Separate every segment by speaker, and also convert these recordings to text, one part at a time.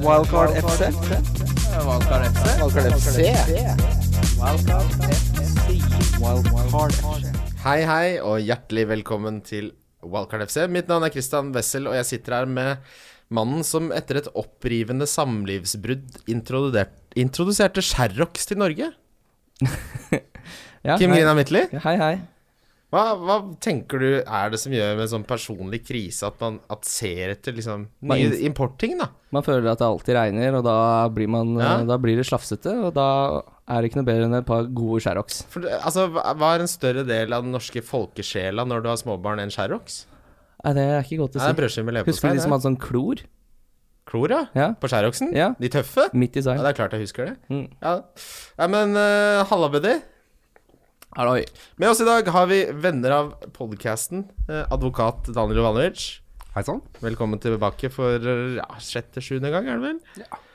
Speaker 1: Wildcard FC.
Speaker 2: Valkar FC.
Speaker 1: Wildcard FC. Wildcard FC.
Speaker 3: Hei, hei, og hjertelig velkommen til Wildcard FC. Mitt navn er Christian Wessel, og jeg sitter her med mannen som etter et opprivende samlivsbrudd introdudert- introduserte Sherrox til Norge.
Speaker 4: Ja,
Speaker 3: Kim
Speaker 4: hei.
Speaker 3: Grina Midtly,
Speaker 4: Hei, hei.
Speaker 3: hva, hva tenker du er det som gjør med en sånn personlig krise at man at ser etter liksom nye
Speaker 4: Man-
Speaker 3: importting, da?
Speaker 4: Man føler at det alltid regner, og da blir, man, eh,
Speaker 3: Ja.
Speaker 4: da blir det slafsete. Og da er det ikke noe bedre enn et par gode Sherrox.
Speaker 3: For, det- altså, hva hva er en større del av den norske folkesjela når du har småbarn enn Sherrox?
Speaker 4: Nei, det er ikke godt å
Speaker 3: Nei, det er
Speaker 4: si.
Speaker 3: brødskive
Speaker 4: Husker
Speaker 3: med
Speaker 4: du de som
Speaker 3: leverpostei.
Speaker 4: hadde sånn klor
Speaker 3: Klor, ja?
Speaker 4: Ja.
Speaker 3: På Sherroxen?
Speaker 4: Ja.
Speaker 3: De tøffe?
Speaker 4: midt i
Speaker 3: Ja,
Speaker 4: seg?
Speaker 3: det er klart jeg husker det.
Speaker 4: Mm.
Speaker 3: Ja. ja, men uh, halla, buddy.
Speaker 4: Halloi.
Speaker 3: Med oss i dag har vi venner av podkasten, advokat Daniel Jovanovic.
Speaker 5: Hei sann.
Speaker 3: Velkommen tilbake for eh, ja, sjette-sjuende gang, er det vel?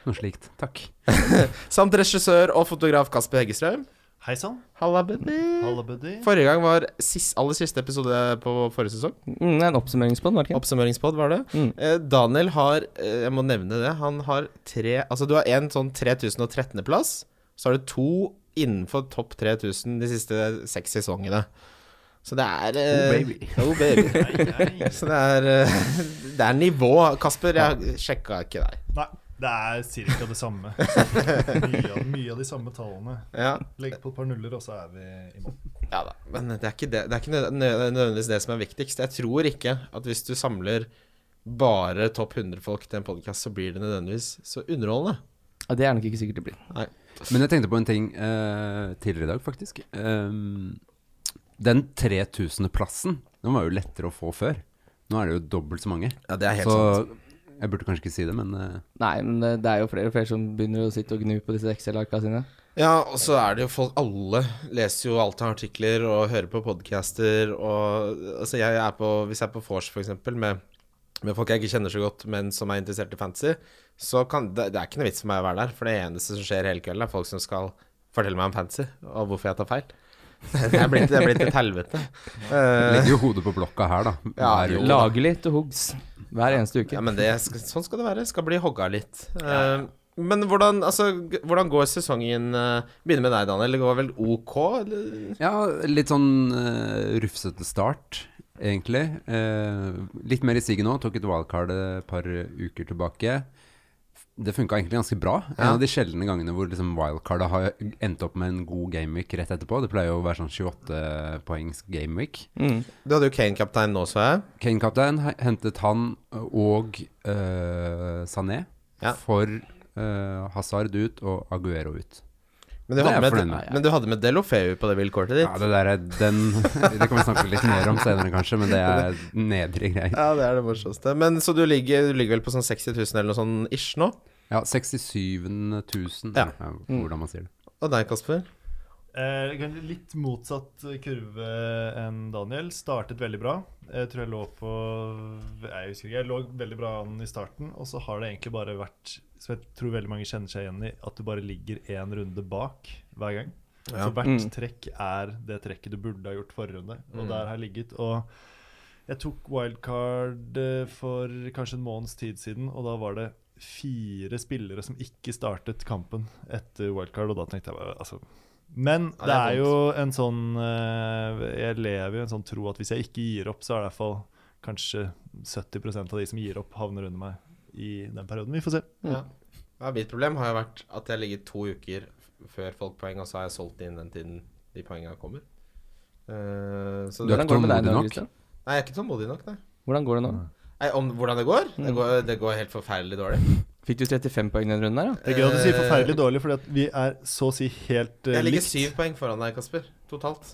Speaker 5: Noe slikt. Takk.
Speaker 3: Samt regissør og fotograf Kasper Heggestrøm.
Speaker 6: Hei sann.
Speaker 3: Halla, buddy.
Speaker 6: Halla, buddy.
Speaker 3: Forrige gang var sis- aller siste episode på forrige sesong.
Speaker 4: Mm, det er en oppsummeringspod, var det ikke?
Speaker 3: Oppsummeringspod var det.
Speaker 4: Mm.
Speaker 3: Eh, Daniel har eh, Jeg må nevne det. Han har tre Altså, du har en sånn 3013.-plass. Så har du to innenfor topp 3000 de siste seks sesongene. Så det er eh,
Speaker 5: Oh, baby.
Speaker 3: Oh, baby.
Speaker 6: Nei, nei.
Speaker 3: så det er eh, Det er nivå. Kasper, jeg sjekka ikke deg.
Speaker 6: nei, det er ca. det samme. Mye av, mye av de samme tallene.
Speaker 3: Ja,
Speaker 6: Legg på et par nuller, og så er vi i mål.
Speaker 3: ja da. Men det er ikke, det, det er ikke nød- nød- nødvendigvis det som er viktigst. Jeg tror ikke at hvis du samler bare topp 100-folk til en podkast, så blir det nødvendigvis så underholdende.
Speaker 4: Ja, det er nok ikke sikkert det blir.
Speaker 5: Men jeg tenkte på en ting eh, tidligere i dag, faktisk. Ehm, den 3000.-plassen, den var jo lettere å få før. Nå er det jo dobbelt så mange.
Speaker 3: Ja, det er
Speaker 5: Så jeg burde kanskje ikke si det, men eh,
Speaker 4: Nei, men det det er jo flere og flere som begynner å sitte og gnu på disse Excel-arka sine.
Speaker 3: Ja, og så er det jo folk Alle leser jo alt av artikler og hører på podcaster og Altså, jeg er på Hvis jeg er på vors, for eksempel, med, med folk jeg ikke kjenner så godt, men som er interessert i fantasy, så kan det, det er ikke noe vits for meg å være der, for det eneste som skjer hele kvelden, er folk som skal fortelle meg om fantasy og hvorfor jeg tar feil. Det er blitt, det er blitt et helvete. Eh,
Speaker 5: legger jo hodet på blokka her, da.
Speaker 3: Ja,
Speaker 5: Hver uke.
Speaker 4: Lage litt og hogs hver eneste uke.
Speaker 3: ja, men det, skal- sånn skal det være. Skal bli hogga litt. Eh, men hvordan, altså, g- hvordan går sesongen eh, Begynner med deg, Daniel. Det går vel OK? Eller?
Speaker 5: Ja, litt sånn eh, rufsete start, egentlig. Eh, litt mer i siget nå. Tok et wildcard et par uker tilbake. Det funka egentlig ganske bra. En av de sjeldne gangene hvor liksom wildcardet har endt opp med en god gameweek rett etterpå. Det pleier jo å være sånn 28 poengs gameweek.
Speaker 4: Mm.
Speaker 3: Du hadde jo Kane-kaptein nå, så jeg.
Speaker 5: Kane-kaptein he- hentet han og eh, Sané
Speaker 3: Ja.
Speaker 5: for eh, Hazard ut og Aguero ut.
Speaker 3: Men du,
Speaker 5: Det er
Speaker 3: hadde
Speaker 5: jeg
Speaker 3: med,
Speaker 5: fornøyd med.
Speaker 3: men du hadde med Delofeu på det vilkåret ditt.
Speaker 5: Ja, det der er den Det kan vi snakke litt mer om senere, kanskje, men det er nedre greier.
Speaker 3: Ja, det er det morsomste. Men Så du ligger, du ligger vel på sånn 60 000 eller noe sånn ish nå?
Speaker 5: Ja, 67 000,
Speaker 3: Ja.
Speaker 5: ja, hvordan man sier det.
Speaker 3: Og deg, Kasper?
Speaker 6: Eh, kanskje litt motsatt kurve enn Daniel. Startet veldig bra. Jeg tror jeg lå på Jeg husker ikke, jeg lå veldig bra an i starten. Og så har det egentlig bare vært, som jeg tror veldig mange kjenner seg igjen i, at du bare ligger én runde bak hver gang.
Speaker 3: Ja.
Speaker 6: Så hvert
Speaker 4: Mm.
Speaker 6: trekk er det trekket du burde ha gjort forrige runde. Og der har jeg ligget. Og jeg tok wildcard eh, for kanskje en måneds tid siden, og da var det fire spillere som ikke startet kampen etter wildcard, og da tenkte jeg bare altså men
Speaker 3: Ja,
Speaker 6: det
Speaker 3: det er
Speaker 6: er jo en sånn eh, Jeg lever jo i en sånn tro at hvis jeg ikke gir opp, så er det i hvert fall kanskje 70 av de som gir opp, havner under meg i den perioden. Vi får se.
Speaker 3: Ja. ja. Mitt problem har jo vært at jeg har ligget to uker f- før folk poeng, og så har jeg solgt inn den tiden de poengene kommer. Eh, så
Speaker 5: Du er
Speaker 4: Hvordan
Speaker 3: det,
Speaker 5: ikke
Speaker 4: går det med deg nå,
Speaker 5: tålmodig nok.
Speaker 4: Christian?
Speaker 3: Nei, jeg er ikke tålmodig nok, nei.
Speaker 4: Hvordan går det nå?
Speaker 3: nei om hvordan det går? Det går, det går helt forferdelig dårlig.
Speaker 4: Fikk du 35 poeng den runden her, da?
Speaker 6: Det er gøy at du sier forferdelig dårlig, fordi at vi er så å si helt eh,
Speaker 3: Eh. Jeg ligger
Speaker 6: likt.
Speaker 3: syv poeng foran deg, Kasper. Totalt.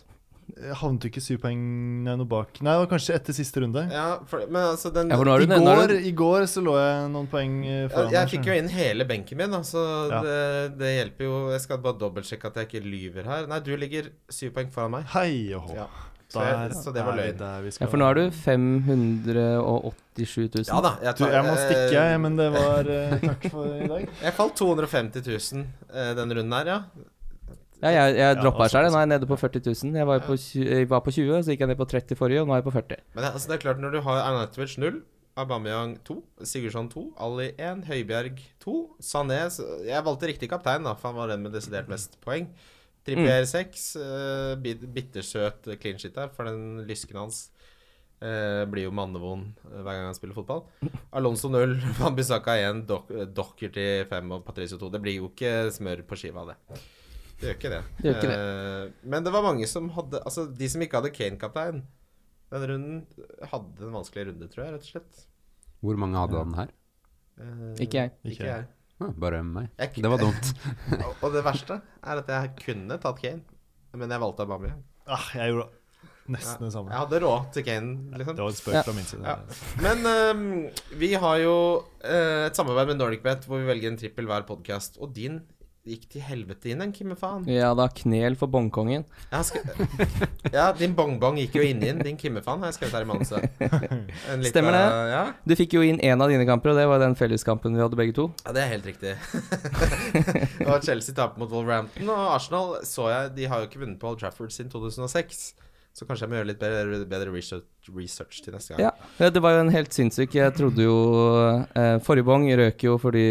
Speaker 6: Jeg Havnet du ikke syv poeng nei, noe bak? Nei, det var kanskje etter siste runde.
Speaker 3: Ja, for, men altså, den
Speaker 4: Ja, for nå er
Speaker 6: I
Speaker 4: du nede. nå er
Speaker 6: går,
Speaker 4: du-
Speaker 6: I går så lå jeg noen poeng eh,
Speaker 3: Ja,
Speaker 6: foran.
Speaker 3: jeg fikk jo inn hele benken min, da, så
Speaker 6: Ja.
Speaker 3: det, det hjelper jo. Jeg skal bare dobbeltsjekke at jeg ikke lyver her. Nei, du ligger syv poeng foran meg.
Speaker 6: Hei og hå.
Speaker 3: Ja. Så, jeg, så det var
Speaker 6: er vi
Speaker 3: løgn.
Speaker 6: der vi skal
Speaker 4: Ja, for nå er du 587 000.
Speaker 3: Ja da. Jeg,
Speaker 6: Du, jeg må stikke, jeg,
Speaker 3: eh,
Speaker 6: men det var eh, takk for i dag.
Speaker 3: jeg falt 250 000 eh, den runden her, ja.
Speaker 4: Ja, jeg, jeg
Speaker 6: Ja,
Speaker 4: droppa
Speaker 6: altså,
Speaker 4: her selv. Nå er jeg nede på 40 000. Jeg var, på 20, jeg var på 20, så gikk jeg ned på 30 forrige, og nå er jeg på 40.
Speaker 3: Men det, altså, det er klart, når du har Arnautovic null, Aubameyang 2, Sigurdsson 2, Ali 1, Høibjerg 2, Sané s- Jeg valgte riktig kaptein, da, for han var den med desidert mest poeng.
Speaker 4: Mm.
Speaker 3: Trippier 6, eh, bit- bittersøt clean shit der, for den lysken hans eh, blir jo mannevond eh, hver gang han spiller fotball. Alonso 0, Van Bissaka 1, Doc- Docherty 5 og Patricio 2. Det blir jo ikke smør på skiva, det. Det gjør ikke det.
Speaker 4: Det gjør ikke
Speaker 3: Eh, men det var mange som hadde Altså, de som ikke hadde Kane-kaptein denne runden, hadde en vanskelig runde, tror jeg, rett og slett.
Speaker 5: Hvor mange hadde han her?
Speaker 3: Eh,
Speaker 4: Ikke jeg.
Speaker 6: Ikke
Speaker 3: Ikke jeg.
Speaker 5: Ah, bare meg.
Speaker 3: Jeg-
Speaker 5: Det var dumt.
Speaker 3: Og- Og det verste er at jeg kunne tatt Kane, men jeg valgte Aubameyang.
Speaker 6: Ah, jeg gjorde nesten det
Speaker 3: Jeg
Speaker 6: samme.
Speaker 3: hadde råd til Kane, liksom.
Speaker 6: Det var en spøk
Speaker 4: Ja.
Speaker 6: fra min side.
Speaker 3: Ja. Men ehm, vi har jo eh, et samarbeid med NordicBet hvor vi velger en trippel hver podkast. Og din gikk til helvete inn, den, Kim faen.
Speaker 4: Ja da, knel for bongkongen.
Speaker 3: Jeg har skre- ja, din bongbong gikk jo inn i den. Din Kimme-faen har jeg skrevet her i manuset. En liten-
Speaker 4: Stemmer det.
Speaker 3: Ja.
Speaker 4: Du fikk jo inn én av dine kamper, og det var den felleskampen vi hadde begge to.
Speaker 3: ja, det er helt riktig. og Chelsea taper mot Wolverhampton. Og Arsenal så jeg, de har jo ikke vunnet på Old Trafford siden 2006. Så kanskje jeg må gjøre litt bedre, bedre research, research til neste gang.
Speaker 4: Ja, ja, det var jo en helt sinnssyk Jeg trodde jo eh, Forrige bong røk jo fordi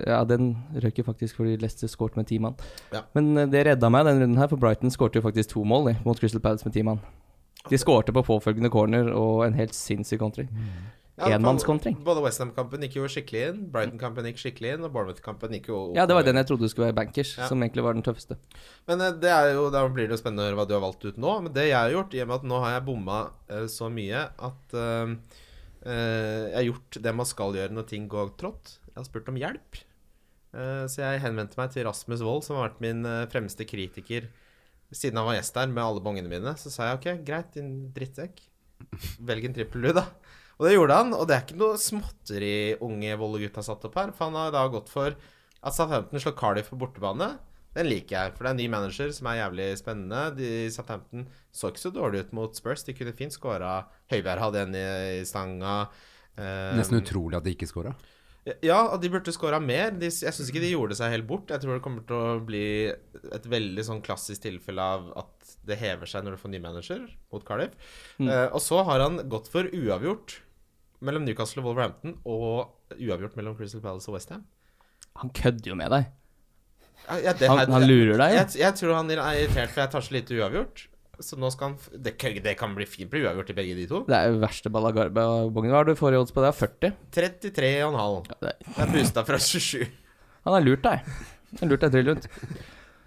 Speaker 4: Ja, den røk jo faktisk fordi Leicester skåret med ti mann.
Speaker 3: Ja.
Speaker 4: Men eh, det redda meg denne runden her, for Brighton skårte jo faktisk to mål de, mot Crystal Palace med ti mann. De skårte på påfølgende corner og en helt sinnssyk kontring.
Speaker 3: Ja, det-
Speaker 4: Enmannskontring.
Speaker 3: Både Westham-kampen gikk jo skikkelig inn, Brighton-kampen gikk skikkelig inn, og Bournemouth-kampen gikk jo
Speaker 4: Ja, det var den jeg trodde skulle være bankers,
Speaker 3: Ja.
Speaker 4: som egentlig var den tøffeste.
Speaker 3: Men eh, det er jo, da blir det jo spennende å høre hva du har valgt ut nå. Men det jeg har gjort, i og med at nå har jeg bomma eh, så mye at eh, eh, jeg har gjort det man skal gjøre når ting går trått. Jeg har spurt om hjelp. Eh, så jeg henvendte meg til Rasmus Wold, som har vært min eh, fremste kritiker siden han var gjest her, med alle bongene mine. Så sa jeg OK, greit, din drittsekk. Velg en trippel, du, da. Og det gjorde han. Og det er ikke noe småtteri unge Volle-gutt har satt opp her, for han har da gått for at Southampton slår Cardiff på bortebane. Den liker jeg, for det er en ny manager som er jævlig spennende. De Southampton så ikke så dårlig ut mot Spurs. De kunne fint skåra. Høibjerg hadde en i, i stanga. Eh,
Speaker 5: Nesten utrolig at de ikke scora.
Speaker 3: Ja, og de burde skåra mer. De, jeg syns ikke de gjorde seg helt bort. Jeg tror det kommer til å bli et veldig sånn klassisk tilfelle av at det hever seg når du får ny manager mot Cardiff.
Speaker 4: Mm.
Speaker 3: Eh, og så har han gått for uavgjort mellom Newcastle og Wolverhampton og uavgjort mellom Crystal Palace og Westham.
Speaker 4: Han kødder jo med deg.
Speaker 3: Ja, ja, det,
Speaker 4: Han, han lurer deg.
Speaker 3: Jeg, jeg tror han er irritert for jeg tar så lite uavgjort. Så nå skal han f- Det, kan- det kan bli fint å bli uavgjort i begge de to.
Speaker 4: Det er jo verste ballagarbe av bongen. Hva har du forrige odds på det? 40?
Speaker 3: 33,5.
Speaker 4: Ja, det,
Speaker 3: Jeg boosta fra 27.
Speaker 4: han har lurt deg. Han har lurt deg tryllund.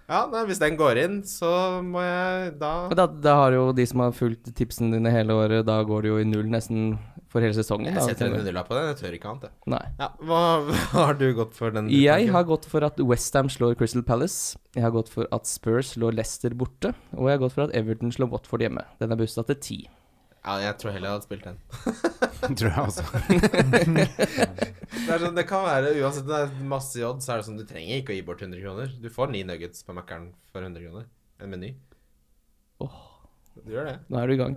Speaker 3: Ja, nei, hvis den går inn, så må jeg da
Speaker 4: Men da, da har jo de som har fulgt tipsene dine hele året, da går det jo i null nesten for hele sesongen.
Speaker 3: Jeg
Speaker 4: Da,
Speaker 3: setter en hundrelapp på den. Jeg tør ikke annet, jeg.
Speaker 4: Nei.
Speaker 3: Ja, hva, hva har du gått for den?
Speaker 4: Jeg har gått for at Westham slår Crystal Palace. Jeg har gått for at Spurs slår Leicester borte. Og jeg har gått for at Everton slår Watford hjemme. Den er bussa til ti.
Speaker 3: Ja, jeg tror heller jeg hadde spilt den.
Speaker 5: Tror jeg altså. også.
Speaker 3: Det, er sånn, det kan være, Uansett det er masse i odds, så er det sånn du trenger ikke å gi bort 100 kroner. Du får ni nuggets på Mækkern for 100 kroner. En meny. Du gjør det.
Speaker 4: Nå er du i gang.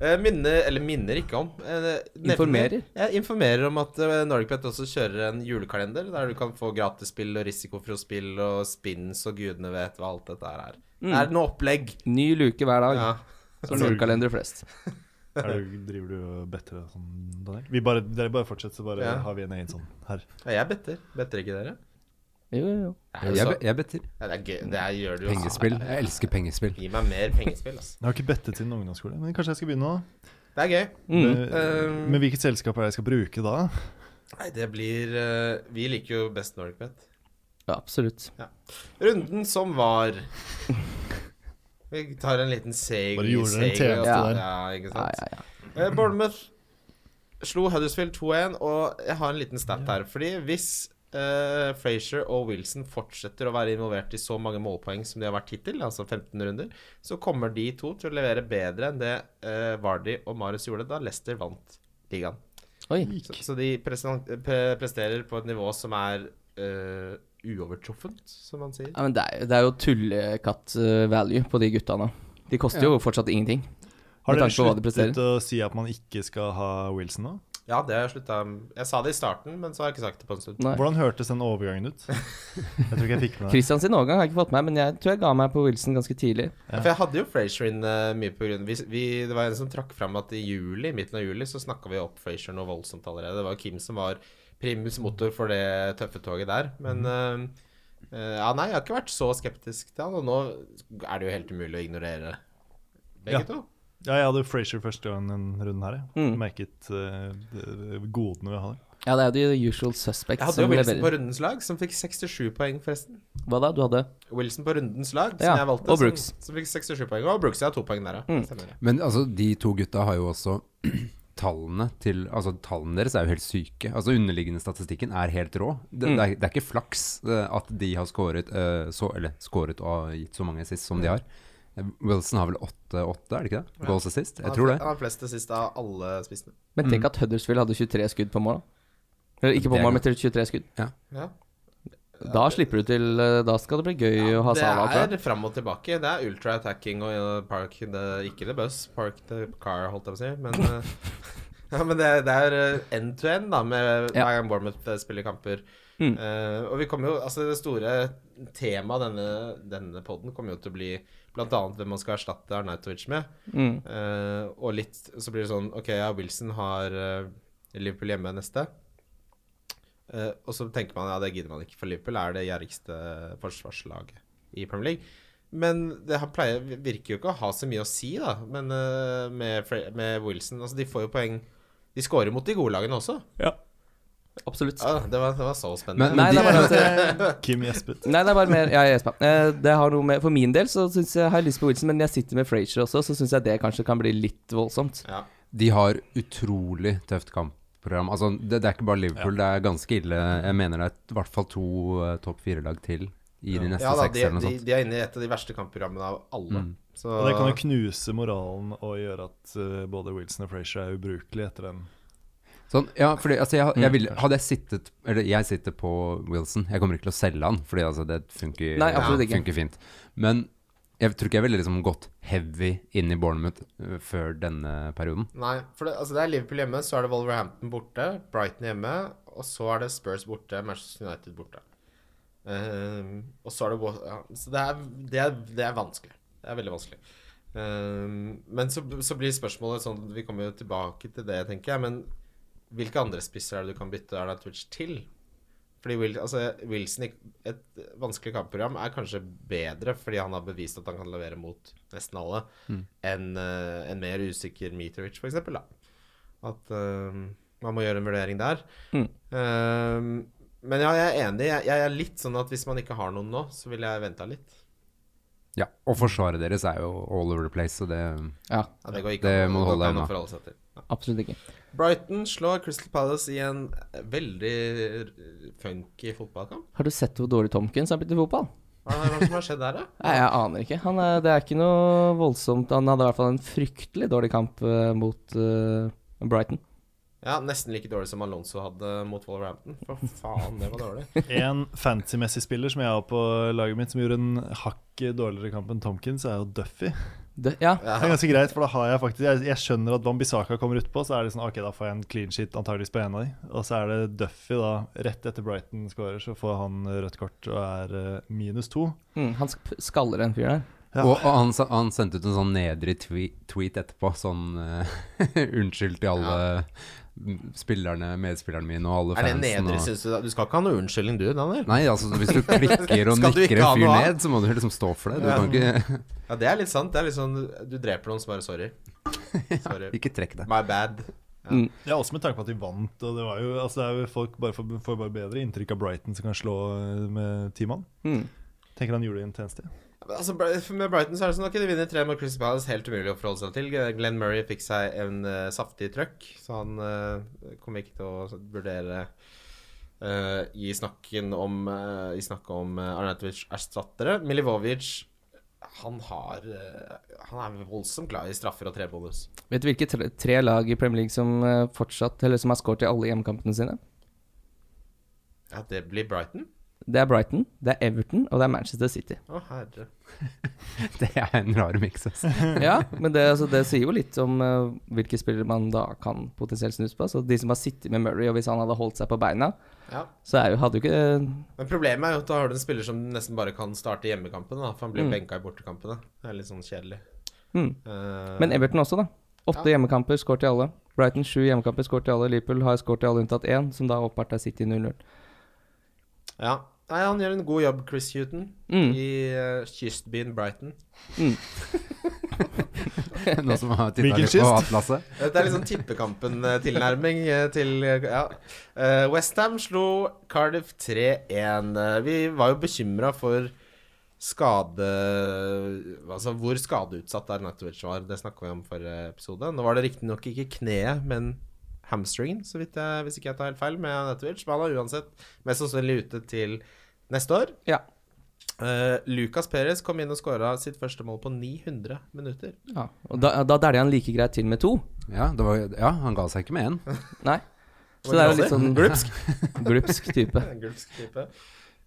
Speaker 3: Eh, Minner, eller minner ikke om eh, nevner-
Speaker 4: Informerer.
Speaker 3: Jeg informerer om at eh, NordicBet også kjører en julekalender der du kan få gratis spill og risikofrie spill og spins og gudene vet hva alt dette her er. Det
Speaker 4: Mm.
Speaker 3: er noe opplegg.
Speaker 4: Ny luke hver dag,
Speaker 3: Ja.
Speaker 4: som julekalender flest.
Speaker 6: Er du, driver du og better og sånn, Daniel? Vi bare, dere bare fortsetter, så bare
Speaker 3: Ja.
Speaker 6: har vi en egen sånn her.
Speaker 3: Ja, jeg better. Better ikke dere?
Speaker 4: Jo, jo, jo.
Speaker 5: Jeg, be- jeg better.
Speaker 3: Ja, det er gøy. Det er, gjør du jo.
Speaker 5: Pengespill. Jeg elsker pengespill.
Speaker 3: Gi meg mer pengespill, altså.
Speaker 6: Jeg har ikke bettet siden ungdomsskole, men kanskje jeg skal begynne nå?
Speaker 3: Det er gøy.
Speaker 4: Mm.
Speaker 6: Men,
Speaker 3: Eh.
Speaker 6: men hvilket selskap er det jeg skal bruke da?
Speaker 3: Nei, det blir eh, Vi liker jo best NordicBet.
Speaker 4: Ja, absolutt.
Speaker 3: Runden som var Vi tar en liten seig
Speaker 6: Bare gjorde dere en
Speaker 3: seig-
Speaker 6: tjeneste
Speaker 3: ja,
Speaker 6: der.
Speaker 3: Ja, ikke
Speaker 4: Ja,
Speaker 3: sant.
Speaker 4: ja, ja.
Speaker 3: Eh, Bournemouth slo Huddersfield 2-1, og jeg har en liten stat her. Fordi hvis eh, Frazier og Wilson fortsetter å være involvert i så mange målpoeng som de har vært hittil, altså 15 runder, så kommer de to til å levere bedre enn det eh, Vardy og Marius gjorde da Leicester vant ligaen.
Speaker 4: Oi.
Speaker 3: Så, så de presen- pre presterer på et nivå som er eh, uovertruffent, som man sier.
Speaker 4: Ja, men det er, det er jo tullekatt-value på de gutta nå. De koster jo fortsatt ingenting.
Speaker 6: Har
Speaker 4: Med
Speaker 6: dere
Speaker 4: tanke på hva de
Speaker 6: sluttet
Speaker 4: presterer.
Speaker 6: å si at man ikke skal ha Wilson nå?
Speaker 3: Ja, det har jeg slutta Jeg sa det i starten, men så har jeg ikke sagt det på en stund.
Speaker 4: Nei.
Speaker 6: Hvordan hørtes den overgangen ut? Jeg tror ikke jeg fikk med det.
Speaker 4: Christian sin overgang har jeg ikke fått med, men jeg tror jeg ga meg på Wilson ganske tidlig.
Speaker 3: Ja. For jeg hadde jo Frasier inn eh, mye på grunn vi, vi, Det var en som trakk fram at i juli, midten av juli så snakka vi opp Frasier noe voldsomt allerede. Det var Kim som var primus motor for det tøffe toget der. Men eh, eh, Ja, nei, jeg har ikke vært så skeptisk til han, og nå er det jo helt umulig å ignorere begge
Speaker 6: Ja.
Speaker 3: to.
Speaker 6: Ja, jeg hadde Frasier første gangen den runden her. Jeg.
Speaker 4: Mm.
Speaker 6: Merket eh, det- det godene ved å ha det.
Speaker 4: Ja, det er jo the usual suspects
Speaker 3: Jeg hadde
Speaker 4: som
Speaker 3: jo Wilson på
Speaker 4: leverer.
Speaker 3: rundens lag, som fikk 67 poeng, forresten.
Speaker 4: Hva da? Du hadde
Speaker 3: Wilson på rundens lag, som
Speaker 4: Ja,
Speaker 3: jeg valgte.
Speaker 4: og Brooks.
Speaker 3: Som, som fikk 67 poeng. Og Brooks jeg har to poeng der, ja. Stemmer det.
Speaker 5: Men altså, de to gutta har jo også tallene til Altså, tallene deres er jo helt syke. Altså, underliggende statistikken er helt rå. Det, det, er, det er ikke flaks eh, at de har skåret eh, så Eller skåret og gitt så mange assist som de har. Eh, Wilson har vel åtte-åtte, er det ikke det? Goals assist? Jeg
Speaker 3: Han
Speaker 5: tror
Speaker 3: har-
Speaker 5: det.
Speaker 3: Han har flest assist av alle spissene.
Speaker 4: Men tenk at Huddersfield hadde 23 skudd på mål. da. Eller ikke på
Speaker 5: Det er
Speaker 4: mål, men 23 skudd.
Speaker 3: Ja.
Speaker 4: Da slipper du til eh, Da skal det bli gøy å ha Salah på.
Speaker 3: Det er fram og tilbake. Det er ultra attacking og uh, park the, Ikke the bus, park the car, holdt jeg på å si. Men, uh, ja, men det, det er uh, end to end, da, med
Speaker 4: Ja.
Speaker 3: hver gang Bournemouth uh, spiller kamper.
Speaker 4: Mm.
Speaker 3: Uh, og vi kommer jo Altså, det store temaet denne, denne poden kommer jo til å bli blant annet hvem man skal erstatte Arnautovic med.
Speaker 4: Mm.
Speaker 3: Eh, og litt så blir det sånn Ok, ja, Wilson har eh, Liverpool hjemme neste. Eh, og så tenker man ja, det gidder man ikke, for Liverpool er det gjerrigste forsvarslaget i Premier League. Men det har pleier, virker jo ikke å ha så mye å si, da, men eh, med, Fre- med Wilson Altså, de får jo poeng De scorer mot de gode lagene også.
Speaker 4: Absolutt.
Speaker 3: Ja, det, var, det var så
Speaker 5: Men-
Speaker 3: spennende.
Speaker 4: Nei, det er bare at eh,
Speaker 6: Kim Jespet.
Speaker 4: Nei, det er bare mer Ja, jeg gjesper. Eh, Det har noe med For min del så synes jeg har jeg lyst på Wilson, men jeg sitter med Frazier også, så syns jeg det kanskje kan bli litt voldsomt.
Speaker 3: Ja.
Speaker 5: De har utrolig tøft kampprogram. Altså, det, det er ikke bare Liverpool, det er ganske ille. Jeg mener det er i hvert fall to eh, topp fire-lag til i de neste
Speaker 3: ja da,
Speaker 5: seks
Speaker 3: de,
Speaker 5: eller noe
Speaker 3: de,
Speaker 5: sånt. Mm.
Speaker 3: de er inne i et av de verste kampprogrammene av alle. Så
Speaker 6: Og det kan jo knuse moralen og gjøre at eh, både Wilson og Frasier er ubrukelige etter den.
Speaker 5: Sånn, ja, fordi, altså, jeg, jeg ville- hadde jeg sittet Eller jeg sitter på Wilson. Jeg kommer ikke til å selge han, fordi altså, det funker,
Speaker 4: Nei, absolutt ikke.
Speaker 5: funker fint. Men jeg tror ikke jeg ville liksom gått heavy inn i Bournemouth øh, før denne perioden.
Speaker 3: Nei, for det, altså det er Liverpool hjemme, så er det Wolverhampton borte, Brighton hjemme, og så er det Spurs borte, Manchester United borte. Ehm, og så er det Wa- ja, Så det er, det, er, det er vanskelig. Det er veldig vanskelig. Ehm, men så, så blir spørsmålet sånn Vi kommer jo tilbake til det, tenker jeg, men hvilke andre spisser er det du kan bytte Arnautovic til? Fordi Wil, altså, Wilson i et vanskelig kampprogram er kanskje bedre, fordi han har bevist at han kan levere mot nesten alle,
Speaker 5: Mm.
Speaker 3: enn eh, en mer usikker Mitrovic, for eksempel, da. At eh, man må gjøre en vurdering der.
Speaker 5: Mm.
Speaker 3: Eh, men ja, jeg er enig. Jeg, jeg er litt sånn at hvis man ikke har noen nå, så ville jeg venta litt.
Speaker 5: Ja, og forsvaret deres er jo all over the place, så det
Speaker 4: Ja,
Speaker 3: Ja, det går ikke
Speaker 5: Det
Speaker 3: an-
Speaker 5: må du
Speaker 3: går
Speaker 5: holde
Speaker 3: ikke
Speaker 5: deg
Speaker 3: an å
Speaker 5: unna.
Speaker 3: forholde seg til.
Speaker 4: absolutt ikke.
Speaker 3: Brighton slår Crystal Palace i en veldig eh, funky fotballkamp.
Speaker 4: Har du sett hvor dårlig Tomkins har blitt i fotball?
Speaker 3: Hva er det hva er det som har skjedd der, da?
Speaker 4: Nei, jeg aner ikke. Han er, det er ikke noe voldsomt. Han hadde i hvert fall en fryktelig dårlig kamp eh, mot eh, Brighton.
Speaker 3: Ja, Nesten like dårlig som Alonso hadde mot Wolverhampton. For faen, det var dårlig.
Speaker 6: En fancy-messig spiller som jeg har på laget mitt, som gjorde en hakk dårligere kamp enn Tomkins, er jo Duffy.
Speaker 4: Det, ja,
Speaker 6: Det er ganske greit, for da har jeg faktisk Jeg, jeg skjønner at Wambisaka kommer utpå, så er det sånn OK, da får jeg en clean sheet antageligvis på en av de. Og så er det Duffy, da. Rett etter Brighton scorer, så får han rødt kort og er eh, minus to.
Speaker 4: mm, han sk- skaller en fyr der.
Speaker 6: Ja.
Speaker 5: Og, og han, sa- han sendte ut en sånn nedrig tweet, tweet etterpå, sånn eh, unnskyld til alle spillerne, medspillerne mine og alle
Speaker 3: Er det
Speaker 5: fansen.
Speaker 3: nedre,
Speaker 5: og...
Speaker 3: syns du? da? Du skal ikke ha noe unnskyldning, du, Daniel?
Speaker 5: Nei, altså hvis du klikker og
Speaker 3: Skal du
Speaker 5: nikker
Speaker 3: ikke ha
Speaker 5: en fyr
Speaker 3: noe annet?
Speaker 5: ned, så må du liksom stå for det. Du kan ikke,
Speaker 3: Ja, det er litt sant. Det er litt sånn Du dreper noen, så bare sorry. Sorry.
Speaker 5: ikke trekke deg.
Speaker 3: My bad.
Speaker 4: Mm,
Speaker 6: Ja, også med tanke på at de vant. Og det var jo, altså det er jo folk bare får, får bare bedre inntrykk av Brighton, som kan slå eh, med ti mann.
Speaker 4: Mm.
Speaker 6: Tenker han gjorde en tjeneste.
Speaker 3: Altså, Bri- med Brighton så er det sånn at de vinner tre mot Crystal Palace. Helt umulig å forholde seg til. Glenn Murray fikk seg en eh, saftig trøkk, så han eh, kommer ikke til å vurdere eh, i snakken om eh, I snakket om uh, Arnautovic erstattere. Milivovic han har eh, Han er voldsomt glad i straffer og trebonus.
Speaker 4: Vet du hvilke tre, tre lag i Premier League som eh, fortsatt Eller som har skåret i alle hjemmekampene sine?
Speaker 3: Ja, det blir Brighton.
Speaker 4: det er Brighton, det er Everton, og det er Manchester City.
Speaker 3: Å, herre.
Speaker 5: Det er en rar miks, ass.
Speaker 4: Ja, men det, altså, det sier jo litt om eh, hvilke spillere man da kan potensielt snuse på. Så de som har sittet med Murray, og hvis han hadde holdt seg på beina,
Speaker 3: Ja.
Speaker 4: så er jo, hadde jo ikke det
Speaker 3: Men problemet er jo at da har du en spiller som nesten bare kan starte hjemmekampene, da, for han blir jo
Speaker 4: Mm.
Speaker 3: benka i bortekampene. Det er litt sånn kjedelig.
Speaker 4: mm.
Speaker 3: Eh,
Speaker 4: Men Everton også, da. Åtte hjemmekamper, skår til alle. Brighton sju hjemmekamper, skår til alle. Liverpool har skår til alle unntatt én, som da åpenbart er City 0-0.
Speaker 3: Ja. Nei, han gjør en god jobb, Chris Hughton,
Speaker 4: Mm.
Speaker 3: i eh, kystbyen Brighton.
Speaker 5: Noen som har titta
Speaker 6: Hvilken
Speaker 5: litt på
Speaker 6: kyst?
Speaker 5: atlaset.
Speaker 3: Dette er litt sånn tippekampen-tilnærming til eh, Ja. Eh, West Ham slo Cardiff 3-1. Eh, Vi var jo bekymra for skade Altså hvor skadeutsatt Arnatovic var. Det snakka vi om forrige episode. Nå var det riktignok ikke kneet, men hamstringen, så vidt jeg, hvis ikke jeg tar helt feil, med Arnatovic. Men han er uansett mest sannsynlig ute til neste år.
Speaker 4: Ja.
Speaker 3: Eh, Lucas Perez kom inn og skåra sitt første mål på 900 minutter.
Speaker 4: ja. Og da, da dælja han like greit til med to.
Speaker 5: Ja, det var, ja, han ga seg ikke med én.
Speaker 4: Nei. Så
Speaker 3: Var
Speaker 4: det er jo
Speaker 3: det
Speaker 4: litt sånn
Speaker 3: Glupsk.
Speaker 4: glupsk type.
Speaker 3: En gulsk type.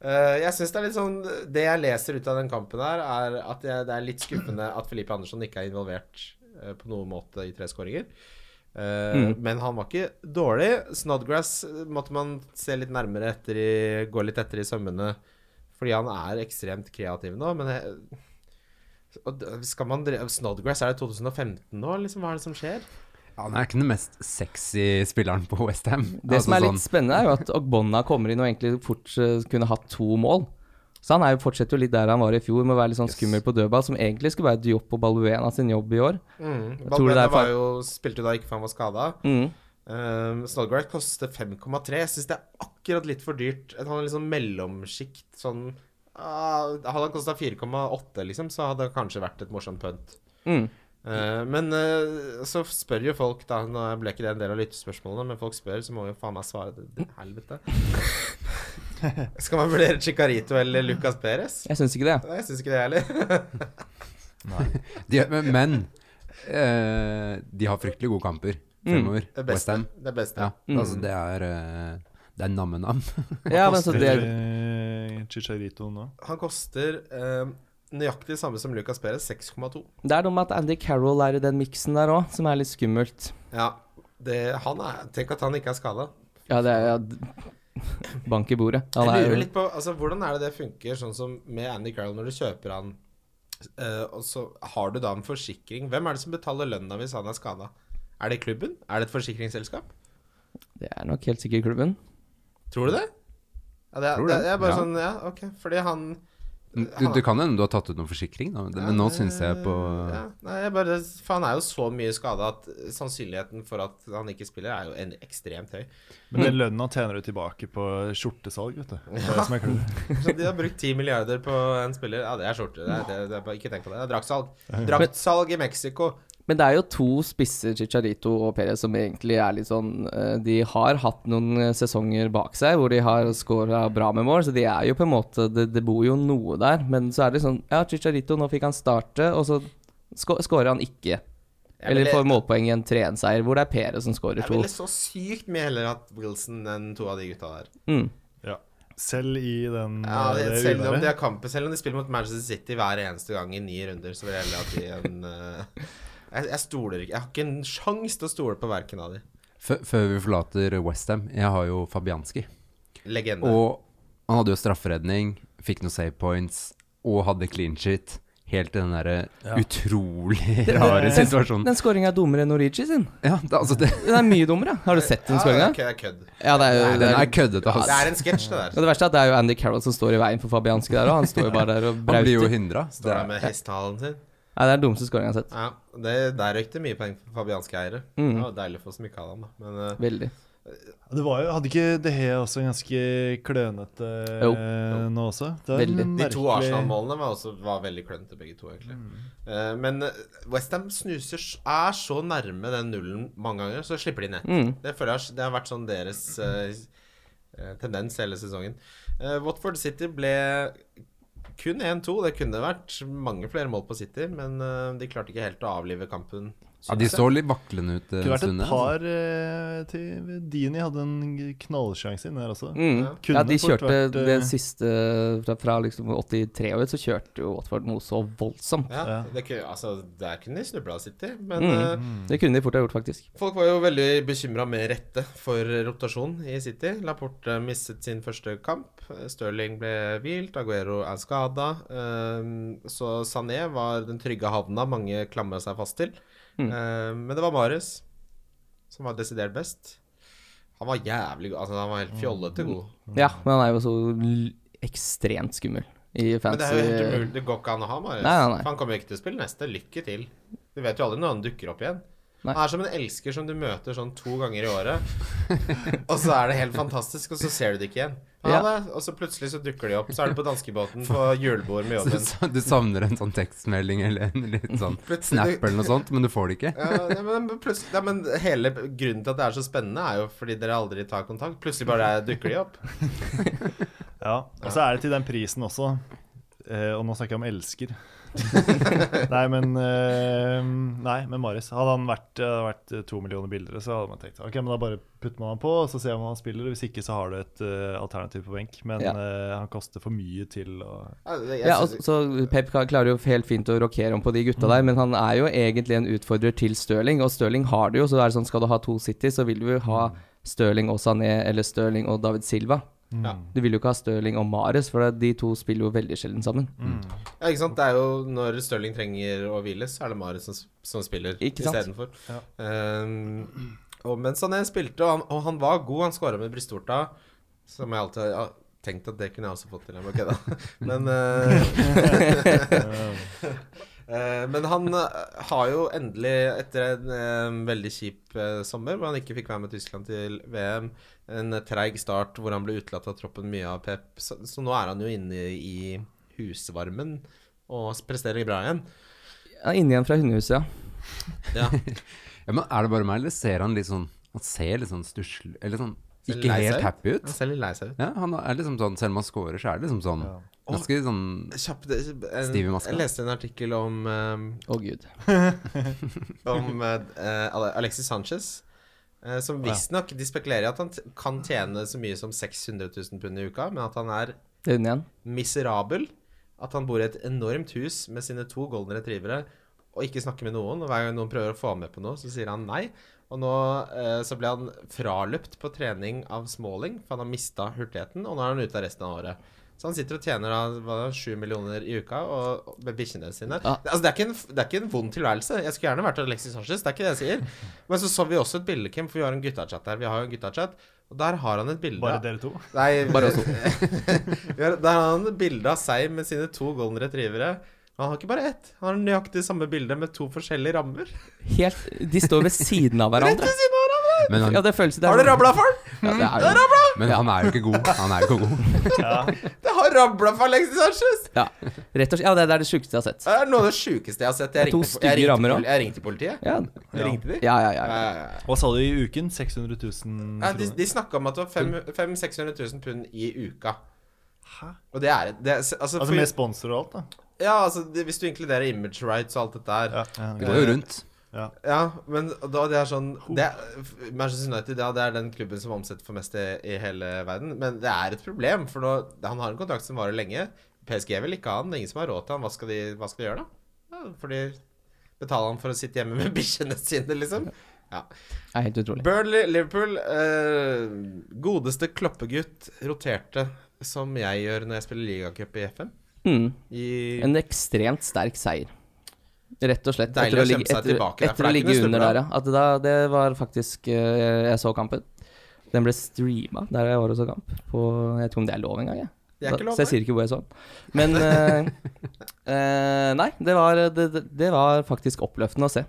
Speaker 3: Eh, jeg synes Det er litt sånn Det jeg leser ut av den kampen, her er at jeg, det er litt skuffende at Felipe Andersson ikke er involvert eh, på noen måte i tre skåringer. Eh,
Speaker 4: Mm.
Speaker 3: Men han var ikke dårlig. Snodgrass eh, måtte man se litt nærmere etter i gå litt etter i sømmene, fordi han er ekstremt kreativ nå. Men jeg, og d- skal man dre- Snodgrass, er det 2015 nå? Liksom, hva er det som skjer?
Speaker 5: Han er ikke den mest sexy spilleren på Altså, Westham.
Speaker 4: Det som er litt spennende, er jo at Ogbonna kommer inn og egentlig fort eh, kunne hatt to mål. Så han er jo fortsetter jo litt der han var i fjor, med å være litt sånn skummel på dødball, som egentlig skulle være Diop og Balbuena sin jobb i år.
Speaker 3: Mm.
Speaker 4: tror det er
Speaker 3: Valbuena
Speaker 4: fa-
Speaker 3: var jo, spilte jo da ikke for han var skada.
Speaker 4: Mm.
Speaker 3: Um, Snodgrass koster 5,3. Jeg syns det er akkurat litt for dyrt. Han har liksom mellomsjikt sånn ah, Hadde han kosta 4,8, liksom, så hadde det kanskje vært et morsomt punt.
Speaker 4: Mm.
Speaker 3: Eh, men eh, så spør jo folk, da Nå ble ikke det en del av lyttespørsmålene, men folk spør, så må jo faen meg svare det, det helvete. Skal man vurdere Chicarito eller Lucas Perez?
Speaker 4: Jeg syns ikke det.
Speaker 3: Nei, jeg syns ikke det heller.
Speaker 5: sånn, de, Men, men eh, de har fryktelig gode kamper fremover.
Speaker 3: Mm. Det
Speaker 5: West
Speaker 3: beste.
Speaker 5: Westham.
Speaker 3: Det beste.
Speaker 5: Ja, altså det er eh, Det er namme-nam.
Speaker 4: Ja, men så Altså,
Speaker 6: Koster
Speaker 4: det
Speaker 6: eh, Chicharito nå.
Speaker 3: Han koster eh, nøyaktig samme som Lucas Perez, 6,2.
Speaker 4: Det er noe med at Andy Carroll er i den miksen der òg, som er litt skummelt.
Speaker 3: Ja, det, han er, tenk at han ikke er skada.
Speaker 4: Ja, det er ja, d- Bank i bordet. Han
Speaker 3: Jeg
Speaker 4: er
Speaker 3: lurer
Speaker 4: jo
Speaker 3: litt på, altså Hvordan er det det funker sånn som med Andy Carroll når du kjøper han, eh, og så har du da en forsikring? Hvem er det som betaler lønna hvis han er skada? Er det klubben? Er det et forsikringsselskap?
Speaker 4: Det er nok helt sikkert klubben.
Speaker 3: Tror du det? Ja, det, er,
Speaker 5: Tror
Speaker 3: det.
Speaker 5: det,
Speaker 3: er bare
Speaker 5: ja.
Speaker 3: sånn, ja, ok. Fordi han
Speaker 5: Du, du kan hende du har tatt ut noen forsikring, da, men nå syns jeg på
Speaker 3: eh, ja, Nei, jeg bare For han er jo så mye skada at sannsynligheten for at han ikke spiller, er jo en, ekstremt høy.
Speaker 6: Men den lønna tjener du tilbake på skjortesalg, vet du. Det er det som er klart.
Speaker 3: Så de har brukt 10 milliarder på en spiller. Ja, det er skjorte. Det, er- det, det, er bare- ikke tenk på det. Det er draktsalg. Draktsalg i Mexico.
Speaker 4: Men det er jo to spisser, Chicharito og Perez, som egentlig er litt sånn eh, De har hatt noen eh, sesonger bak seg hvor de har scora bra med mål, så de er jo på en måte Det, det bor jo noe der. Men så er det sånn Ja, Chicharito, nå fikk han starte, og så sko- scorer han ikke.
Speaker 3: Jeg
Speaker 4: Eller
Speaker 3: ville-
Speaker 4: får målpoeng i en 3-1-seier hvor det er Perez som scorer
Speaker 3: Jeg
Speaker 4: to.
Speaker 3: ville så sykt mye heller hatt Wilson enn to av de gutta der.
Speaker 4: Mm.
Speaker 6: Ja. Selv i den
Speaker 3: Ja,
Speaker 6: eh,
Speaker 3: det,
Speaker 6: det
Speaker 3: selv, om de
Speaker 6: uværet.
Speaker 3: har kampen, selv om de spiller mot Manchester City hver eneste gang i ni runder, så vil jeg heller at de en eh, jeg, jeg stoler ikke Jeg har ikke en sjanse til å stole på hverken av de.
Speaker 5: Før før vi forlater Westham, jeg har jo Fabianski.
Speaker 3: Legende.
Speaker 5: Og han hadde jo strafferedning, fikk noen save points og hadde clean shit. Helt til den derre utrolig rare situasjonen.
Speaker 4: Den scoringa er dummere enn Norigi sin.
Speaker 5: Ja, det, altså det,
Speaker 4: Den er mye dummere. Har du sett den
Speaker 3: ja,
Speaker 4: scoringa?
Speaker 3: ok, det er kødd.
Speaker 4: Ja, det er jo
Speaker 5: den er køddete,
Speaker 3: Det
Speaker 5: altså.
Speaker 3: er en sketsj, det
Speaker 4: Og
Speaker 3: der.
Speaker 4: det verste er at det er jo Andy Carroll som står i veien for Fabianski der òg. Han står jo bare der og
Speaker 5: Han blir jo
Speaker 4: brauter.
Speaker 5: hindra.
Speaker 3: Står der med hestehalen sin.
Speaker 4: Nei, det er den dummeste scoringa jeg har sett.
Speaker 3: Ja, det, Der røyk det mye penger for fabianske eiere. Det var deilig for oss som ikke hadde han, da. Men eh,
Speaker 4: Veldig.
Speaker 6: Det var jo, Hadde ikke De Hea også en ganske klønete eh,
Speaker 4: Jo.
Speaker 6: nå også? Det er
Speaker 4: Veldig.
Speaker 6: en
Speaker 3: De to sånn-
Speaker 6: merkelig- Mm.
Speaker 3: Arsenal-målene var, også- var veldig klønete, begge to, egentlig. Eh, men Westham snuser s- er så nærme den nullen mange ganger, så slipper de nett. Det føler jeg har- det har vært sånn deres eh, eh, tendens hele sesongen. Eh, Watford City ble kun 1-2. Det kunne vært mange flere mål på City, men eh, de klarte ikke helt å avlive kampen
Speaker 5: Ja, de så litt vaklende ut
Speaker 6: Det
Speaker 5: eh, en
Speaker 6: kunne vært
Speaker 5: stund.
Speaker 6: et
Speaker 5: ja.
Speaker 6: par eh, til Dini hadde en knallsjanse inn der også.
Speaker 4: Mm.
Speaker 6: Kunne
Speaker 4: Ja, de
Speaker 6: fort
Speaker 4: kjørte
Speaker 6: vært, eh,
Speaker 4: det siste fra, fra liksom 83 og ut, så kjørte jo Watford noe så voldsomt.
Speaker 3: Ja,
Speaker 6: Ja.
Speaker 3: det, kunne- altså, der kunne de snubla City, men
Speaker 4: Mm.
Speaker 3: eh,
Speaker 4: Det kunne de fort ha gjort, faktisk.
Speaker 3: folk var jo veldig bekymra med rette for rotasjon i City. Laporte mistet sin første kamp. Stirling ble hvilt, Aguero er skada. Så Sané var den trygge havna mange klamra seg fast til. Eh, Men det var Marius som var desidert best. Han var jævlig god. Altså, han var helt fjollete god.
Speaker 5: Mm.
Speaker 4: Ja, men han er jo så l ekstremt skummel i
Speaker 3: Men det
Speaker 4: fancy
Speaker 3: er jo helt umulig. Det går ikke an å ha Marius.
Speaker 4: Nei, nei, nei.
Speaker 3: For Han kommer jo ikke til å spille neste. Lykke til. Du vet jo aldri når han dukker opp igjen.
Speaker 4: Nei.
Speaker 3: Han er som en elsker som du møter sånn to ganger i året. og så er det helt fantastisk, og så ser du det ikke igjen. Ja,
Speaker 4: Ja.
Speaker 3: da. Og så plutselig så dukker de opp. Så er du på danskebåten på julebord med
Speaker 5: Så du
Speaker 3: jobben.
Speaker 5: sa- du savner en sånn tekstmelding eller en litt sånn snap eller noe sånt, men du får det ikke?
Speaker 3: Ja, nei, men, plutselig, nei, men hele grunnen til at det er så spennende, er jo fordi dere aldri tar kontakt. Plutselig bare dukker de opp.
Speaker 6: Ja, og så er det til den prisen også. Eh, og nå snakker jeg om elsker. nei, men eh, Nei, men Marius. Hadde han vært, hadde vært eh, to millioner billigere, så hadde man tenkt ok, men da bare putter man han på, og så ser man om han spiller. Hvis ikke, så har du et eh, alternativ på benk. Men
Speaker 4: Ja.
Speaker 6: eh, han koster for mye til å
Speaker 3: Ja, det- jeg
Speaker 4: Ja,
Speaker 3: synes-
Speaker 4: altså, så Pep ka- klarer jo helt fint å rokere om på de gutta
Speaker 5: Mm.
Speaker 4: der, men han er jo egentlig en utfordrer til Stirling, og Stirling har det jo, så det er sånn, skal du ha to City, så vil du jo ha
Speaker 5: Mm.
Speaker 4: Stirling og Sané, eller Stirling og David Silva.
Speaker 6: mm.
Speaker 3: Ja.
Speaker 4: Du vil jo ikke ha Stirling og Mares, for det- de to spiller jo veldig sjelden sammen.
Speaker 3: Mm.
Speaker 6: Mm.
Speaker 5: Mm.
Speaker 3: Ja, ikke sant? Det er jo Når Stirling trenger å hvile, så er det Marius som, som spiller
Speaker 4: Ikke sant?
Speaker 3: istedenfor. Um, og mens han spilte, og han, og han var god, han skåra med brystvorta, som jeg alltid har tenkt at det kunne jeg også fått til. Jeg bare kødda. Men eh, eh, Men han eh, har jo endelig, etter en eh, veldig kjip eh, sommer, hvor han ikke fikk være med Tyskland til VM, en treig start hvor han ble utelatt av troppen mye av Pep, så, så nå er han jo inne i husvarmen og presterer bra igjen.
Speaker 4: Ja, Inne igjen fra hundehuset, ja.
Speaker 3: Ja.
Speaker 5: Ja, men Er det bare meg, eller ser han litt sånn Han ser litt sånn stusslig Eller sånn
Speaker 3: Ser
Speaker 5: ikke
Speaker 3: lei seg
Speaker 5: helt
Speaker 3: ut.
Speaker 5: happy ut?
Speaker 3: Han ser litt lei seg ut.
Speaker 5: Ja, han er liksom sånn Selv om han scorer, så er det liksom sånn ganske sånn
Speaker 3: Kjapt eh, en,
Speaker 5: Stiv i maska.
Speaker 3: Jeg leste en artikkel om, eh,
Speaker 4: Å gud.
Speaker 3: om eh, Ale- Alexis Sanchez. eh, Som visstnok De spekulerer i at han t kan tjene så mye som 600 000 pund i uka, men at han er
Speaker 4: Det er inne igjen.
Speaker 3: miserabel. At han bor i et enormt hus med sine to golden retrievere og ikke snakker med noen. Og hver gang noen prøver å få ham med på noe, så sier han nei. Og nå eh, så ble han fraløpt på trening av Smalling, for han har mista hurtigheten. Og nå er han ute av resten av året. Så han sitter og tjener da, hva da, sju millioner i uka og, og med bikkjene sine.
Speaker 4: Ja.
Speaker 3: Altså, det, er ikke en, det er ikke en vond tilværelse. Jeg skulle gjerne vært Alexis Sanchez, det er ikke det jeg sier. Men så så vi også et bilde, Kim, for vi har en guttachat her. Vi har jo en guttachat, og der har han et bilde
Speaker 6: Bare dere to?
Speaker 3: Nei,
Speaker 4: Bare oss to.
Speaker 3: Vi har- Der har han et bilde av seg med sine to golden retrievere. Men han har ikke bare ett. Han har nøyaktig samme bilde med to forskjellige rammer.
Speaker 4: Helt, de står ved siden av
Speaker 3: Rett
Speaker 4: hverandre.
Speaker 3: ved siden av hverandre!
Speaker 5: Men
Speaker 4: Ja,
Speaker 5: han,
Speaker 4: det føles det er
Speaker 3: Har det
Speaker 4: sånn-
Speaker 3: rabla for han?
Speaker 4: Ja, det er jo
Speaker 5: men han er jo ikke god. Han er jo ikke god.
Speaker 3: Det har rabla for Alexis Sanchez!
Speaker 4: ja. Rett og slett. Ja, det, det er det sjukeste jeg har sett.
Speaker 3: Det er noe av det sjukeste jeg har sett. Jeg
Speaker 4: Det er to
Speaker 3: ringte, jeg
Speaker 4: stygge
Speaker 3: ringte,
Speaker 4: rammer
Speaker 3: pol-
Speaker 4: også.
Speaker 3: jeg ringte politiet.
Speaker 4: Ja,
Speaker 3: Jeg ringte de.
Speaker 4: ja, ja. ja, ja.
Speaker 3: Ja, ja, ja.
Speaker 6: Hva sa du i uken? 600 000
Speaker 3: Ja, de
Speaker 6: kroner?
Speaker 3: de snakka om at det var fem- 500 000-600 000 pund i uka.
Speaker 6: Hæ?
Speaker 3: Og det er det er, altså,
Speaker 6: Altså
Speaker 3: for-
Speaker 6: med sponsor og alt, da?
Speaker 3: Ja, altså det, hvis du inkluderer image rights og alt dette her.
Speaker 6: Ja,
Speaker 5: Det
Speaker 6: ja,
Speaker 5: går jo rundt.
Speaker 3: Ja, men da det er sånn det, Manchester United ja, det er den klubben som omsetter for mest i, i hele verden. Men det er et problem, for nå, han har en kontrakt som varer lenge. PSG vil ikke ha han. Det er ingen som har råd til han. Hva skal de, hva skal de gjøre, da? Ja, for de betaler han for å sitte hjemme med bikkjene sine, liksom.
Speaker 4: Det er helt utrolig.
Speaker 3: Burnley, Liverpool eh, Godeste kloppegutt roterte som jeg gjør når jeg spiller ligacup i FM.
Speaker 4: Mm.
Speaker 3: I
Speaker 4: En ekstremt sterk seier. Rett og slett.
Speaker 3: Deilig
Speaker 4: etter
Speaker 3: å
Speaker 4: ligge-
Speaker 3: kjempe seg
Speaker 4: etter,
Speaker 3: tilbake der, for
Speaker 4: etter å
Speaker 3: det er ikke
Speaker 4: ligge
Speaker 3: noe
Speaker 4: under
Speaker 3: stubla.
Speaker 4: der, ja. At da, det var faktisk eh, Jeg så kampen. Den ble streama der jeg var og så kamp. På, jeg vet ikke om det er lov engang. jeg.
Speaker 3: Det er ikke lov,
Speaker 4: så jeg
Speaker 3: nei.
Speaker 4: sier ikke hvor jeg så den. Men eh, eh, Nei, det var, det, det- det var faktisk oppløftende å se.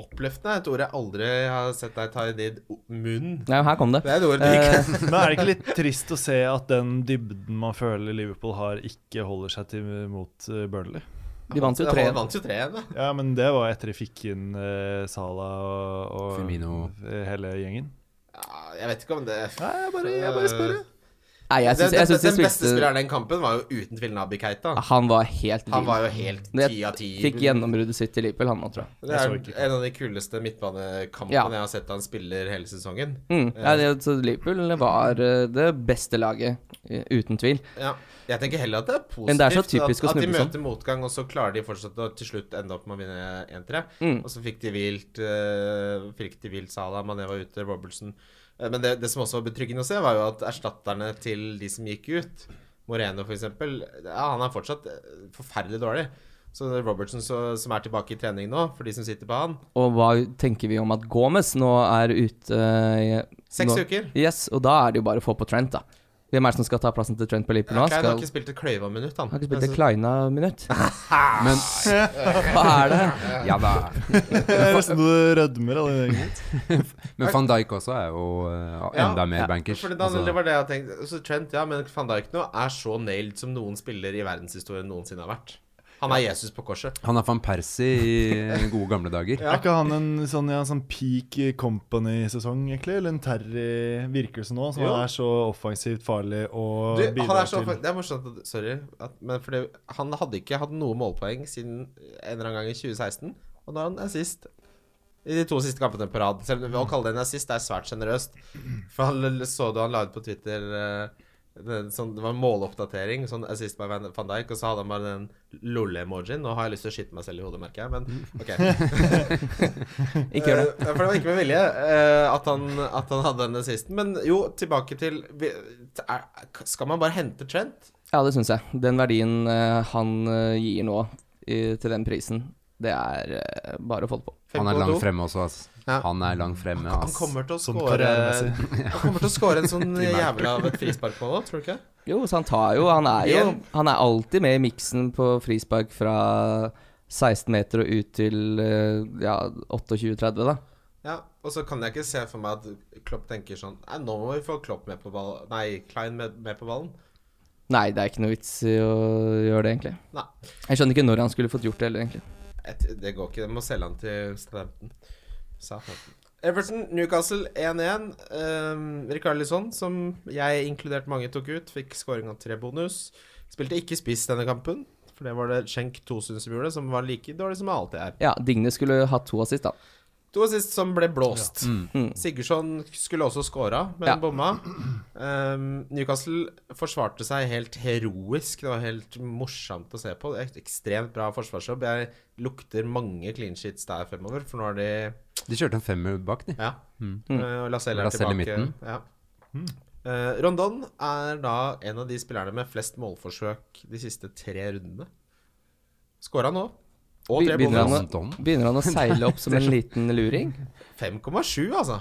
Speaker 3: Oppløftende er et ord jeg aldri har sett deg ta i din o- munn.
Speaker 4: Nei, her kom det. Eh,
Speaker 3: Det er et ord du ikke
Speaker 6: Men er det ikke litt trist å se at den dybden man føler Liverpool har, ikke holder seg til mot eh, Burnley?
Speaker 4: De vant jo
Speaker 3: Ja,
Speaker 4: tre.
Speaker 3: Han vant jo tre igjen, da.
Speaker 6: Ja, men det var etter de fikk inn eh, Salah og, og
Speaker 5: Firmino.
Speaker 6: hele gjengen.
Speaker 3: Ja, Jeg vet ikke om det
Speaker 6: Nei, jeg bare, jeg bare spør. jeg.
Speaker 4: Nei, jeg syns
Speaker 3: den,
Speaker 4: jeg syns de
Speaker 3: den beste
Speaker 4: spilte Ah,
Speaker 3: spilleren i den kampen var jo uten tvil Nabi Keita.
Speaker 4: Han var helt
Speaker 3: Han
Speaker 4: vill.
Speaker 3: var jo helt
Speaker 4: Det-
Speaker 3: ti av ti.
Speaker 4: Fikk gjennombruddet sitt til Liverpool, han nå, tror jeg.
Speaker 3: Det
Speaker 6: Jeg
Speaker 3: er
Speaker 6: så ikke.
Speaker 3: en av de kuleste midtbanekampene
Speaker 4: Ja.
Speaker 3: jeg har sett han spiller hele sesongen.
Speaker 4: Mm. Ja, det, så Liverpool var eh, det beste laget, eh, uten tvil.
Speaker 3: Ja, jeg tenker heller at det er positivt.
Speaker 4: Men det er så typisk å
Speaker 3: at, at de
Speaker 4: snuble sånn.
Speaker 3: møter motgang, og så klarer de fortsatt å til slutt ende opp med å vinne 1-3.
Speaker 4: Mm.
Speaker 3: Og så fikk de vilt eh, Fikk de vilt Salah, Mané var ute, Robertson Eh, Men det, det som også var betryggende å se, var jo at erstatterne til de som gikk ut, Moreno f.eks., ja, han er fortsatt eh, forferdelig dårlig. Så Robertson så, som er tilbake i trening nå, for de som sitter på han,
Speaker 4: Og hva tenker vi om at Gomez nå er ute eh,
Speaker 3: seks
Speaker 4: nå,
Speaker 3: uker.
Speaker 4: Yes, og da er det jo bare å få på Trent, da. Hvem er det som skal ta plassen til Trent på Liverpool nå?
Speaker 3: Klein
Speaker 4: Skal,
Speaker 3: har ikke Altså- spilt et kløyva minutt, han.
Speaker 4: har ikke spilt et Kleina-minutt?
Speaker 5: Men
Speaker 4: Hva er det?
Speaker 5: ja da.
Speaker 6: eh, Det er nesten du rødmer av den gjengen.
Speaker 5: Men van Dijk også er jo eh,
Speaker 3: Ja,
Speaker 5: enda mer
Speaker 4: ja.
Speaker 5: bankers.
Speaker 3: Fordi da,
Speaker 5: altså.
Speaker 3: det var det jeg tenkte. Så Trent, ja, men van Dijk nå er så nailed som noen spiller i verdenshistorien noensinne har vært. Han er Jesus på korset.
Speaker 5: Han er van Persie i gode gamle dager.
Speaker 6: Er ikke han en sånn, ja, sånn peak company-sesong, egentlig? Eller en Terry virker det som nå, som
Speaker 3: Jo.
Speaker 6: er så offensivt farlig og
Speaker 3: Du, han
Speaker 6: bidrar
Speaker 3: er så,
Speaker 6: til
Speaker 3: det er morsomt at Sorry. At, men fordi han hadde ikke hatt noe målpoeng siden eh, en eller annen gang i 2016, og nå er han assist. I de to siste kampene på rad. Selv om Å kalle det en assist er svært sjenerøst. For han l- så du han la ut på Twitter eh, det, sånn, det var en måloppdatering, sånn assist by Van Van Dijk, og så hadde han bare den lolle-emojien. Nå har jeg lyst til å skyte meg selv i hodet, merker jeg, men OK.
Speaker 4: Ikke gjør det.
Speaker 3: Eh, for det var ikke med vilje eh, at, han, at han hadde den assisten. Men jo, tilbake til vi- t- er, Skal man bare hente Trent?
Speaker 4: Ja, det syns jeg. Den verdien eh, han eh, gir nå i, til den prisen, det er eh, bare å få det på.
Speaker 5: Han er
Speaker 3: 5,2.
Speaker 5: langt fremme også, ass.
Speaker 3: Ja.
Speaker 5: Han er langt fremme,
Speaker 3: Han
Speaker 5: ass.
Speaker 3: kommer til å
Speaker 6: Sånn
Speaker 3: score
Speaker 6: karrieremessig.
Speaker 3: Han kommer til å score en sånn jævla av et frisparkmål òg, tror du ikke?
Speaker 4: Jo, så han tar jo Han er jo
Speaker 3: Igjen.
Speaker 4: Han er alltid med i miksen på frispark fra 16 meter og ut til eh, ja, 28-30, da.
Speaker 3: Ja, og så kan jeg ikke se for meg at Klopp tenker sånn Nei, nå må vi få Klopp med på ballen Nei, Klein med, med på ballen.
Speaker 4: Nei, det er ikke noe vits i å gjøre det, egentlig.
Speaker 3: Nei.
Speaker 4: Jeg skjønner ikke når han skulle fått gjort det heller, egentlig.
Speaker 3: Et, det går ikke. De må selge han til Southampton. Southampton. Everton, Newcastle 1-1. Um, Rikarlisson, som jeg inkludert mange tok ut, fikk scoring av tre bonus. Spilte ikke spiss denne kampen, for det var det Schenk Tosund som gjorde, som var like dårlig som han alltid er.
Speaker 4: Ja, Digne skulle hatt to assist, da.
Speaker 3: To sist som ble blåst.
Speaker 4: Mm.
Speaker 3: Sigurdsson skulle også scora, men
Speaker 4: Ja.
Speaker 3: bomma. Um, Newcastle forsvarte seg helt heroisk. Det var helt morsomt å se på. Ek- Ekstremt bra forsvarsjobb. Jeg lukter mange clean sheets der fremover, for nå er de
Speaker 5: De kjørte en femmer bak, de.
Speaker 3: Ja.
Speaker 5: Mm.
Speaker 3: Uh, Lacelle er
Speaker 5: Lascelles i
Speaker 3: tilbake.
Speaker 5: midten. Mm.
Speaker 3: Ja. Uh, Rondon er da en av de spillerne med flest målforsøk de siste tre rundene. Skåra nå. Og tre
Speaker 4: Be- begynner,
Speaker 3: bonus.
Speaker 4: han å,
Speaker 5: bonus.
Speaker 4: begynner han å seile opp som en liten luring?
Speaker 3: 5,7, altså.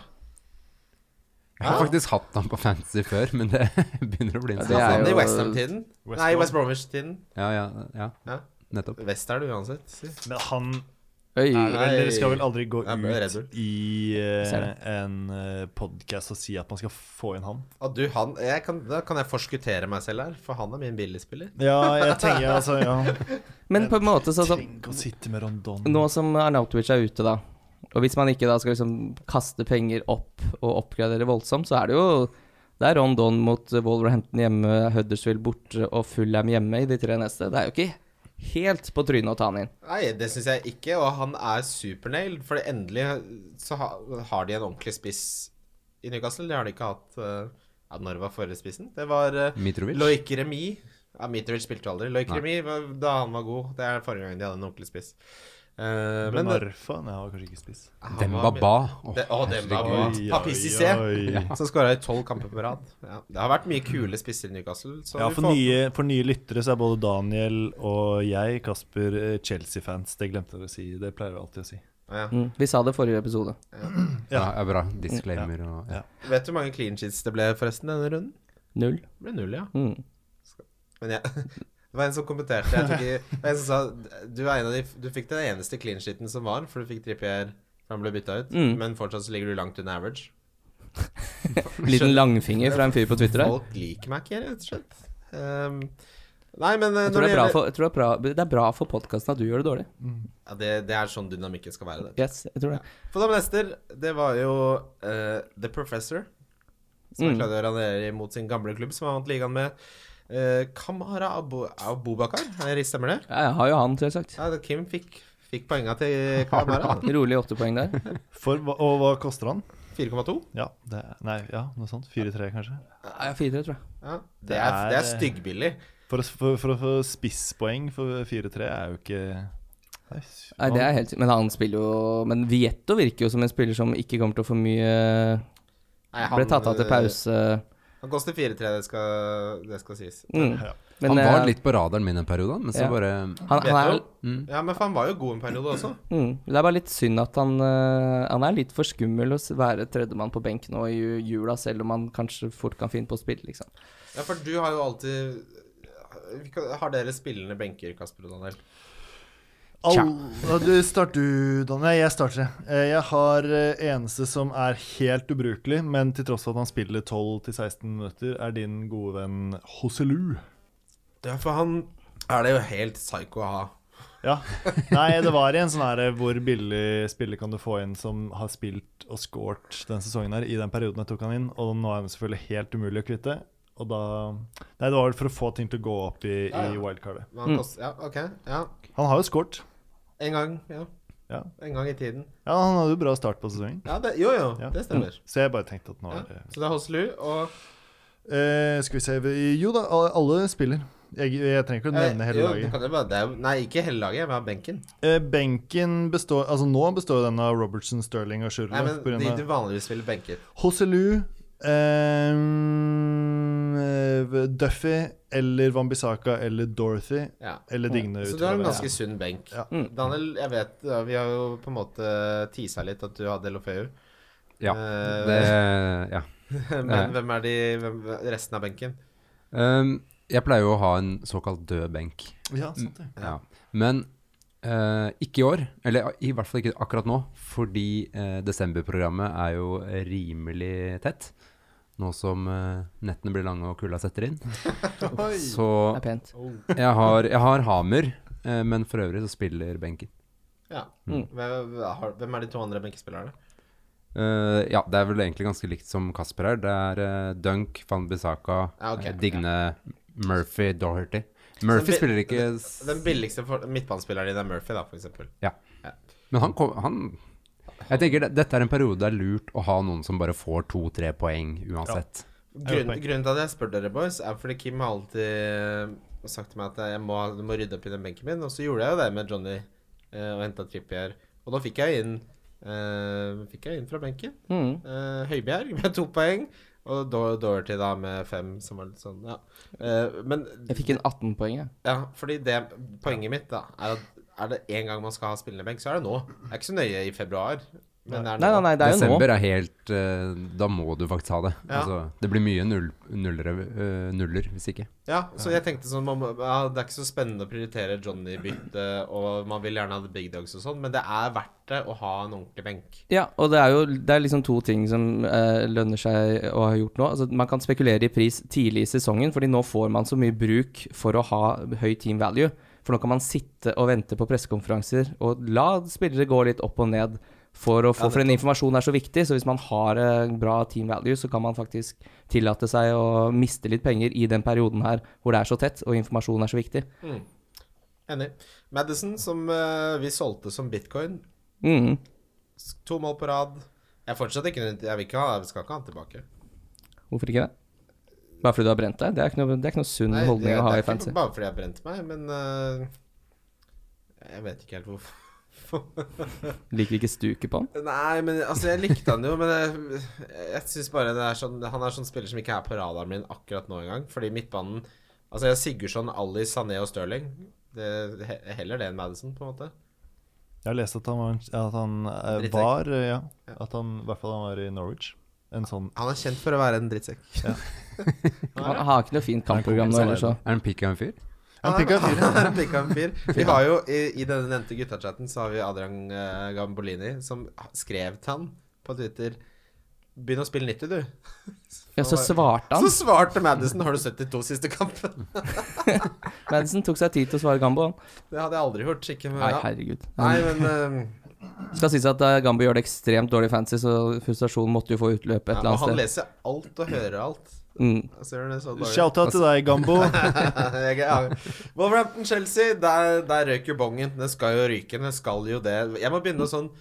Speaker 5: Jeg har faktisk hatt han på fantasy før, men det begynner å bli en
Speaker 4: det er
Speaker 5: stund.
Speaker 3: Han
Speaker 4: jo-
Speaker 3: i West Ham-tiden.
Speaker 6: West
Speaker 3: Nei,
Speaker 6: Brom.
Speaker 3: West Bromwich-tiden.
Speaker 5: Ja, ja, ja.
Speaker 3: Ja.
Speaker 5: Nettopp.
Speaker 3: Vest er det uansett. Si.
Speaker 6: Men han
Speaker 4: Oi.
Speaker 6: er vel, dere skal vel aldri gå
Speaker 3: Nei, jeg ble redd.
Speaker 6: ut i
Speaker 4: Ser
Speaker 6: eh,
Speaker 4: det.
Speaker 6: en eh, podcast og si at man skal få inn han?
Speaker 3: Og du, han, jeg kan, da kan jeg forskuttere meg selv her, for han er min billigspiller.
Speaker 6: Ja, jeg tenker altså ja. Altså,
Speaker 4: Men på en måte sånn som
Speaker 6: Tenk å sitte med Rondon.
Speaker 4: Nå som Arnautovic er ute, da. Og hvis man ikke da skal liksom kaste penger opp og oppgradere voldsomt, så er det jo Det er Rondon mot Wolverhampton hjemme, Huddersfield borte og Fulham hjemme i de tre neste. Det er jo ikke helt på trynet å ta han inn.
Speaker 3: Nei, det syns jeg ikke, og han er supernailed. For endelig så ha, har de en ordentlig spiss i Newcastle. Det har de ikke hatt eh, ja, Når var forrige spissen? Det var uh,
Speaker 5: Mitrovic.
Speaker 3: Loik Remi. Ja, Mitrovic spilte jo aldri. Loik
Speaker 5: Nei.
Speaker 3: Remi var- da han var god. Det er forrige gang de hadde en ordentlig spiss. Eh, men
Speaker 6: Benarfa? Nei, han var kanskje ikke spiss.
Speaker 3: han
Speaker 5: Demba
Speaker 3: var-
Speaker 5: Ba. Åh,
Speaker 3: Det- Å, Demba Ba.
Speaker 5: herregud.
Speaker 3: Papi Cissé.
Speaker 6: Ja,
Speaker 3: Som skåra i tolv kamper på rad. Ja, det har vært mye kule spisser i Newcastle. Så vi
Speaker 6: for
Speaker 3: får-
Speaker 6: nye, for nye lyttere så er både Daniel og jeg, Kasper, eh, Chelsea-fans. Det glemte jeg å si. Det pleier vi alltid å si.
Speaker 3: ja.
Speaker 4: Mm. Vi sa det forrige episode.
Speaker 5: Ja, ja, bra. Disclaimer og ja.
Speaker 6: Ja.
Speaker 3: Vet du hvor mange clean sheets det ble forresten denne runden?
Speaker 4: Null.
Speaker 3: Det ble null, ja.
Speaker 4: Mm.
Speaker 3: Men jeg, det var en som kommenterte jeg tror ikke, det var en som sa, du, er en av de, du fikk den eneste clean sheeten som var, for du fikk Trippier for han ble bytta ut.
Speaker 4: Mm.
Speaker 3: Men fortsatt så ligger du langt under average.
Speaker 4: Liten langfinger fra en fyr på Twitter her.
Speaker 3: Folk liker meg ikke, rett og slett. Um, nei, men eh,
Speaker 4: Jeg
Speaker 3: når
Speaker 4: tror det
Speaker 3: det
Speaker 4: er bra
Speaker 3: gjelder-
Speaker 4: for, jeg tror det er bra, det er bra for podkasten at du gjør det dårlig.
Speaker 3: ja, det, det er sånn dynamikken skal være. Det.
Speaker 4: Yes, jeg tror det.
Speaker 3: For da med nester, det var jo eh, The Professor. som
Speaker 4: Mm.
Speaker 3: er Claudio Ranieri mot sin gamle klubb, som han vant ligaen med. Eh, Kamara Abu Abubakar, Er det- stemmer det?
Speaker 4: Ja, jeg har jo han, selvsagt.
Speaker 3: Ja, det- Kim fikk, fikk poenga til Kamara.
Speaker 4: Rolig åtte poeng der.
Speaker 6: For, hva- og hva koster han?
Speaker 3: 4,2.
Speaker 6: Ja, det, nei, ja, noe sånt. 4-3, kanskje.
Speaker 4: Ja, fire, tror jeg.
Speaker 3: Ja, det er, det er styggbillig.
Speaker 6: For, å- for, for å få spisspoeng for 4-3 er jo ikke Nei, s-
Speaker 4: Nei, det er helt Men han spiller jo Men Vietto virker jo som en spiller som ikke kommer til å få mye
Speaker 3: Nei, eh,
Speaker 4: Ble tatt av til pause.
Speaker 5: eh,
Speaker 3: Han koster 4-3, det, skal- det skal sies.
Speaker 4: Mm.
Speaker 6: Ja.
Speaker 4: Men
Speaker 5: han var
Speaker 4: eh,
Speaker 5: litt på radaren min en periode, men så
Speaker 4: Ja.
Speaker 5: bare
Speaker 4: han, han er,
Speaker 3: Vet du? Ja, men for han var jo god en periode også.
Speaker 4: mm, Det er bare litt synd at han eh, Han er litt for skummel å s- være tredjemann på benk nå i ju- jula, selv om han kanskje fort kan finne på å spille, liksom.
Speaker 3: Ja, for du har jo alltid Hvilke- Har dere spillende benker, Kasper og Daniel?
Speaker 6: Au, ja, du starter du, Daniel. Jeg starter. Eh, Jeg har eh, eneste som er helt ubrukelig, men til tross for at han spiller 12-16 minutter, er din gode venn Hosselu.
Speaker 3: Ja, for han er det jo helt psycho å ha.
Speaker 6: Ja. Nei, det var i en sånn her hvor billig spiller kan du få inn som har spilt og scoret den sesongen her, i den perioden jeg tok han inn, og nå er han selvfølgelig helt umulig å kvitte. Og da Nei, det var vel for å få ting til å gå opp i,
Speaker 3: Ja,
Speaker 6: i
Speaker 3: ja.
Speaker 6: wildcardet.
Speaker 3: Men han koster, ja, ok. Ja.
Speaker 6: Han har jo scoret.
Speaker 3: En gang, ja.
Speaker 6: Ja.
Speaker 3: En gang i tiden.
Speaker 6: ja, han hadde jo bra start på sesongen.
Speaker 3: Ja, det, jo, jo,
Speaker 6: Ja.
Speaker 3: det stemmer.
Speaker 6: Så jeg bare tenkte at nå
Speaker 3: Ja.
Speaker 6: er det
Speaker 3: Så det er Hoslu og
Speaker 6: Eh, skal vi se vi- Jo da, alle- alle spiller. Jeg, jeg trenger ikke å nevne hele
Speaker 3: eh, jo, du
Speaker 6: laget.
Speaker 3: kan jo bare, det er, jo- Nei, ikke hele laget, men benken.
Speaker 6: Eh, benken består Altså Nå består den av Robertson, Sterling og
Speaker 3: Nei, men de du
Speaker 6: Shurley.
Speaker 3: vanligvis spiller benker.
Speaker 6: Hosselu, eh, Duffy eller Wambisaka eller Dorothy
Speaker 3: Ja.
Speaker 6: eller Digne.
Speaker 3: Så
Speaker 6: ut
Speaker 3: du har en
Speaker 6: fra
Speaker 3: ganske
Speaker 6: det.
Speaker 3: sunn benk.
Speaker 6: Ja. Mm.
Speaker 3: Daniel, jeg vet ja, vi har jo på en måte tisa litt at du hadde Lofeu.
Speaker 5: Ja.
Speaker 3: Eh,
Speaker 5: Det, ja.
Speaker 3: Men hvem er de hvem, resten av benken?
Speaker 5: Ehm, jeg pleier jo å ha en såkalt død benk.
Speaker 6: Ja, sant det.
Speaker 5: Ja. Men eh, ikke i år, eller i hvert fall ikke akkurat nå, fordi eh, desemberprogrammet er jo rimelig tett. Nå som eh, nettene blir lange og kulda setter inn. Så
Speaker 4: Det er pent.
Speaker 5: jeg har, jeg har Hamer, eh, men for øvrig så spiller benken.
Speaker 3: Ja.
Speaker 4: Mm.
Speaker 3: Hvem, har- hvem er de to andre benkespillerne?
Speaker 5: Eh, ja, det er vel egentlig ganske likt som Kasper her. Det er eh, Dunk, Van Bissaka,
Speaker 3: Ja, ok.
Speaker 5: eh, Digne, Murphy, Doherty.
Speaker 3: bi-
Speaker 5: Murphy spiller ikke s-
Speaker 3: Den billigste for- midtbanespilleren din er Murphy, da, for eksempel.
Speaker 5: Men han, kom, han Jeg tenker det, dette er en periode det er lurt å ha noen som bare får to-tre poeng uansett.
Speaker 6: Jeg
Speaker 3: Grunnen,
Speaker 6: vet ikke.
Speaker 3: grunnen til at jeg spør dere, boys, er fordi Kim har alltid sagt til meg at jeg må, jeg må rydde opp i den benken min, og så gjorde jeg jo det med Johnny eh, og henta Trippier. Og da fikk jeg inn eh, Fikk jeg inn fra benken.
Speaker 4: Mm.
Speaker 3: Eh, Høibjerg med to poeng, og Do- Doherty da med fem, som var litt sånn, ja. Eh, men
Speaker 4: Jeg fikk en 18 poeng, jeg.
Speaker 3: ja, fordi det poenget mitt da er at er det én gang man skal ha spillende benk, så er det nå. Det er ikke så nøye i februar, men det er nå.
Speaker 4: Nei, nei, nei, det er jo nå.
Speaker 5: Desember er helt eh, Da må du faktisk ha det.
Speaker 3: Ja.
Speaker 5: Altså, det blir mye null, nullere, eh, nuller hvis ikke.
Speaker 3: Ja, så jeg tenkte sånn man må- ja, Det er ikke så spennende å prioritere Johnny-bytte, og man vil gjerne ha the big dogs og sånn, men det er verdt det å ha en ordentlig benk.
Speaker 4: Ja, og det er jo det er liksom to ting som eh, lønner seg å ha gjort nå. Altså, man kan spekulere i pris tidlig i sesongen, fordi nå får man så mye bruk for å ha høy team value. For nå kan man sitte og vente på pressekonferanser og la spillere gå litt opp og ned. For, å få, for den informasjonen er så viktig, så hvis man har eh, bra team value, så kan man faktisk tillate seg å miste litt penger i den perioden her hvor det er så tett og informasjonen er så viktig.
Speaker 3: Enig. Madison, som eh, vi solgte som bitcoin,
Speaker 4: Mm.
Speaker 3: s- to mål på rad. Jeg er fortsatt ikke Jeg vil ikke ha Jeg skal ikke ha han tilbake.
Speaker 4: Hvorfor ikke det? Bare fordi du har brent deg? Det er ikke noe, det er ikke noe sunn
Speaker 3: Nei, det, det
Speaker 4: holdning å ha
Speaker 3: er
Speaker 4: i fancy.
Speaker 3: ikke bare fordi jeg brente meg, men eh, Jeg vet ikke helt hvorfor.
Speaker 4: Liker ikke stuket på han.
Speaker 3: Nei, men altså, jeg likte han jo, men jeg, jeg syns bare det er sånn Han er sånn spiller som ikke er på radaren min akkurat nå engang. Fordi midtbanen Altså, jeg har Sigurdsson, Ali, Sané og Stirling. Det, he- heller det enn Madison, på en måte.
Speaker 6: Jeg har lest at han var, at han, eh,
Speaker 3: Drittsekk.
Speaker 6: var eh, Ja, at han i hvert fall han var i Norwich. En sånn
Speaker 3: Han er kjent for å være en drittsekk.
Speaker 4: Han har ikke noe fint kampprogram nå heller, så
Speaker 5: Er han pikka en fyr?
Speaker 6: Han fikk av fire.
Speaker 3: Ah, Han er en pikka en fyr. Vi har jo i, i denne nevnte guttachatten så har vi Adrian eh, Gambolini, som skrev til han på Twitter Begynn å spille 90, du.
Speaker 4: Ja, så svarte
Speaker 3: Så
Speaker 4: han.
Speaker 3: svarte Madison Har du sett de to siste kampene?
Speaker 4: Madison tok seg tid til å svare Gambo. han.
Speaker 3: Det hadde jeg aldri gjort. Ikke med,
Speaker 4: Nei,
Speaker 3: ja.
Speaker 4: herregud.
Speaker 3: Nei, men eh,
Speaker 4: Skal sies at eh, Gambi gjør det ekstremt dårlig i fantasy, så frustrasjonen måtte jo få utløp et
Speaker 3: Ja,
Speaker 4: eller
Speaker 3: og han
Speaker 4: annet sted.
Speaker 3: leser alt og hører alt.
Speaker 4: Mm.
Speaker 3: Jeg ser det så dårlig.
Speaker 6: Shout-out til deg, Gambo.
Speaker 3: Jeg- ja. Wolverhampton-Chelsea, der, der røyk jo bongen. Den skal jo ryke. Den skal jo det. Jeg må begynne å sånn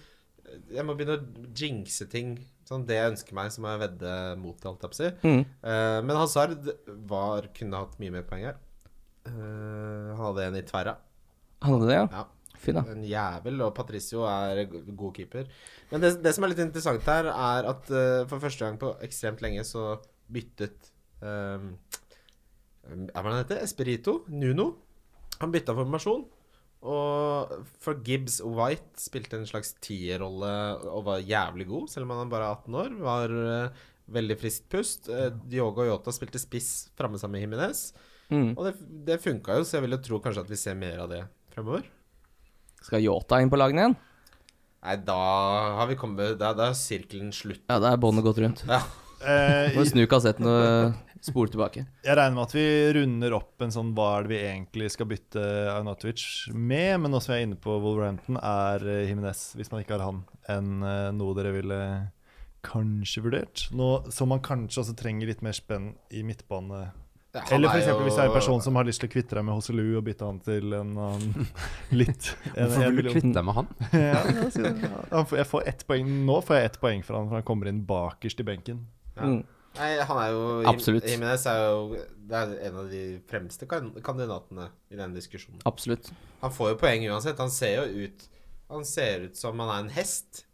Speaker 3: Jeg må begynne å jinxe ting. Sånn det jeg ønsker meg, som jeg vedde mot, holdt jeg på å si.
Speaker 4: Mm.
Speaker 3: Eh, men Hazard var, kunne hatt mye mer poeng her. Eh, han hadde en i tverra.
Speaker 4: Han hadde det, ja.
Speaker 3: Ja.
Speaker 4: Fy da.
Speaker 3: En jævel, og Patricio er go- god keeper. Men det, det som er litt interessant her, er at eh, for første gang på ekstremt lenge så byttet um, Hva er det han heter? Esperito? Nuno? Han bytta formasjon. Og for Gibbs White spilte en slags tierrolle og var jævlig god, selv om han bare er 18 år. Var eh, veldig friskt pust. Eh, Diogo Yota spilte spiss framme sammen med Jimenez.
Speaker 4: Mm.
Speaker 3: Og det, det funka jo, så jeg vil jo tro kanskje at vi ser mer av det fremover.
Speaker 4: Skal Yota inn på lagene igjen?
Speaker 3: Nei, da har vi kommet Da, da er sirkelen slutt.
Speaker 4: Ja, da er båndet gått rundt.
Speaker 3: Ja.
Speaker 6: Eh,
Speaker 4: Må snu kassetten og spole tilbake.
Speaker 6: Jeg regner med at vi runder opp en sånn hva er det vi egentlig skal bytte Arnatovic med, men nå som jeg er inne på Wolverhampton, er eh, Jimenez, hvis man ikke har han, enn eh, noe dere ville kanskje vurdert? Nå som man kanskje også trenger litt mer spenn i midtbane.
Speaker 3: Han
Speaker 6: Eller
Speaker 3: er
Speaker 6: f.eks.
Speaker 3: jo-
Speaker 6: hvis det er en person som har lyst til å kvitte deg med Hosselu og bytte han til en annen litt en,
Speaker 5: Hvorfor
Speaker 6: en
Speaker 5: vil du
Speaker 6: million.
Speaker 5: kvitte deg med han?
Speaker 6: Ja, ja, si det. Han får- Jeg får ett poeng. Nå får jeg ett poeng for han, for han kommer inn bakerst i benken.
Speaker 3: Ja.
Speaker 4: Mm.
Speaker 3: Nei, han er jo
Speaker 4: Absolutt.
Speaker 3: Jimenez er jo det er en av de fremste kan kandidatene i den diskusjonen.
Speaker 4: Absolutt.
Speaker 3: Han får jo poeng uansett. Han ser jo ut Han ser ut som han er en hest.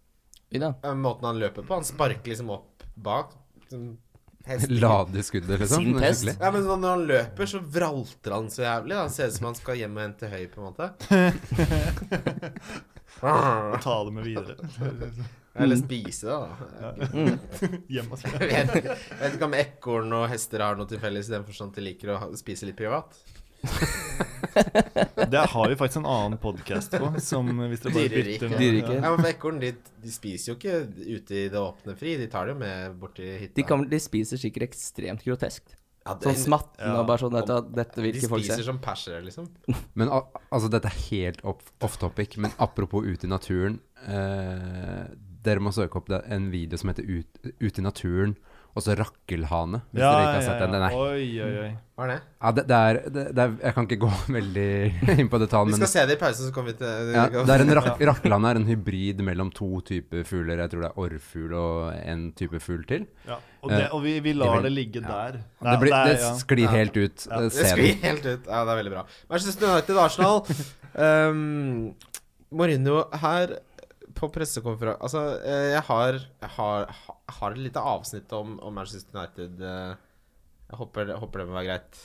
Speaker 4: Fy da.
Speaker 3: Eh, Måten han løper på. Han sparker liksom opp bak. Sånn hest.
Speaker 5: Lade skuddet, liksom.
Speaker 4: Sin pest.
Speaker 5: Hyggelig.
Speaker 3: Ja, men når han løper, så vralter han så jævlig. Han ser ut som han skal hjem og hente høy, på en måte.
Speaker 6: Ta det med videre.
Speaker 3: Eller spise det, da.
Speaker 4: Mm.
Speaker 6: Hjem og
Speaker 3: Jeg vet, ikke- jeg vet ikke om ekorn og hester har noe til felles i den forstand at de liker å ha- spise litt privat.
Speaker 6: Det har vi faktisk en annen podkast på. Som hvis dere bare
Speaker 3: Dyreriket.
Speaker 6: bytter nå-
Speaker 4: Dyreriket.
Speaker 3: Ja, men for Ekorn de, de spiser jo ikke ute i det åpne fri, de tar det jo med bort til hytta.
Speaker 4: De, kommer- de spiser sikkert ekstremt groteskt.
Speaker 3: Ja, det-
Speaker 4: Sånn smattende
Speaker 6: Ja.
Speaker 4: og bare sånn dette, dette vil
Speaker 3: de
Speaker 4: ikke folk
Speaker 3: spiser
Speaker 4: se.
Speaker 3: som persere, liksom.
Speaker 5: Men al- altså, dette er helt off, off topic, men apropos ute i naturen eh, Dere må søke opp det, en video som heter ut, 'Ute i naturen', og så 'Rakkelhane'. Hvis dere ikke har sett den. den er,
Speaker 6: Oi, oi, oi.
Speaker 3: Hva er det?
Speaker 5: ja, det, det er, det, det er Jeg kan ikke gå veldig inn på
Speaker 3: Vi
Speaker 5: detalj,
Speaker 3: skal
Speaker 5: men
Speaker 3: se det i pausen, så kommer vi til
Speaker 5: ja, det er en rak, Rakkelhane er en hybrid mellom to typer fugler. Jeg tror det er orrfugl og en type fugl til.
Speaker 6: Ja, og
Speaker 5: Eh,
Speaker 6: det, og vi, vi lar det ligge der. Nei,
Speaker 5: det, blir,
Speaker 6: der,
Speaker 5: det
Speaker 6: ja.
Speaker 5: sklir helt ut.
Speaker 6: Ja.
Speaker 5: Eh,
Speaker 3: Det
Speaker 5: Se
Speaker 3: sklir
Speaker 5: den.
Speaker 3: helt ut. Ja, det er veldig bra. Manchester United Arsenal. Um, Mourinho her på pressekonferanse Altså, eh, jeg har, jeg har, ha- har et lite avsnitt om, om Manchester United. eh, Jeg håper, jeg håper det må være greit.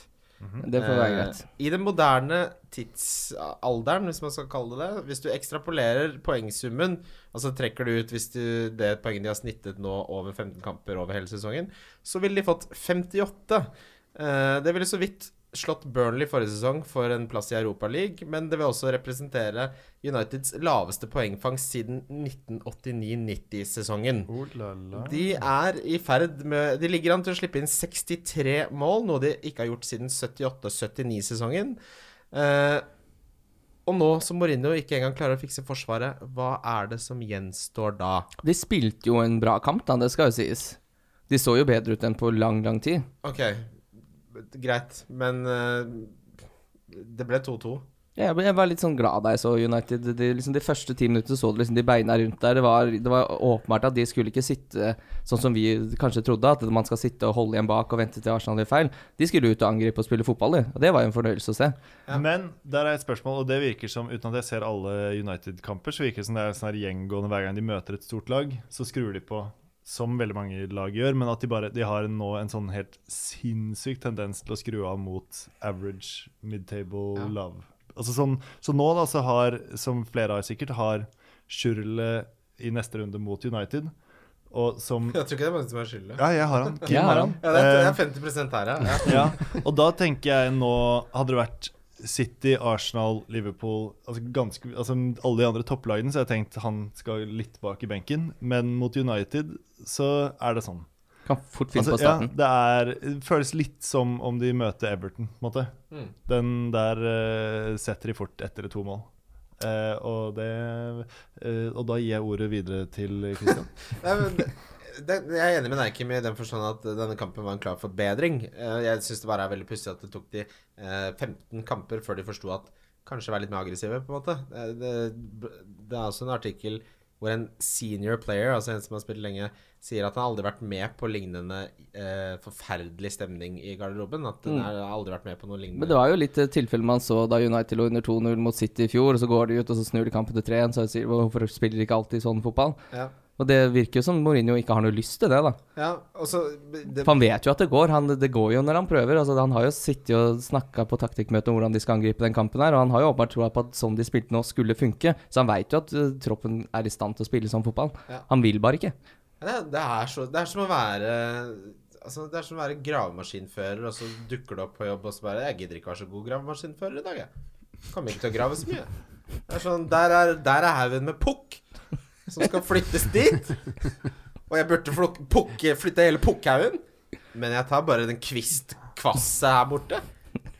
Speaker 4: Det får være
Speaker 3: Eh,
Speaker 4: greit.
Speaker 3: I den moderne tidsalderen, hvis man skal kalle det det, hvis du ekstrapolerer poengsummen, altså trekker du ut hvis du, det poenget de har snittet nå over 15 kamper over hele sesongen, så ville de fått 58. Eh, det ville så vidt slått Burnley forrige sesong for en plass i Europa League, men det vil også representere Uniteds laveste poengfangst siden 1989-90-sesongen.
Speaker 6: Oh, la, la.
Speaker 3: De er i ferd med De ligger an til å slippe inn 63 mål, noe de ikke har gjort siden 78-79-sesongen. Eh, og nå som Mourinho ikke engang klarer å fikse forsvaret, hva er det som gjenstår da?
Speaker 4: De spilte jo en bra kamp, da, det skal jo sies. De så jo bedre ut enn på lang, lang tid.
Speaker 3: OK, greit, men eh, det ble 2-2.
Speaker 4: Ja, Jeg ble- jeg var litt sånn glad da jeg så United. De, liksom, de første ti minuttene så du liksom de beina rundt der. Det var, det var åpenbart at de skulle ikke sitte sånn som vi kanskje trodde, at man skal sitte og holde igjen bak og vente til Arsenal gjør feil. De skulle ut og angripe og spille fotball, de. Og det var jo en fornøyelse å se.
Speaker 6: Men der er et spørsmål, og det virker som uten at jeg ser alle United-kamper, så virker det som det er sånn her gjengående hver gang de møter et stort lag, så skrur de på. Som veldig mange lag gjør, men at de bare de har nå en sånn helt sinnssyk tendens til å skru av mot average, midtable, love. Altså sånn, så nå, da, så har, som flere har sikkert, har Schürrle i neste runde mot United. Og som
Speaker 3: Jeg tror ikke det er mange som er skyldig.
Speaker 6: Ja, jeg har han. Kim
Speaker 4: Ja,
Speaker 6: har han.
Speaker 3: Ja, det er, det
Speaker 6: Eh,
Speaker 3: er 50 her, ja. ja.
Speaker 6: ja, og da tenker jeg nå Hadde det vært City, Arsenal, Liverpool altså, ganske, altså Alle de andre topplagene, så jeg tenkt han skal litt bak i benken. Men mot United så er det sånn.
Speaker 4: Kan fort finne
Speaker 6: Altså,
Speaker 4: på
Speaker 6: ja,
Speaker 4: starten.
Speaker 6: det, er, det føles litt som om de møter Everton. på en måte. Den der eh, setter de fort etter to mål. Eh, og, det, eh, og da gir jeg ordet videre til Christian.
Speaker 3: Nei, men det- det, jeg er enig med Neikim i den forstand at denne kampen var en klar forbedring. Eh, Jeg syns det bare er veldig pussig at det tok de eh, 15 kamper før de forsto at kanskje være litt mer aggressive, på en måte. Eh, Det, det er også en artikkel hvor en senior player, altså en som har spilt lenge, sier at han aldri har vært med på lignende eh, forferdelig stemning i garderoben. At han har aldri vært med på noe lignende.
Speaker 4: Mm. Men det var jo litt eh, tilfelle man så da United lå under 2-0 mot City i fjor, og så går de ut, og så snur de kampen til 3-1, så jeg sier hvorfor spiller de ikke alltid sånn fotball?
Speaker 3: Ja.
Speaker 4: Og det virker jo som Mourinho ikke har noe lyst til det, da.
Speaker 3: Ja, og så det,
Speaker 4: For han vet jo at det går. Han, det går jo når han prøver. Altså, han har jo sittet og snakka på taktikkmøte om hvordan de skal angripe den kampen her, og han har jo åpenbart troa på at sånn de spilte nå, skulle funke. Så han veit jo at eh, troppen er i stand til å spille sånn fotball.
Speaker 3: Ja.
Speaker 4: Han vil bare ikke.
Speaker 3: Det, er- det, er så, det er som å være Altså, det er som å være gravemaskinfører, og så dukker du opp på jobb og så bare 'Jeg gidder ikke å være så god gravemaskinfører i dag, jeg'. Kommer ikke til å grave så mye. Det er sånn, Der er, der er haugen med pukk som skal flyttes dit. Og jeg burde flok- pukke- flytte hele pukkhaugen, men jeg tar bare den kvistkvasset her borte.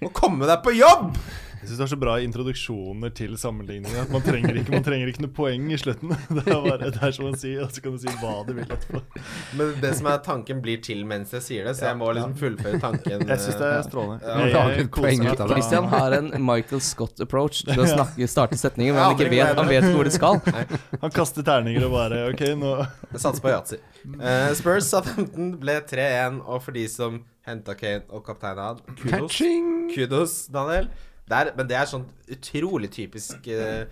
Speaker 3: Og komme deg på jobb!
Speaker 6: Jeg syns du har så bra introduksjoner til sammenligninger. at Man trenger ikke, man trenger ikke noe poeng i slutten. Det er bare det er som man sier, og så kan du si hva du vil etterpå.
Speaker 3: Men det som er tanken, blir til mens jeg sier det, så jeg må liksom fullføre tanken.
Speaker 6: Jeg syns det
Speaker 3: eh,
Speaker 6: er strålende.
Speaker 3: Ja.
Speaker 6: Jeg- jeg
Speaker 5: Lager et
Speaker 6: koser
Speaker 5: poeng
Speaker 6: meg
Speaker 5: ut av det.
Speaker 4: Christian har en Michael Scott-approach til å snakke, starte setninger, men
Speaker 3: Ja,
Speaker 4: han ikke
Speaker 3: det
Speaker 4: vet, han vet ikke hvor det skal.
Speaker 6: Han kaster terninger og bare OK, nå
Speaker 3: Jeg satser på yatzy. Eh, Spurs sa 15, ble 3-1. Og for de som henta Kane og kapteinen han, kudos.
Speaker 5: Catching!
Speaker 3: Kudos, Daniel. Det er- men det er sånn utrolig typisk eh,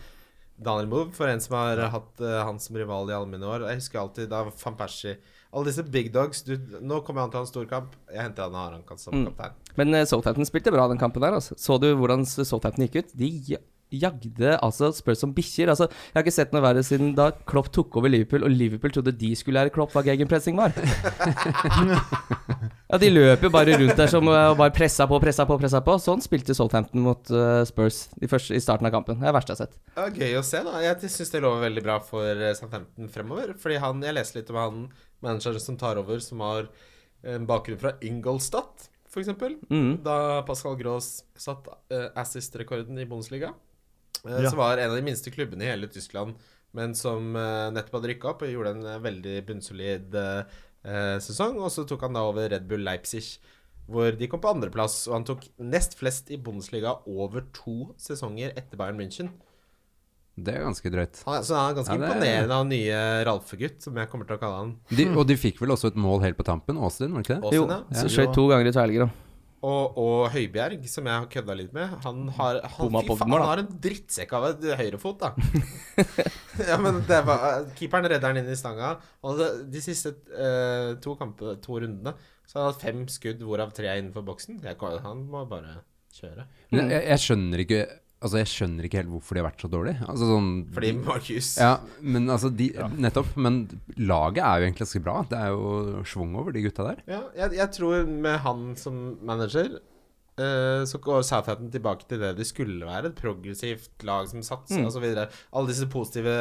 Speaker 3: Daniel Move for en som har hatt eh, han som rival i alle mine år. Jeg husker alltid da van Persie Alle disse big dogs du, Nå kommer han til å ha en storkamp. Jeg henter han og har han kap- som kaptein.
Speaker 4: Men eh, Southampton spilte bra den kampen der. Altså. Så du hvordan Southampton gikk ut? De ja- jagde altså Spurs som bikkjer. Altså, jeg har ikke sett noe verre siden da Klopp tok over Liverpool, og Liverpool trodde de skulle lære Klopp hva gegenpressing var. ja, De løp jo bare rundt der som, eh, og bare pressa på, pressa på, pressa på. Sånn spilte Southampton mot eh, Spurs i, første, i starten av kampen. Det er det verste jeg har sett.
Speaker 3: Det var gøy å se, da. Jeg syns det lover veldig bra for eh, Southampton fremover. Fordi han, jeg leser litt om han manageren som tar over, som har eh, en bakgrunn fra Ingolstadt, f.eks.
Speaker 4: Mhm.
Speaker 3: Da Pascal Gross satt eh, assist-rekorden i Bundesliga, eh,
Speaker 6: Ja.
Speaker 3: som var en av de minste klubbene i hele Tyskland, men som eh, nettopp hadde rykka opp og gjorde en eh, veldig bunnsolid eh, eh, sesong. Og så tok han da over Red Bull Leipzig. Hvor de kom på andreplass, og han tok nest flest i Bundesliga over to sesonger etter Bayern München.
Speaker 5: Det er ganske drøyt.
Speaker 3: Han er, så han er ganske
Speaker 5: Ja, det-
Speaker 3: imponerende av nye Ralfegutt, som jeg kommer til å kalle han.
Speaker 5: De, og de fikk vel også et mål helt på tampen, Austin, var det ikke det?
Speaker 3: Åsen,
Speaker 4: Jo,
Speaker 3: ja.
Speaker 4: så skjøt to ganger i tverrliggeren.
Speaker 3: Og, og Høibjerg, som jeg har kødda litt med. Han har, han,
Speaker 4: Bomma
Speaker 3: fy
Speaker 4: på
Speaker 3: faen,
Speaker 4: den, da.
Speaker 3: han har en drittsekk av et høyrefot, da. ja, men det var, Keeperen redder han inn i stanga. Og det, de siste eh, to, kampe, to rundene så har han hatt fem skudd, hvorav tre er innenfor boksen. Jeg, kan- han må bare kjøre.
Speaker 5: Men jeg, jeg skjønner ikke Altså, jeg skjønner ikke helt hvorfor de har vært så dårlige. Altså sånn
Speaker 3: Fordi Markus
Speaker 5: Ja, men altså de, Nettopp. Men laget er jo egentlig ganske bra. Det er jo schwung over de gutta der.
Speaker 3: Ja, jeg, jeg tror med han som manager eh, så går Southampton tilbake til det de skulle være. Et progressivt lag som
Speaker 4: Mm.
Speaker 3: satser og osv. Alle disse positive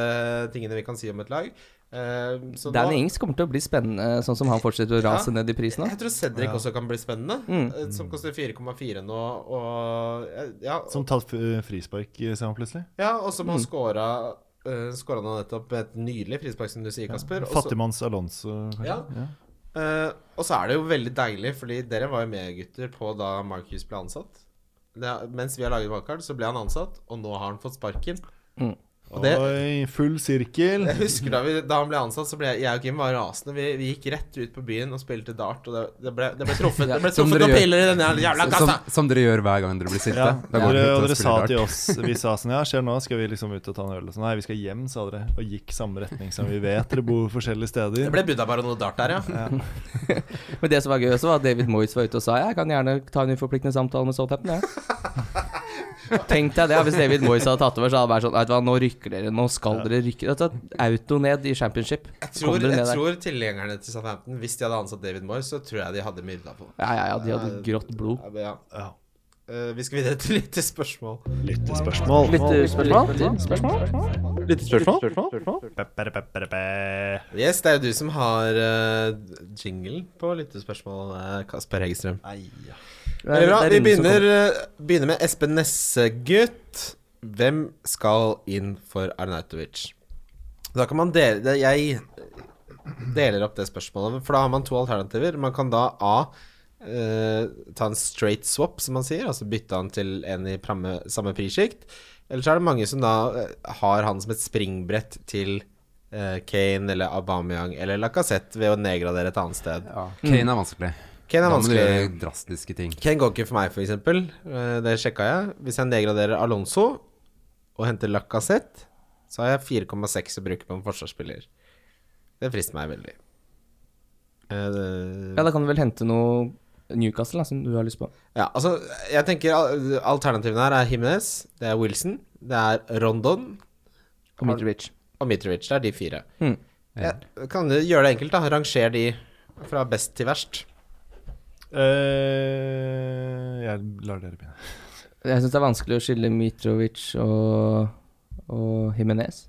Speaker 3: tingene vi kan si om et lag. Eh, så nå-
Speaker 4: Danny Ings kommer til å bli spennende, sånn som han fortsetter å rase ned i altså. pris nå. Mm.
Speaker 3: Jeg tror Cedric også kan bli spennende, eh, som koster 4,4 nå. Og, eh, ja,
Speaker 6: Som tatt f- eh, frispark, ser han plutselig.
Speaker 3: ja, og som
Speaker 4: Mm.
Speaker 3: har scora uh, Skåra nå nettopp et nydelig frispark, som du sier, Kasper. og så-
Speaker 6: Fattigmanns Alonso, kanskje.
Speaker 3: Ja. Eh, og så er det jo veldig deilig, fordi dere var jo med, gutter, på da Marcus ble ansatt. Det, er- mens vi har laget Wildcard, så ble han ansatt, og nå har han fått sparken. Og det-
Speaker 6: Oi, full sirkel.
Speaker 3: Jeg husker Da, vi, da han ble ansatt, så ble jeg, jeg og Kim var rasende. Vi, vi gikk rett ut på byen og spilte dart, og det, det, ble, det ble truffet Det ble
Speaker 5: Som
Speaker 3: truffet
Speaker 5: dere
Speaker 3: noen
Speaker 5: gjør.
Speaker 3: piller i den jævla- jævla
Speaker 5: som,
Speaker 3: kassa!
Speaker 5: som dere gjør hver gang dere blir sinte.
Speaker 6: Ja,
Speaker 5: Da går
Speaker 6: dere,
Speaker 5: dere ut
Speaker 6: og
Speaker 5: og
Speaker 6: dere sa
Speaker 5: spiller
Speaker 6: til
Speaker 5: dart.
Speaker 6: oss Vi sa sånn, ja, skjer nå, skal vi liksom ut og ta en øl og sånn Nei, vi skal hjem, sa dere Og gikk samme retning som vi vet Dere bor forskjellige
Speaker 3: Det
Speaker 6: steder
Speaker 3: ble buddha bare noe dart der, ja.
Speaker 4: Men det som var gøy også, var at David Moyes var ute og sa jeg kan gjerne ta en uforpliktende samtale med Southampton, jeg. Tenk deg det, hvis David Moyes hadde tatt over, så hadde det vært sånn Vet du hva, nå rykker dere, nå skal dere rykke. Dette er auto ned i championship.
Speaker 3: Jeg
Speaker 4: Så kommer
Speaker 3: tror,
Speaker 4: dere
Speaker 3: jeg
Speaker 4: ned der.
Speaker 3: tror tilhengerne til Southampton, hvis de hadde ansatt David Moyes, så tror jeg de hadde myrda på.
Speaker 4: Ja, ja, ja, de hadde grått blod.
Speaker 3: Ja, men ja.
Speaker 6: Ja.
Speaker 3: Eh, vi skal videre til litt spørsmål.
Speaker 6: Lyttespørsmål
Speaker 4: eh,
Speaker 3: Yes, det er jo du som har uh, jinglen på lyttespørsmål, eh, Kasper Hegerstrøm.
Speaker 6: Nei, ja.
Speaker 3: Veldig
Speaker 4: Det
Speaker 3: bra.
Speaker 4: er
Speaker 3: Vi
Speaker 4: Rune som
Speaker 3: begynner, eh, begynner med Espen Nessegutt. Hvem skal inn for Arnautovic? Da kan man dele det, Jeg deler opp det spørsmålet, for da har man to alternativer. Man kan da A eh, ta en straight swap, som man sier, altså bytte han til en i pramme, samme prissjikt. Eller så er det mange som da eh, har han som et springbrett til eh, Kane eller Aubameyang eller Lacassette ved å nedgradere et annet sted.
Speaker 5: Ja, Kane er vanskelig.
Speaker 3: Kane er
Speaker 5: Da må du
Speaker 3: vanskelig.
Speaker 5: gjøre drastiske ting.
Speaker 3: Kane går ikke for meg, for eksempel. Eh, Det sjekka jeg. Hvis jeg nedgraderer Alonso og henter Lacassette, så har jeg 4,6 å bruke på en forsvarsspiller. Det frister meg veldig. Eh, det-
Speaker 4: Ja, da kan du vel hente noe Newcastle, da, som du har lyst på.
Speaker 3: Ja, altså, jeg tenker al- alternativene her er Jimenez, det er Wilson, det er Rondon
Speaker 4: Og Mitrovic.
Speaker 3: og Mitrovic. Det er de fire.
Speaker 4: Mm.
Speaker 3: Jeg kan jo gjøre det enkelt, da. Ranger de fra best til verst.
Speaker 6: Eh, jeg lar dere begynne.
Speaker 4: Jeg syns det er vanskelig å skille Mitrovic og, og Jimenez.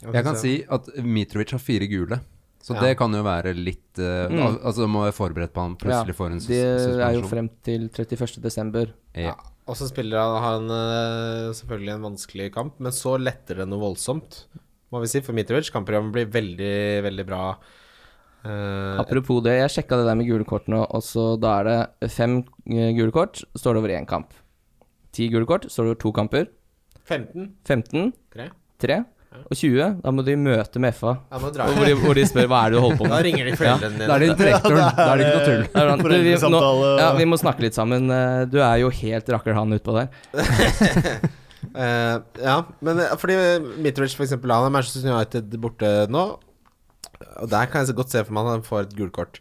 Speaker 5: Jeg kan si at Mitrovic har fire gule. Så
Speaker 3: Ja.
Speaker 5: det kan jo være litt eh,
Speaker 4: Mm.
Speaker 5: al- Altså må være forberedt på han plutselig får en sus-
Speaker 4: Det er jo
Speaker 5: suspensjon.
Speaker 4: frem til 31. desember.
Speaker 5: Ja.
Speaker 3: Og så spiller han, han eh, selvfølgelig en vanskelig kamp, men så letter det noe voldsomt, må vi si. For Mitrovic kampprogrammet blir veldig, veldig bra. Eh,
Speaker 4: Apropos det, jeg sjekka det der med gule kort nå, og så da er det fem eh, gule kort, står det over én kamp. Ti gule kort, står det over to kamper.
Speaker 3: 15,
Speaker 4: 15,
Speaker 3: tre.
Speaker 4: 3 og 20. Da må de møte med FA.
Speaker 3: Jeg må dra
Speaker 4: Hvor de, hvor de spør hva er det du holder på
Speaker 3: Da
Speaker 4: med.
Speaker 3: ringer de foreldrene
Speaker 5: Da er
Speaker 3: dine.
Speaker 5: det din direktor. Da er det ikke noe tull.
Speaker 4: Da er det sånn, du, vi, nå,
Speaker 6: Foreldresamtale og-
Speaker 4: ja, vi må snakke litt sammen. eh, Du er jo helt rakkerhan utpå der.
Speaker 3: Eh, ja, men eh, fordi Mitrovic for eksempel, han er Manchester United borte nå. Og der kan jeg så godt se for meg at han får et gult kort.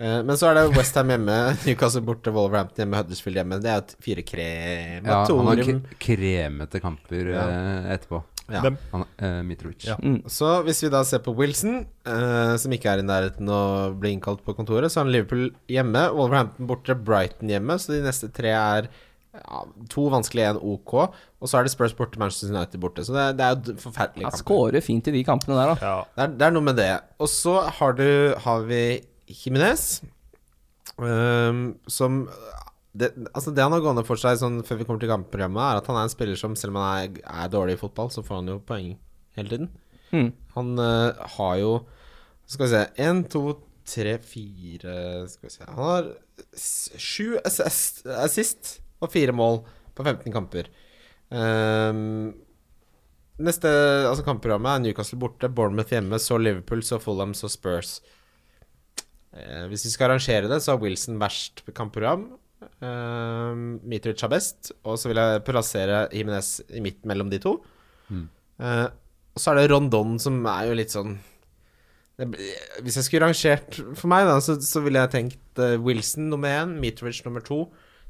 Speaker 3: Eh, men så er det Westham hjemme, Newcastle borte, Wolverhampton hjemme, Huddersfield hjemme. Det er jo et fire krem
Speaker 5: Ja, han har k kremete kamper eh, etterpå.
Speaker 3: Ja.
Speaker 6: Hvem?
Speaker 5: Han, eh, Mitrovic.
Speaker 6: Ja.
Speaker 3: Så hvis vi da ser på Wilson, eh, som ikke er i nærheten å bli innkalt på kontoret, så har han Liverpool hjemme, Wolverhampton borte, Brighton hjemme, så de neste tre er ja, to vanskelige, én OK, og så er det Spurs borte, Manchester United borte. Så det, det er jo d- forferdelige
Speaker 4: Han
Speaker 3: kamper.
Speaker 4: scorer fint i de kampene der, da.
Speaker 6: Ja.
Speaker 3: Det er, det er noe med det. Og så har, du, har vi Jimenez, ehm, som det, altså det han har gående for seg sånn, før vi kommer til kampprogrammet, er at han er en spiller som selv om han er, er dårlig i fotball, så får han jo poeng hele tiden.
Speaker 4: Mm.
Speaker 3: Han eh, har jo Skal vi se Én, to, tre, fire Skal vi se Han har s- sju assist, assist og fire mål på 15 kamper. Ehm, neste altså kampprogrammet er Newcastle borte, Bournemouth hjemme, så Liverpool, så Fulham, så Spurs. Eh, hvis vi skal arrangere det, så har Wilson verst kampprogram. Ehm, Mitrovic har best, og så vil jeg plassere Jimenez i midten mellom de to. Eh, og så er det Rondon som er jo litt sånn det, blir- Hvis jeg skulle rangert for meg, da, så, så ville jeg tenkt eh, Wilson nummer én, Mitrovic nummer to,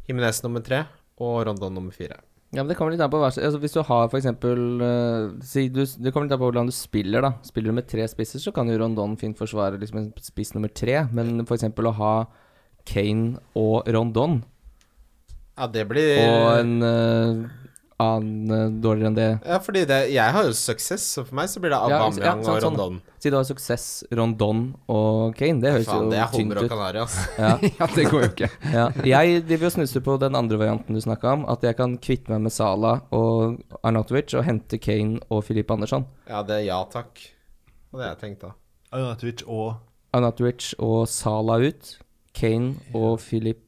Speaker 3: Jimenez nummer tre og Rondon nummer fire.
Speaker 4: Ja, men Det kommer litt an på hver, altså hvis du har for eksempel, eh, si du, Det kommer litt an på hvordan du spiller. da Spiller du med tre spisser, så kan jo Rondon fint forsvare liksom en spiss nummer tre. Men for eksempel å ha Kane og Rondon
Speaker 3: Ja, det blir
Speaker 4: og en eh, annen eh, dårligere enn det
Speaker 3: Ja, fordi det, jeg har jo suksess, så for meg så blir det
Speaker 4: Ja, ja, sånn,
Speaker 3: Aubameyang og
Speaker 4: sånn.
Speaker 3: Rondon.
Speaker 4: Si du har Suksess, Rondon og Kane. Det høres
Speaker 3: Faen, det
Speaker 4: jo
Speaker 3: er altså.
Speaker 4: tynt
Speaker 3: Hummer og
Speaker 4: ut.
Speaker 3: Canaria, ass.
Speaker 4: Ja.
Speaker 5: ja, det går jo ikke.
Speaker 4: Ja, jeg driver og snuser på den andre varianten du snakka om. At jeg kan kvitte meg med Salah og Arnatovic og hente Kane og Filip Andersson.
Speaker 3: Ja, det er ja takk. Og det har jeg tenkt, da.
Speaker 6: Arnautovic og
Speaker 4: Arnatovic og Salah ut. Kane og Filip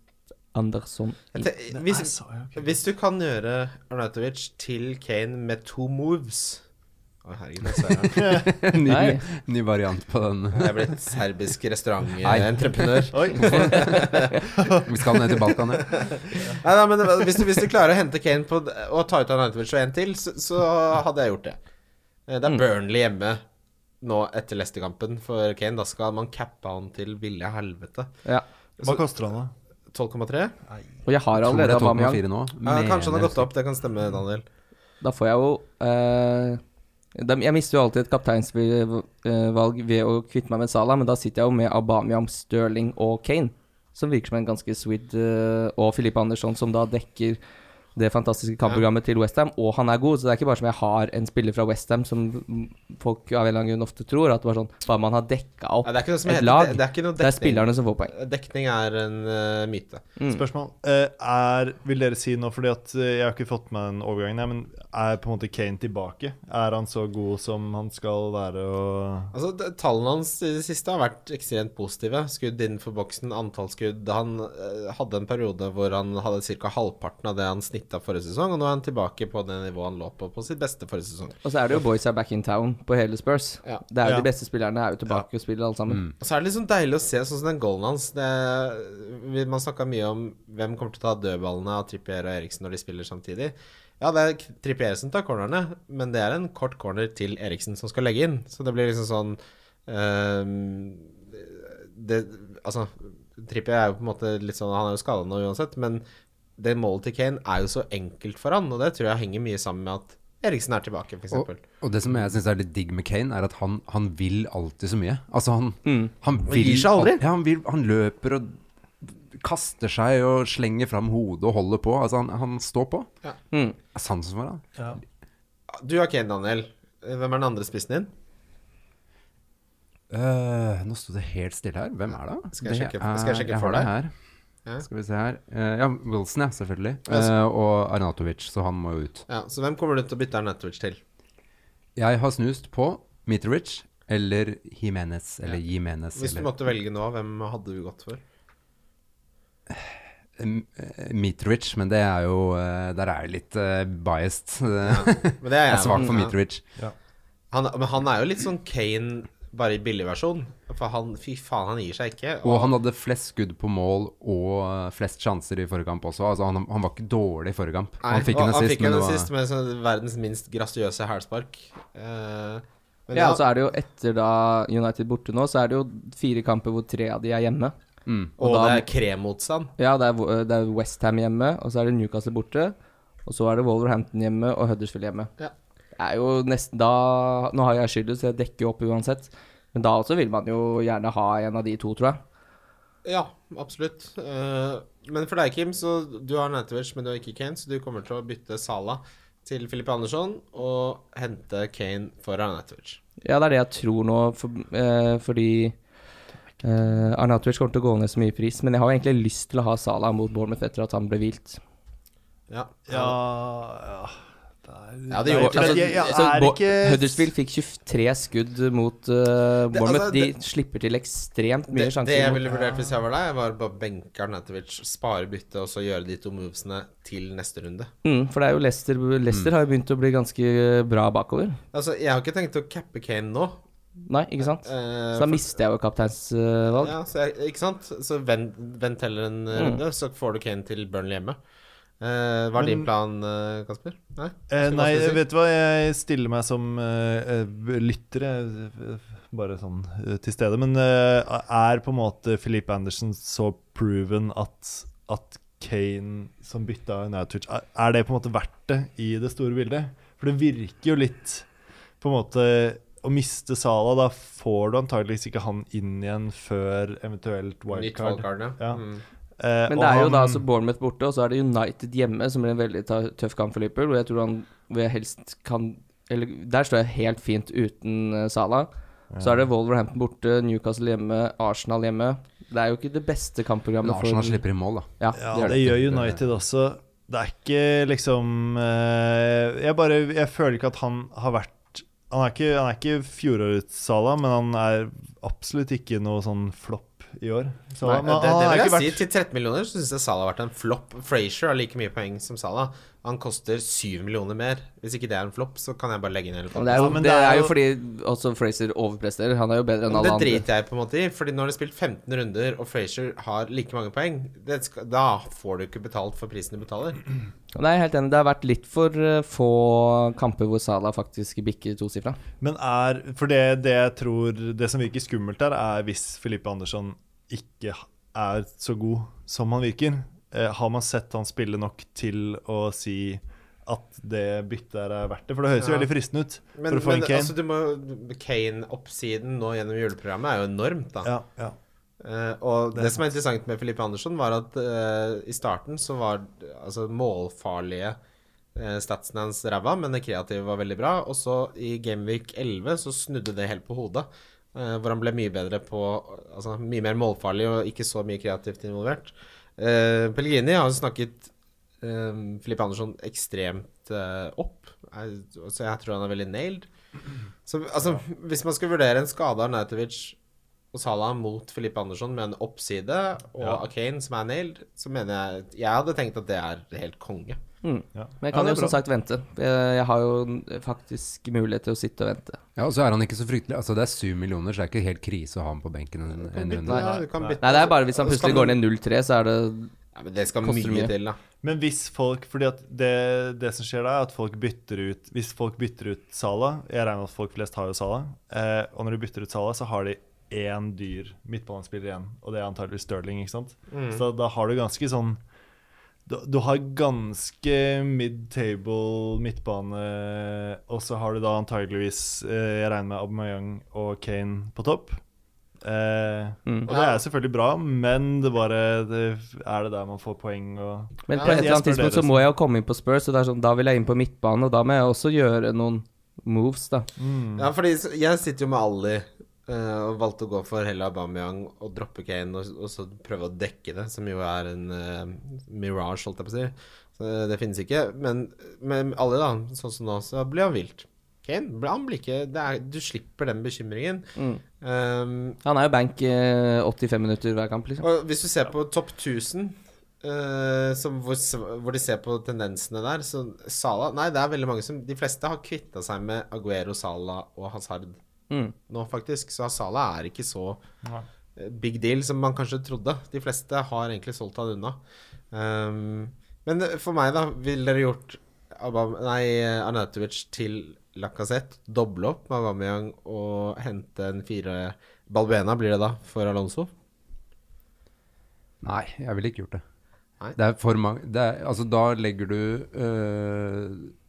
Speaker 4: Andersson
Speaker 3: Jeg
Speaker 4: inn.
Speaker 3: te- hvis,
Speaker 6: Nei, sa jeg, ok.
Speaker 3: hvis du kan gjøre Arnautovic til Kane med to moves Å, herregud, det ser jeg.
Speaker 5: Ny,
Speaker 4: Nei.
Speaker 5: ny variant på den.
Speaker 3: Jeg er blitt serbisk restaurantentreprenør.
Speaker 6: Oi!
Speaker 5: Vi skal ned til Balkan, ja.
Speaker 3: Nei, nei, men hvis du, hvis du klarer å hente Kane på, og ta ut Arnautovic og en til, så, så hadde jeg gjort det. Eh,
Speaker 4: Mm.
Speaker 3: Det er Burnley hjemme nå etter Leicester-kampen for Kane. Da skal man cappe han til ville helvete.
Speaker 4: Ja.
Speaker 6: Hva koster han, da?
Speaker 3: 12,3?
Speaker 4: Og jeg har
Speaker 5: Tror det
Speaker 4: allerede
Speaker 5: er 12,4
Speaker 4: Aubameyang.
Speaker 5: nå.
Speaker 3: Ja, kanskje han har
Speaker 5: Mener-
Speaker 3: gått opp. Det kan stemme, Daniel.
Speaker 4: Da får jeg jo eh, dem- Jeg mister jo alltid et kapteinsvalg ved å kvitte meg med Salah, men da sitter jeg jo med Aubameyang, Stirling og Kane, som virker som en ganske sweet eh, Og Filip Andersson, som da dekker det fantastiske kampprogrammet til Westham, og han er god. Så det er ikke bare som jeg har en spiller fra Westham, som folk av en eller annen grunn ofte tror. At det bare sånn Bare man har dekka opp
Speaker 3: Nei, det er ikke noe som
Speaker 4: et
Speaker 3: heter
Speaker 4: lag.
Speaker 3: Det, det er ikke noe
Speaker 4: Det er
Speaker 3: dekning.
Speaker 4: spillerne som får poeng. Mm.
Speaker 3: Dekning er en eh, myte.
Speaker 6: Spørsmål. Eh, er, vil dere si nå, fordi at eh, jeg har ikke fått med den overgangen her, men er på en måte Kane tilbake? Er han så god som han skal være og
Speaker 3: Altså, d- Tallene hans i det siste har vært ekstremt positive. Skudd innenfor boksen, antall skudd Han eh, hadde en periode hvor han hadde ca. halvparten av det han snitta forrige sesong, og nå er han tilbake på det nivået han lå på på sitt beste forrige sesong.
Speaker 4: Og så er det jo Boys are back in town på hele Spurs.
Speaker 3: Ja.
Speaker 4: Det er jo
Speaker 6: Ja.
Speaker 4: de beste spillerne er jo tilbake og spiller alle sammen.
Speaker 3: Og så er det liksom deilig å se sånn som den goalen hans. Det, vi- man snakka mye om hvem kommer til å ta dødballene av Trippier og Eriksen når de spiller samtidig. Ja, det er K- Trippier som tar cornerne, men det er en kort corner til Eriksen som skal legge inn. Så det blir liksom sånn ehm, det, Altså, Trippier er jo på en måte litt sånn Han er jo skada nå uansett, men det målet til Kane er jo så enkelt for han, og det tror jeg henger mye sammen med at Eriksen er tilbake,
Speaker 5: Og,
Speaker 3: f.eks.
Speaker 5: og det som jeg syns er litt digg med Kane, er at han, han vil alltid så mye. Altså, han, han vil
Speaker 3: Mm. gir seg aldri.
Speaker 5: al- Ja, han, vil, han løper og kaster seg og slenger fram hodet og holder på. Altså, han, han står på.
Speaker 3: Ja.
Speaker 4: Mm.
Speaker 5: Det er Sansen for han.
Speaker 3: Du har Kane, Daniel. Hvem er den andre spissen din?
Speaker 5: Øh, nå sto det helt stille her. Hvem er det?
Speaker 3: Skal jeg
Speaker 5: Det
Speaker 3: sjekke- skal jeg
Speaker 5: er-
Speaker 3: sjekke
Speaker 5: har
Speaker 3: for
Speaker 5: det
Speaker 3: deg?
Speaker 5: Her.
Speaker 3: Ja.
Speaker 5: Skal vi se her. Eh, ja, Wilson, ja, selvfølgelig.
Speaker 3: Ja, så-
Speaker 5: Eh, og Arnatovic, så han må jo ut.
Speaker 3: Ja, Så hvem kommer du til å bytte Arnatovic til?
Speaker 5: Jeg har snust på Mitrovic eller Jimenez eller Jimenez.
Speaker 3: Hvis du
Speaker 5: eller-
Speaker 3: måtte velge nå, hvem hadde du gått for?
Speaker 5: M- eh, Mitrovic, men det er jo eh, Der er jeg litt eh, biased.
Speaker 3: Men det er
Speaker 5: jeg er
Speaker 3: jeg
Speaker 5: svak
Speaker 3: med.
Speaker 5: for
Speaker 3: Ja.
Speaker 5: Mitrovic.
Speaker 3: Han, men han er jo litt sånn Kane, bare i billigversjon. For han, fy faen, han gir seg ikke.
Speaker 5: Og han hadde flest skudd på mål og eh, flest sjanser i forrige kamp også. Altså, han, han var ikke dårlig i forrige kamp.
Speaker 3: Nei,
Speaker 5: han fikk
Speaker 3: og
Speaker 5: en assist,
Speaker 3: fikk
Speaker 5: men
Speaker 3: en
Speaker 5: det var
Speaker 3: assist med sånn verdens minst grasiøse hælspark. Eh, men
Speaker 4: Ja, altså,
Speaker 3: ja,
Speaker 4: og så er det jo etter da United borte nå, så er det jo fire kamper hvor tre av de er hjemme.
Speaker 3: og
Speaker 4: og da-
Speaker 3: det er kremmotstand.
Speaker 4: Ja, det er, det er Westham hjemme, og så er det Newcastle borte. Og så er det Wolverhampton hjemme og Huddersfield hjemme.
Speaker 3: Ja.
Speaker 4: Det er jo nesten da Nå har jeg skylden, så jeg dekker jo opp uansett. Men da også vil man jo gjerne ha en av de to, tror jeg.
Speaker 3: Ja, absolutt. Eh, men for deg, Kim, så du har Arnatovic, men du har ikke Kane, så du kommer til å bytte Sala til Filip Andersson og hente Kane for Arnatovic.
Speaker 4: Ja, det er det jeg tror nå, for, eh, fordi eh, Arnatovic kommer til å gå ned så mye i pris, men jeg har jo egentlig lyst til å ha Salah mot Bournemouth etter at han ble hvilt.
Speaker 3: Ja.
Speaker 6: Ja, ja. Det er,
Speaker 3: Ja, det
Speaker 6: er
Speaker 3: gjorde-
Speaker 6: ikke-
Speaker 3: altså,
Speaker 6: jeg, jeg
Speaker 4: Så
Speaker 6: er
Speaker 4: Bo-
Speaker 6: ikke
Speaker 4: Huddersfield fikk 23 skudd mot eh,
Speaker 3: Det-
Speaker 4: Bournemouth.
Speaker 3: altså,
Speaker 4: de slipper til ekstremt mye
Speaker 3: Det, det
Speaker 4: sjanser.
Speaker 3: jeg
Speaker 4: mot-
Speaker 3: ville vurdert hvis jeg var deg, var bare benke Arnatovic, spare byttet og så gjøre de to movesene til neste runde.
Speaker 4: Mm, for det er jo Leicester
Speaker 3: Mm.
Speaker 4: Leicester har jo begynt å bli ganske bra bakover.
Speaker 3: Altså, Jeg har ikke tenkt å cappe Kane nå.
Speaker 4: Nei, ikke sant? Så
Speaker 3: eh,
Speaker 4: da mister jeg jo kapteinsvalg.
Speaker 3: ja, så jeg, ikke sant? Så vent, vent heller en eh,
Speaker 4: Mm.
Speaker 3: runde, så får du Kane til Burnley hjemme. Eh, hva er din
Speaker 6: Men-
Speaker 3: plan, eh, Kasper? Nei?
Speaker 6: eh,
Speaker 3: Skal
Speaker 6: Nei,
Speaker 3: Kasper si?
Speaker 6: vet du hva, jeg stiller meg som eh, eh, lytter, jeg, eh, bare sånn eh, til stede. Men eh, er på en måte Philippe Andersen så proven at, at Kane som bytta Nautic er, er det på en måte verdt det i det store bildet? For det virker jo litt på en måte å miste Sala, da får du antageligvis ikke han inn igjen før eventuelt
Speaker 3: Nytt
Speaker 6: wildcard.
Speaker 3: wildcard, ja.
Speaker 6: Ja.
Speaker 3: Mm.
Speaker 6: Eh,
Speaker 4: Men
Speaker 6: og
Speaker 4: det er jo
Speaker 6: han-
Speaker 4: da altså Bournemouth borte, og så er det United hjemme, som blir en veldig ta- tøff kamp for Liverpool. Hvor jeg tror han hvor jeg helst kan Eller der står jeg helt fint uten uh, Salah. Så er det Wolverhampton borte, Newcastle hjemme, Arsenal hjemme. Det er jo ikke det beste
Speaker 5: Men
Speaker 4: kampprogrammet for
Speaker 5: Arsenal slipper i mål, da.
Speaker 4: Ja.
Speaker 6: Ja,
Speaker 5: Det er
Speaker 6: det,
Speaker 5: det
Speaker 6: gjør
Speaker 5: ikke.
Speaker 6: United også. Det er ikke liksom eh, Jeg bare Jeg føler ikke at han har vært Han er ikke, han er ikke fjorårets Salah, men han er absolutt ikke noe sånn flopp i år. Salah.
Speaker 3: Nei,
Speaker 6: Men
Speaker 3: det, det
Speaker 6: han
Speaker 3: vil
Speaker 6: har
Speaker 3: jeg
Speaker 6: ikke
Speaker 3: si.
Speaker 6: vært
Speaker 3: Til 13 millioner så syns jeg Salah har vært en flopp. Frazier har like mye poeng som Salah. Han koster 7 millioner mer. Hvis ikke det er en flopp, så kan jeg bare legge ned hele
Speaker 4: Men det er jo,
Speaker 6: Ja, men
Speaker 4: det
Speaker 6: det er
Speaker 4: er jo
Speaker 6: jo-
Speaker 4: fordi også Fraser overpresterer. Han er jo bedre enn
Speaker 3: Det
Speaker 4: alle andre.
Speaker 3: driter jeg på en måte i, Fordi nå har de spilt 15 runder, og Frazier har like mange poeng. Det skal, da får du ikke betalt for prisen du betaler.
Speaker 4: Nei, jeg er helt enig. Det har vært litt for eh, få kamper hvor Salah faktisk bikker tosifra.
Speaker 6: Men er For det, det jeg tror Det som virker skummelt der, er hvis Filippe Andersson ikke er så god som han virker. Eh, har man sett han spille nok til å si at det byttet her er verdt det? For det høres jo
Speaker 3: Ja.
Speaker 6: veldig fristende ut.
Speaker 3: Men,
Speaker 6: for å få
Speaker 3: men
Speaker 6: en Kane.
Speaker 3: altså, du må Kane-oppsiden nå gjennom juleprogrammet er jo enormt, da.
Speaker 6: ja, ja.
Speaker 3: Eh, og det, som er interessant med Filippe Andersson, var at eh, i starten så var altså, målfarlige eh, statsen hans ræva, men det kreative var veldig bra. Og så i Gameweek 11 så snudde det helt på hodet. eh, hvor han ble mye bedre på Altså mye mer målfarlig og ikke så mye kreativt involvert. Eh, Pellegrini har jo snakket eh, Filippe Andersson ekstremt eh, opp, Jeg- så jeg tror han er veldig nailed. Så altså, hvis man skal vurdere en skade av Arnautovic og Salah mot Filippe Andersson med en oppside, og
Speaker 6: Ja.
Speaker 3: Akane som er nailed, så mener jeg Jeg hadde tenkt at det er helt konge.
Speaker 4: Men jeg
Speaker 6: Ja,
Speaker 4: kan
Speaker 6: det er
Speaker 4: jo som
Speaker 6: bra.
Speaker 4: sagt vente. Jeg jeg har jo faktisk mulighet til å sitte og vente.
Speaker 5: Ja, Og så er han ikke så fryktelig Altså Det er syv millioner, så det er ikke helt krise å ha ham på benken en, en runde.
Speaker 3: Ja, du kan bytte.
Speaker 4: Nei, det er bare hvis han
Speaker 3: Og så
Speaker 4: plutselig
Speaker 3: kan
Speaker 4: går
Speaker 3: du-
Speaker 4: ned 0-3, så er det
Speaker 3: Ja, men det skal
Speaker 4: Koster
Speaker 3: mye
Speaker 4: mye.
Speaker 3: til, da.
Speaker 6: Men hvis folk fordi at det, det som skjer da, er at folk bytter ut Hvis folk bytter ut Sala Jeg regner med at folk flest har jo Sala. Eh, og når de bytter ut Sala, så har de én dyr midtbanespiller igjen. Og det er antageligvis Stirling. ikke sant? Så da har du ganske sånn du, du har ganske mid-table midtbane, og så har du da antageligvis eh, Jeg regner med Aubameyang og Kane på topp. Eh,
Speaker 4: Mm.
Speaker 6: Og det er selvfølgelig bra, men det bare det, Er det der man får poeng og
Speaker 4: Men
Speaker 3: Ja,
Speaker 4: på et
Speaker 6: jeg
Speaker 4: eller annet
Speaker 6: spør
Speaker 4: tidspunkt
Speaker 6: dere,
Speaker 4: så må jeg jo komme inn på Spurs, og det er sånn, da vil jeg inn på midtbane, og da må jeg også gjøre noen moves, da.
Speaker 3: Ja, fordi s- jeg sitter jo med Ali eh, og valgte å gå for Hella Aubameyang og droppe Kane og, og så prøve å dekke det, som jo er en eh, mirage, holdt jeg på å si. Så eh, det finnes ikke. Men med Ali, da, sånn som nå, så blir han vilt. Kane, bl- han blir ikke det er, Du slipper den bekymringen. Um,
Speaker 4: Han er jo bank eh, 85 minutter hver kamp, liksom.
Speaker 3: Og hvis du ser på topp 1000 eh, som hvor, sv- hvor de ser på tendensene der Så Sala Nei, det er veldig mange som De fleste har kvitta seg med Aguero, Sala og Hazard
Speaker 4: Mm.
Speaker 3: nå, faktisk. Så Sala er ikke så
Speaker 6: Nei.
Speaker 3: eh, big deal som man kanskje trodde. De fleste har egentlig solgt han unna. Um, men for meg, da, ville dere gjort Abam nei, Arnautovic til Lacassette, doble opp med Aubameyang og hente en fire Balbuena blir det da, for Alonso?
Speaker 5: Nei, jeg ville ikke gjort det.
Speaker 3: Nei.
Speaker 5: Det er for mange det er, Altså, da legger du øh,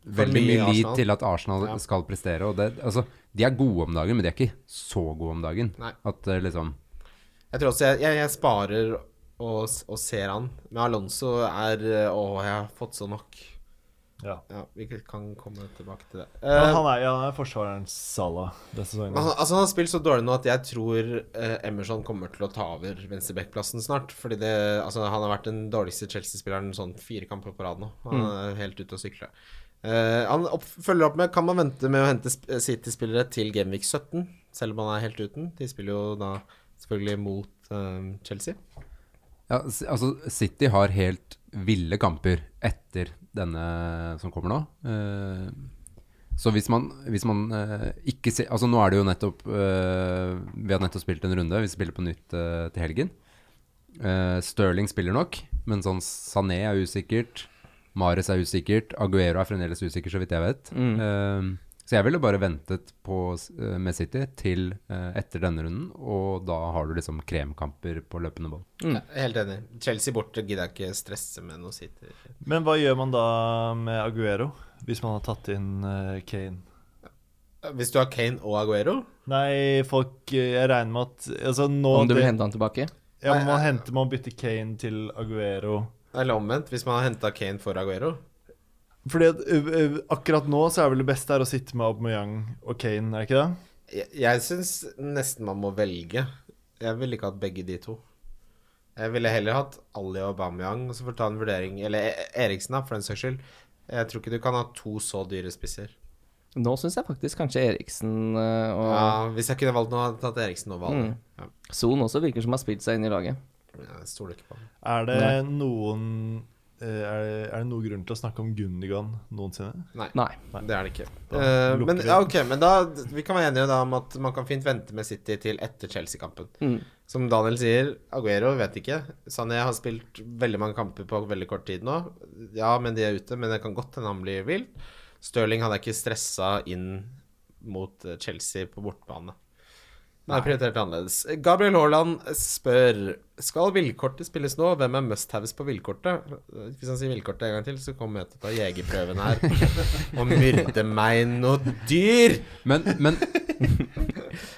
Speaker 3: For
Speaker 5: veldig
Speaker 3: mye i
Speaker 5: mye lit
Speaker 3: Arsenal.
Speaker 5: til at Arsenal
Speaker 3: Ja.
Speaker 5: skal prestere. Og det, altså, de er gode om dagen, men de er ikke så gode om dagen.
Speaker 3: Nei.
Speaker 5: At øh, liksom
Speaker 3: Jeg tror også jeg, jeg, jeg sparer og, s- og ser han. Men Alonso er eh, Å, jeg har fått så nok.
Speaker 6: Ja.
Speaker 3: Ja, Vi kan komme tilbake til det.
Speaker 6: Men
Speaker 3: Eh,
Speaker 6: han er, ja, han er forsvarerens Sala denne sesongen.
Speaker 3: men han, altså, han har spilt så dårlig nå at jeg tror eh, Emerson kommer til å ta over venstrebackplassen snart. Fordi det, altså, han har vært den dårligste Chelsea-spilleren sånn fire kamper på rad nå. Han er helt ute å sykle. Eh, han opp, følger opp med Kan man vente med å hente sp- eh, City-spillere til Gameweek 17? Selv om han er helt uten. De spiller jo da selvfølgelig mot eh, Chelsea.
Speaker 5: ja, s- altså, City har helt ville kamper etter denne som kommer nå. Eh, så hvis man, hvis man eh, ikke ser Altså, nå er det jo nettopp eh, Vi har nettopp spilt en runde. Vi spiller på nytt eh, til helgen. Eh, Sterling spiller nok, men sånn Sané er usikkert. Mares er usikkert. Aguero er fremdeles usikker, så vidt jeg vet. Eh, så jeg ville bare ventet på, s- eh, med City til eh, etter denne runden, og da har du liksom kremkamper på løpende bånd.
Speaker 3: Jeg er Helt enig. Chelsea borte gidder jeg ikke stresse med noe sitt.
Speaker 6: Men hva gjør man da med Aguero, hvis man har tatt inn eh, Kane?
Speaker 3: Hvis du har Kane og Aguero
Speaker 6: Nei, folk eh, Jeg regner med at altså, nå
Speaker 4: Om du vil
Speaker 6: det-
Speaker 4: hente han tilbake.
Speaker 6: Ja, men man henter Man bytter Kane til Aguero.
Speaker 3: Eller omvendt, hvis man har henta Kane for Aguero.
Speaker 6: Fordi at ø, ø, akkurat nå så er vel det beste her å sitte med Aubameyang og Kane, er ikke det?
Speaker 3: Jeg, jeg syns nesten man må velge. Jeg ville ikke hatt begge de to. Jeg ville heller hatt Ali og Aubameyang, og så får du ta en vurdering Eller E- Eriksen, da, for den saks skyld. Jeg tror ikke du kan ha to så dyre spisser.
Speaker 4: Nå syns jeg faktisk kanskje Eriksen eh, og
Speaker 3: Ja, hvis jeg kunne valgt noe, hadde jeg tatt Eriksen over Ali. Ja,
Speaker 4: Son også virker som har spilt seg inn i laget.
Speaker 3: jeg stoler ikke på ham.
Speaker 6: Er det noen ø, er det, er det noen grunn til å snakke om Gundigan noensinne?
Speaker 4: Nei.
Speaker 3: Det er det ikke.
Speaker 6: Da
Speaker 3: Eh,
Speaker 6: lukker
Speaker 3: men,
Speaker 6: vi.
Speaker 3: ja, ok, men da, vi kan være enige da om at man kan fint vente med City til etter Chelsea-kampen. Som Daniel sier, Aguero vet ikke. Sané har spilt veldig mange kamper på veldig kort tid nå. Ja, men de er ute, men det kan godt hende han blir vill. Stirling hadde jeg ikke stressa inn mot eh, Chelsea på bortebane. Nei, prioritert annerledes. Gabriel Haaland spør Skal villkortet spilles nå. Hvem er must-haves på villkortet? Hvis han sier villkortet en gang til, så kommer jeg til å ta jegerprøven her og myrde meg noe dyr. Eh,
Speaker 5: Men, men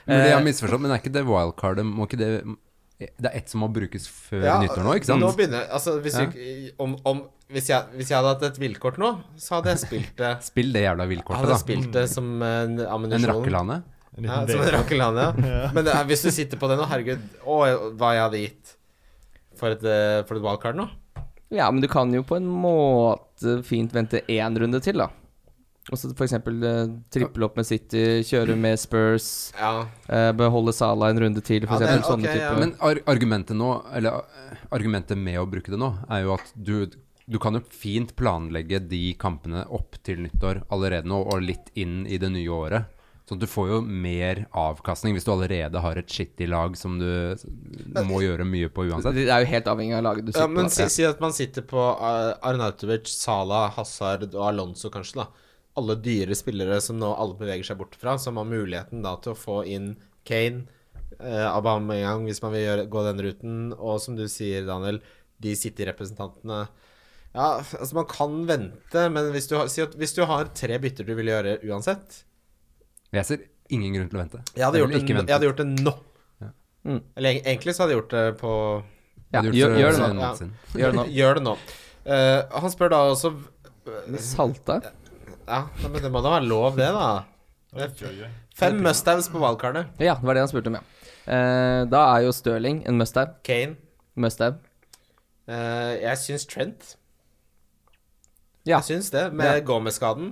Speaker 5: Mulig jeg har misforstått, men er ikke det wildcardet Må ikke det Det er ett som må brukes før
Speaker 3: Ja,
Speaker 5: nyttår nå, ikke sant?
Speaker 3: Nå begynner, altså, hvis,
Speaker 5: Ja.
Speaker 3: vi, om, om, hvis, jeg, hvis jeg hadde hatt et villkort nå, så hadde jeg spilt det,
Speaker 5: Spill det jævla
Speaker 3: hadde jeg
Speaker 5: villkortet, da.
Speaker 3: spilt det som en ammunisjon.
Speaker 5: En rakkelane.
Speaker 6: En
Speaker 3: Ja,
Speaker 6: liten
Speaker 3: som en
Speaker 6: del.
Speaker 3: rakkelane, ja.
Speaker 6: Ja.
Speaker 3: Men det er, hvis du sitter på det nå, herregud, å, hva jeg hadde gitt for et, eh, for et wildcard nå.
Speaker 4: Ja, men du kan jo på en måte fint vente én runde til, da. Og så f.eks. Eh, triple opp med City, kjøre med Spurs,
Speaker 3: Ja,
Speaker 4: eh, beholde Salah en runde til,
Speaker 3: Ja,
Speaker 4: f.eks.
Speaker 3: det er-
Speaker 4: eksempel sånne
Speaker 3: ok,
Speaker 4: typer.
Speaker 3: ja.
Speaker 5: Men ar argumentet nå, eller eh, argumentet med å bruke det nå, er jo at du, du kan jo fint planlegge de kampene opp til nyttår allerede nå, og litt inn i det nye året. Sånn at du får jo mer avkastning hvis du allerede har et skittig lag som du s- må gjøre mye på uansett.
Speaker 4: Det er jo helt avhengig av laget du
Speaker 3: ja
Speaker 4: sitter
Speaker 3: men si,
Speaker 4: på.
Speaker 3: si at man sitter på eh, Arnautovic, Salah, Hazard og Alonso kanskje da. Alle dyre spillere som nå alle beveger seg bort fra, som har muligheten da til å få inn Kane, eh, Aubameyang hvis man vil gjøre, gå den ruten, og som du sier, Daniel, de City-representantene. Ja, altså man kan vente, men hvis du, har, si at, hvis du har tre bytter du vil gjøre uansett,
Speaker 5: Jeg ser ingen grunn til å vente.
Speaker 3: Jeg hadde,
Speaker 5: Jeg
Speaker 3: gjort
Speaker 5: ville
Speaker 3: det,
Speaker 5: ikke
Speaker 3: n- jeg hadde
Speaker 5: ventet.
Speaker 3: gjort det nå.
Speaker 4: Mm.
Speaker 3: Eller eg- egentlig så hadde jeg gjort det på
Speaker 4: Ja,
Speaker 5: Jeg hadde
Speaker 4: gjør,
Speaker 5: gjort
Speaker 4: gjør
Speaker 5: for
Speaker 4: det nå.
Speaker 5: en måned
Speaker 3: Ja.
Speaker 5: eh, siden.
Speaker 4: Gjør det nå.
Speaker 3: Gjør det nå. Eh, han spør da også
Speaker 4: Men Salta?
Speaker 3: Ja, nei, men det må da være lov, det, da.
Speaker 6: Oi, oi, oi.
Speaker 3: Fem Mustangs på valgkartet.
Speaker 4: Ja, det var det han spurte om, ja. Eh, da er jo Stirling en must-have.
Speaker 3: Kane.
Speaker 4: Must-have.
Speaker 3: Eh, jeg syns Trent.
Speaker 4: Ja.
Speaker 3: Jeg syns det, med Gomez-skaden.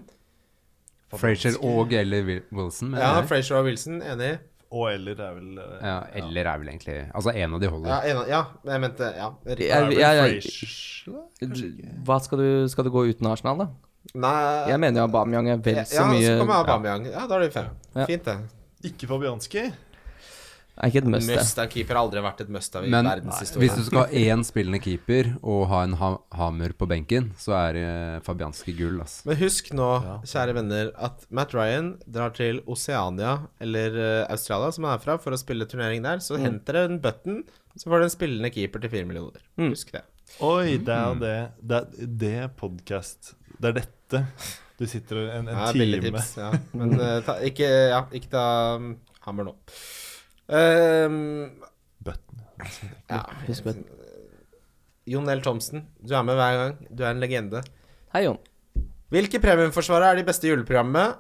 Speaker 5: Frazier og eller Wil- Wilson, mener
Speaker 3: Ja,
Speaker 5: jeg.
Speaker 3: Frazier og Wilson, enig.
Speaker 6: Og eller er vel eh,
Speaker 5: Ja, eller er vel egentlig Altså, en av de holder.
Speaker 3: Ja, enig. ja jeg mente Ja. riktig.
Speaker 4: Jeg-
Speaker 6: er vel
Speaker 4: jeg- jeg-
Speaker 6: Frazier, da?
Speaker 4: Hva skal du, skal du gå uten Arsenal, da?
Speaker 3: Nei
Speaker 4: Jeg mener jo Aubameyang er vel så
Speaker 3: ja,
Speaker 4: mye
Speaker 3: så kommer Aubameyang. Ja, da er det fem.
Speaker 4: Ja.
Speaker 3: Fint, det.
Speaker 6: Ikke Fabianski.
Speaker 4: Er ikke et must-have.
Speaker 3: Mustang-keeper har aldri vært et mustang i
Speaker 5: Men hvis
Speaker 3: verdenshistorien.
Speaker 5: du skal ha én spillende keeper og ha en ha hammer på benken, så er eh, Fabianski gull, ass.
Speaker 3: Men husk nå, kjære venner, at Matt Ryan drar til Oceania eller eh, Australia, som han er fra, for å spille turnering der.
Speaker 4: Mm.
Speaker 3: Så henter dere en button, så får dere en spillende keeper til fire millioner.
Speaker 4: Mm.
Speaker 3: Husk det.
Speaker 6: Oi, det er jo det. Det er det podcast. Det er dette. Du sitter en, en
Speaker 3: Ja, billig
Speaker 6: time
Speaker 3: tips. Ja. Men eh, ta, ikke, ja, ikke ta um, hammer nå. Ehm,
Speaker 6: Button.
Speaker 3: ja.
Speaker 4: Husk det.
Speaker 3: Jon L. Thomsen, du er med hver gang. Du er en legende.
Speaker 4: Hei, Jon.
Speaker 3: Hvilke premiumforsvarere er de beste i juleprogrammet?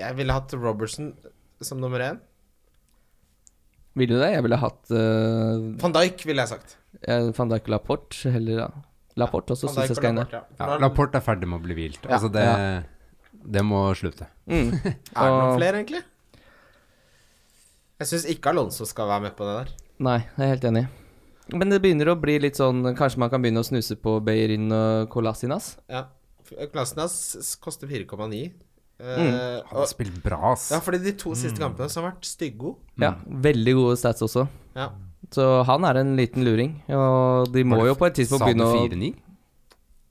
Speaker 3: Jeg ville hatt Robertson som nummer én.
Speaker 4: Vil du det? Jeg ville hatt eh,
Speaker 3: Van Dijk, ville jeg sagt.
Speaker 4: Jeg fant da ikke Laporte heller, da. Laporte også,
Speaker 3: Van
Speaker 4: syns
Speaker 3: Dijk
Speaker 4: jeg
Speaker 3: og
Speaker 4: skal inn der.
Speaker 3: Laporte, ja.
Speaker 5: Ja,
Speaker 3: Nå er-
Speaker 5: Laporte er ferdig med å bli hvilt. Altså, det, det må slutte.
Speaker 4: Mm.
Speaker 3: Er det noen
Speaker 4: Og-
Speaker 3: flere, egentlig? Jeg syns ikke Alonso skal være med på det der.
Speaker 4: Nei, jeg er helt enig. Men det begynner å bli litt sånn Kanskje man kan begynne å snuse på Beirin og Kolasinas?
Speaker 3: Ja. F- Klassen hans s- koster 4,9. Eh,
Speaker 5: Han
Speaker 3: og-
Speaker 5: har spilt bra, ass.
Speaker 3: ja, fordi de to
Speaker 5: Mm.
Speaker 3: siste kampene så har han vært styggode.
Speaker 4: Ja, veldig gode stats også.
Speaker 3: Ja.
Speaker 4: Så han er en liten luring, og de må jo på et tidspunkt
Speaker 5: Sa du
Speaker 4: begynne å
Speaker 5: 4-9?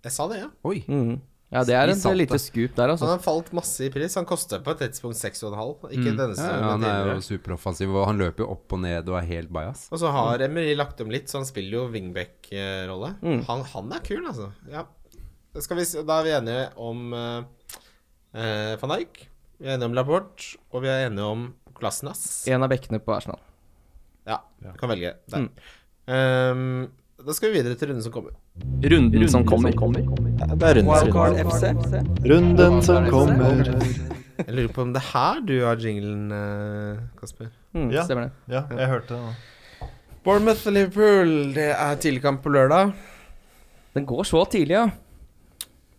Speaker 3: Jeg sa det, ja.
Speaker 5: Oi.
Speaker 4: mm. Ja, det er
Speaker 5: I
Speaker 4: et
Speaker 5: saltet.
Speaker 4: lite skup der,
Speaker 3: Han
Speaker 4: altså.
Speaker 3: har falt masse i pris. Han koster på et tidspunkt 6,5. Ikke denne
Speaker 5: Mm. Ja,
Speaker 3: sesongen,
Speaker 5: ja,
Speaker 3: men
Speaker 5: han er jo
Speaker 3: tidligere.
Speaker 5: superoffensiv, og han løper jo opp og ned og er helt bajas.
Speaker 3: Og så har Emery lagt om litt, så han spiller jo wingback-rolle. Han, han er kul, altså. Ja. Da Skal vi, s- da er vi enige om eh, eh, van Dijk, vi er enige om Laporte, og vi er enige om Klassenass.
Speaker 4: En av bekkene på Arsenal.
Speaker 3: Ja, du kan velge der. Ehm, da skal vi videre til runden som kommer.
Speaker 4: Runden som kommer.
Speaker 1: Det er rundens
Speaker 4: Wildcard FC.
Speaker 6: Runden som kommer.
Speaker 3: Jeg lurer på om det er her du har jinglen, eh, Kasper.
Speaker 4: Mm,
Speaker 6: Ja.
Speaker 4: Stemmer det.
Speaker 6: Ja, jeg hørte det nå.
Speaker 3: Bournemouth-Liverpool, det er tidlig kamp på lørdag.
Speaker 4: Den går så tidlig, ja.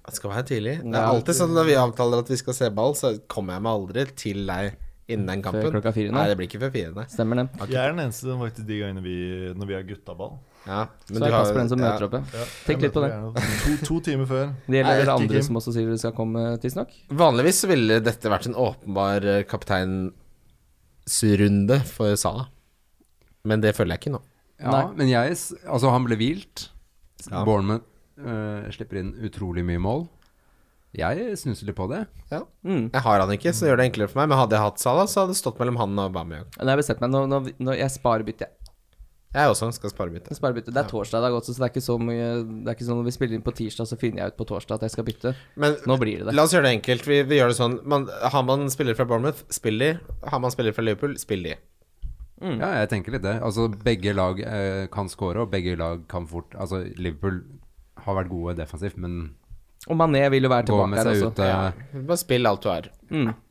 Speaker 3: Det skal være tidlig. Det er
Speaker 4: Ja.
Speaker 3: alltid sånn når vi avtaler at vi skal se ball, så kommer jeg meg aldri til deg innen den kampen.
Speaker 4: klokka fire, nei.
Speaker 3: nei. det blir ikke før fire, nei.
Speaker 4: Stemmer det.
Speaker 6: Jeg er den eneste som faktisk de gangene vi Når vi har guttaball.
Speaker 3: Ja, men
Speaker 4: Så
Speaker 3: du
Speaker 4: er
Speaker 3: har-
Speaker 4: Kasper den som
Speaker 3: ja.
Speaker 4: møter opp, ja. Tenk litt på det.
Speaker 6: To, to timer før.
Speaker 4: Det
Speaker 3: Jeg
Speaker 4: gjelder
Speaker 3: vet
Speaker 4: andre
Speaker 6: ikke.
Speaker 4: som også sier de skal komme tidsnok.
Speaker 3: Vanligvis så ville dette vært en åpenbar eh, kapteinsrunde for Salah. Men det føler jeg ikke nå.
Speaker 5: Ja,
Speaker 4: Nei.
Speaker 5: men jeg s- Altså, han ble hvilt. Bournemouth eh, slipper inn utrolig mye mål. Jeg snuser litt på det.
Speaker 3: Ja.
Speaker 4: Mm.
Speaker 3: Jeg har han ikke, så det gjør det enklere for meg. Men hadde jeg hatt Salah, så hadde det stått mellom han og Aubameyang.
Speaker 4: Nei, jeg bestemte meg. Nå, nå, nå, jeg sparer byttet, jeg.
Speaker 3: Jeg også skal spare bytte.
Speaker 4: Jeg sparer byttet. Det er torsdag i dag også, så det er ikke så mye Det er ikke sånn når vi spiller inn på tirsdag, så finner jeg ut på torsdag at jeg skal bytte.
Speaker 3: Men
Speaker 4: Nå blir det det.
Speaker 3: la oss gjøre det enkelt. Vi, vi gjør det sånn man, Har man spiller fra Bournemouth, spill de. Har man spiller fra Liverpool, spill de.
Speaker 5: Ja, jeg tenker litt det. Altså, begge lag eh, kan score, og begge lag kan fort Altså, Liverpool har vært gode defensivt, men
Speaker 4: Og Mané vil jo være
Speaker 5: går
Speaker 4: tilbake
Speaker 5: med
Speaker 4: her
Speaker 5: seg
Speaker 4: også. Mm.
Speaker 5: ut eh,
Speaker 3: Bare spill alt du er.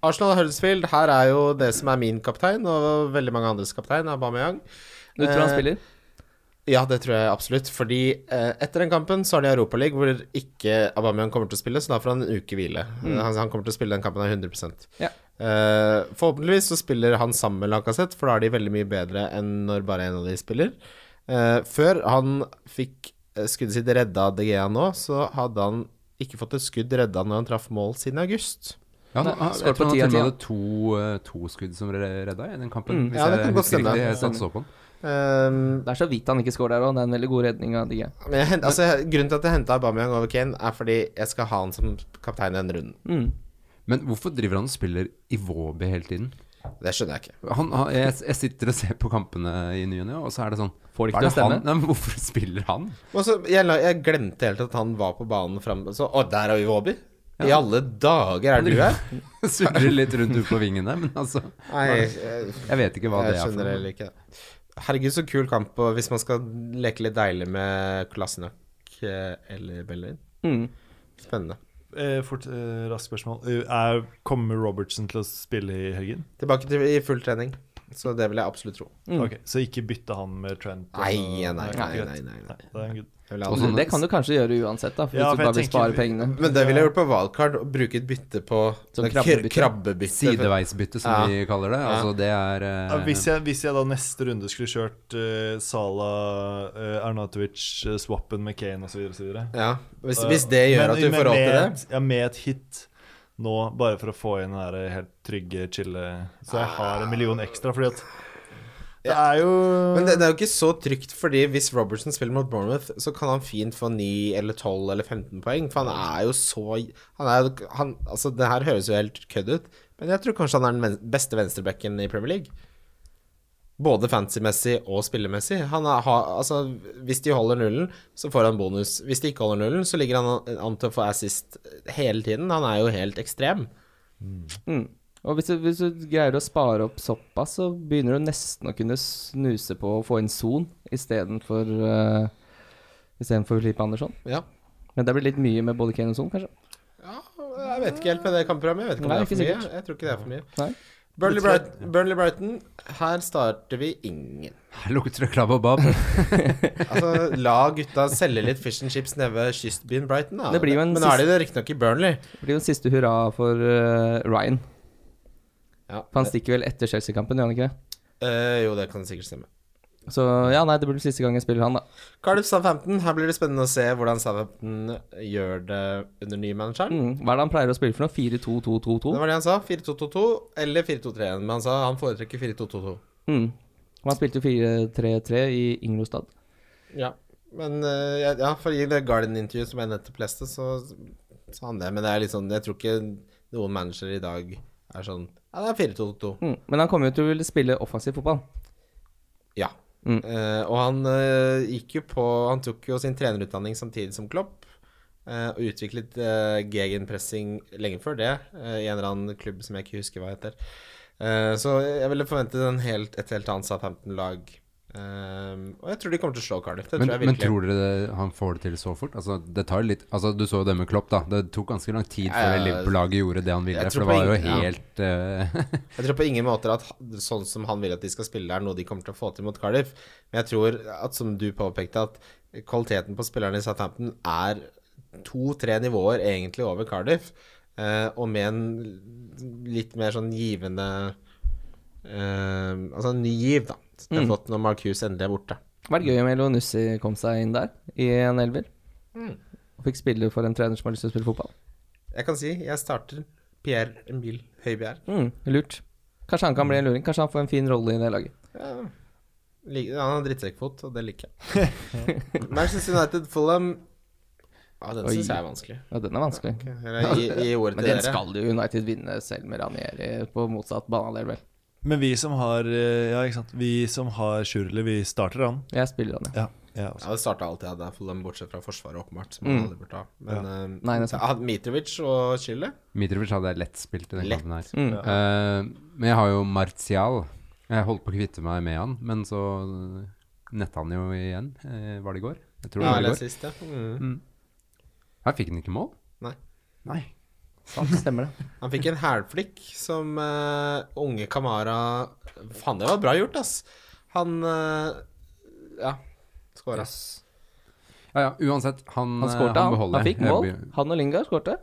Speaker 3: Arsenal og Huddersfield, her er jo det som er min kaptein, og veldig mange andres kaptein, Aubameyang.
Speaker 4: Du tror han
Speaker 3: Eh,
Speaker 4: spiller?
Speaker 3: Ja, det tror jeg absolutt. Fordi eh, etter den kampen så har de Europaliga hvor ikke Aubameyang kommer til å spille, så da får han en uke hvile. Eh, Han, han kommer til å spille den kampen her 100
Speaker 4: Ja.
Speaker 3: Eh, forhåpentligvis så spiller han sammen med Lacassette, for da er de veldig mye bedre enn når bare en av de spiller. Eh, før han fikk eh, skuddet sitt redda av DGA nå, så hadde han ikke fått et skudd redda når han traff mål siden august.
Speaker 5: Ja, han, han,
Speaker 4: skår
Speaker 5: jeg
Speaker 4: på
Speaker 5: tror han
Speaker 4: ti av ti,
Speaker 5: til og med
Speaker 4: ja.
Speaker 5: hadde to, eh, to skudd som ble redda i den kampen. hvis
Speaker 3: Ja, det
Speaker 5: jeg
Speaker 3: kan godt
Speaker 5: husker
Speaker 3: stemme.
Speaker 5: riktig. Jeg satt og så på den.
Speaker 3: Eh,
Speaker 4: Det er så vidt han ikke scorer der òg. Det er en veldig god redning av Digge.
Speaker 3: Men jeg, hent- altså, grunnen til at jeg henta Aubameyang over Kane, er fordi jeg skal ha han som kaptein denne runden.
Speaker 4: Mm.
Speaker 5: Men hvorfor driver han og spiller Iwobi hele tiden?
Speaker 3: Det skjønner jeg ikke.
Speaker 5: Han, han, jeg, jeg sitter og ser på kampene i ny og ne, og så er det sånn
Speaker 4: Får det ikke
Speaker 5: hva er
Speaker 4: til å
Speaker 5: han-
Speaker 4: stemme.
Speaker 5: Nei, men hvorfor spiller han?
Speaker 3: Og så, jeg, la- jeg glemte helt at han var på banen fram Så, å, der er Iwobi? I alle dager er du her?
Speaker 5: Surrer litt rundt ute på vingen der, men altså
Speaker 3: Nei, jeg,
Speaker 5: Jeg vet ikke hva
Speaker 3: jeg
Speaker 5: det er for
Speaker 3: skjønner
Speaker 5: noe.
Speaker 3: heller ikke det. Herregud, så kul kamp og hvis man skal leke litt deilig med Klassenak eller Bellerin.
Speaker 4: Mm.
Speaker 3: Spennende.
Speaker 6: Eh, fort, eh, raskt spørsmål. Eh, er, kommer Robertson til å spille i helgen?
Speaker 3: Tilbake til i full trening, så det vil jeg absolutt tro.
Speaker 4: Mm.
Speaker 6: Ok, Så ikke bytte han med Trent? og-
Speaker 3: Nei, nei, nei,
Speaker 6: greit.
Speaker 3: nei, nei, nei.
Speaker 6: det er en good.
Speaker 3: Jeg vil ha
Speaker 5: Og
Speaker 3: den.
Speaker 5: sånn-
Speaker 4: Det kan du kanskje gjøre uansett, da. For
Speaker 6: Ja,
Speaker 4: hvis du
Speaker 6: for jeg
Speaker 4: bare vil
Speaker 6: tenker-
Speaker 4: spare pengene.
Speaker 3: Men det ville jeg gjort på wildcard, å bruke et bytte på
Speaker 4: Som
Speaker 3: det er
Speaker 4: krabbebytte.
Speaker 3: kr- Sånn krabbebytte.
Speaker 5: Sideveisbytte, som
Speaker 3: Ja.
Speaker 5: vi kaller det. Altså, det er eh,
Speaker 6: Ja, hvis, jeg, hvis jeg da neste runde skulle kjørt eh, Salah, uh, Arnatovic, eh, swappen med Kane osv.
Speaker 3: Ja, hvis, hvis det gjør at du får råd til det
Speaker 6: Ja, Eh, med et hit nå, bare for å få inn den der eh, helt trygge, chille Så jeg har en million ekstra, fordi at det er jo
Speaker 3: Men det, det er jo ikke så trygt, fordi hvis Robertson spiller mot Bournemouth, så kan han fint få 9 eller 12 eller 15 poeng, for han er jo så Han er jo han, Altså, det her høres jo helt kødd ut, men jeg tror kanskje han er den ven- beste venstrebacken i Premier League. Både fancy-messig og spillemessig. Han er, ha, altså, hvis de holder nullen, så får han bonus. Hvis de ikke holder nullen, så ligger han an til å få assist hele tiden. Han er jo helt ekstrem.
Speaker 4: Mm. Og hvis du, hvis du greier å spare opp såpass, så begynner du nesten å kunne snuse på å få inn Son istedenfor uh, Istedenfor Filipe Andersson.
Speaker 3: Ja.
Speaker 4: Men det blir litt mye med både Kane og Son, kanskje.
Speaker 3: Jeg vet ikke helt med det kampprogrammet. Jeg vet ikke om
Speaker 4: Nei,
Speaker 3: det er for
Speaker 4: ikke
Speaker 3: mye. Jeg tror ikke det er for mye.
Speaker 4: Nei.
Speaker 3: Burnley Brighton, Burnley Brighton, her starter vi ingen.
Speaker 5: Lukter det klabb og bab?
Speaker 3: Altså, la gutta selge litt fish and chips nede ved kystbyen Brighton, da.
Speaker 4: Det blir jo en
Speaker 3: Men nå er
Speaker 4: siste-
Speaker 3: de det riktignok i Burnley.
Speaker 4: Det blir jo en siste hurra for eh, Ryan.
Speaker 3: Ja,
Speaker 4: For han stikker vel etter Chelsea-kampen, gjør han ikke det?
Speaker 3: eh, jo, det kan sikkert stemme.
Speaker 4: Så ja, nei, det blir siste gang jeg spiller han, da.
Speaker 3: Cardiff Southampton, her blir det spennende å se hvordan Southampton gjør det under nye manageren.
Speaker 4: Mm. Hva er det han pleier å spille for noe?
Speaker 3: Det
Speaker 4: 4-2-2-2-2?
Speaker 3: var det han sa. 4-2-2-2 eller 4-2-3-1. Men han sa han foretrekker 4-2-2-2.
Speaker 4: Mm. Og han spilte jo 4-3-3 i Inglostad.
Speaker 3: Ja. Men eh, ja, ja, for i det Guardian-intervjuet som jeg nettopp leste, så sa han det. Men det er litt sånn, jeg tror ikke noen manager i dag er sånn Ja, det er 4-2-2.
Speaker 4: Mm. Men han kommer jo til å ville spille offensiv fotball.
Speaker 3: Ja.
Speaker 4: Mm.
Speaker 3: Eh, og han eh, gikk jo på Han tok jo sin trenerutdanning samtidig som Klopp. eh, og utviklet uh, gegenpressing lenge før det, eh, i en eller annen klubb som jeg ikke husker hva heter. Eh, så jeg ville forventet en helt, et helt annet Southampton-lag. Eh, og jeg tror de kommer til å slå Cardiff. Det
Speaker 5: Men,
Speaker 3: tror jeg
Speaker 5: men
Speaker 3: virkelig.
Speaker 5: tror dere det, han får det til så fort? Altså, det tar jo litt Altså, du så jo det med Klopp, da. Det tok ganske lang tid før
Speaker 3: Ja, ja,
Speaker 5: Liverpool-laget gjorde det han ville.
Speaker 3: jeg
Speaker 5: For
Speaker 3: tror
Speaker 5: det var jo
Speaker 3: på ingen- ja.
Speaker 5: helt eh,
Speaker 3: Jeg tror på ingen måter at ha- sånn som han vil at de skal spille, er noe de kommer til å få til mot Cardiff. Men jeg tror at, som du påpekte, at kvaliteten på spillerne i Southampton er to-tre nivåer egentlig over Cardiff. Eh, og med en litt mer sånn givende eh, Altså en ny giv, da. Så Det er flott når Mark Hughes endelig er borte.
Speaker 4: Vært gøy om Elonussi kom seg inn der, i en elver.
Speaker 5: Mm.
Speaker 4: Og fikk spille for en trener som har lyst til å spille fotball.
Speaker 3: Jeg kan si jeg starter Pierre Emil Høibjerg.
Speaker 4: Mm. Lurt. Kanskje han kan bli en luring. Kanskje han får en fin rolle i det laget.
Speaker 3: Ja. Lik- Han har drittsekkfot, og det liker jeg. Manchester United Fulham Ja, den
Speaker 4: Oi.
Speaker 3: syns jeg er vanskelig.
Speaker 4: Ja, den er vanskelig.
Speaker 3: Eller gi, gi ordet
Speaker 4: Men
Speaker 3: til
Speaker 4: den
Speaker 3: dere.
Speaker 4: skal jo United vinne selv med Ranieri på motsatt banehalvdel, vel.
Speaker 6: Men vi som har eh, Ja, ikke sant. Vi som har Sjurli, vi starter han.
Speaker 4: Jeg spiller han, ja.
Speaker 6: Ja, altså. jeg også.
Speaker 3: Ja, det starta alltid jeg der, Fulham, bortsett fra Forsvaret, åpenbart. Som han aldri burde ha. Men eh,
Speaker 4: Mm. Nei, det er sant.
Speaker 3: jeg hadde Mitrovic og Chile.
Speaker 5: Mitrovic hadde lett spilt i den
Speaker 3: Lett.
Speaker 5: kampen her.
Speaker 4: Mm.
Speaker 5: Eh, men jeg har jo Martial Jeg holdt på å kvitte meg med han, men så netta han jo igjen. Eh, var det i går? Jeg tror det
Speaker 3: Ja,
Speaker 5: var
Speaker 3: eller
Speaker 5: i går.
Speaker 3: sist, ja. Mm.
Speaker 5: Mm. Her fikk han ikke mål.
Speaker 3: Nei.
Speaker 5: Nei.
Speaker 4: Sant, stemmer det.
Speaker 3: Han fikk en hælflikk som eh, unge Kamara Faen, det var bra gjort, ass. Han eh, Ja. Skåra.
Speaker 5: Ja ja, uansett. Han,
Speaker 4: Han
Speaker 5: eh,
Speaker 4: skårte, han. Han,
Speaker 5: beholder.
Speaker 4: fikk
Speaker 5: Jeg
Speaker 4: mål.
Speaker 5: blir-
Speaker 4: Han og Lingard skårte.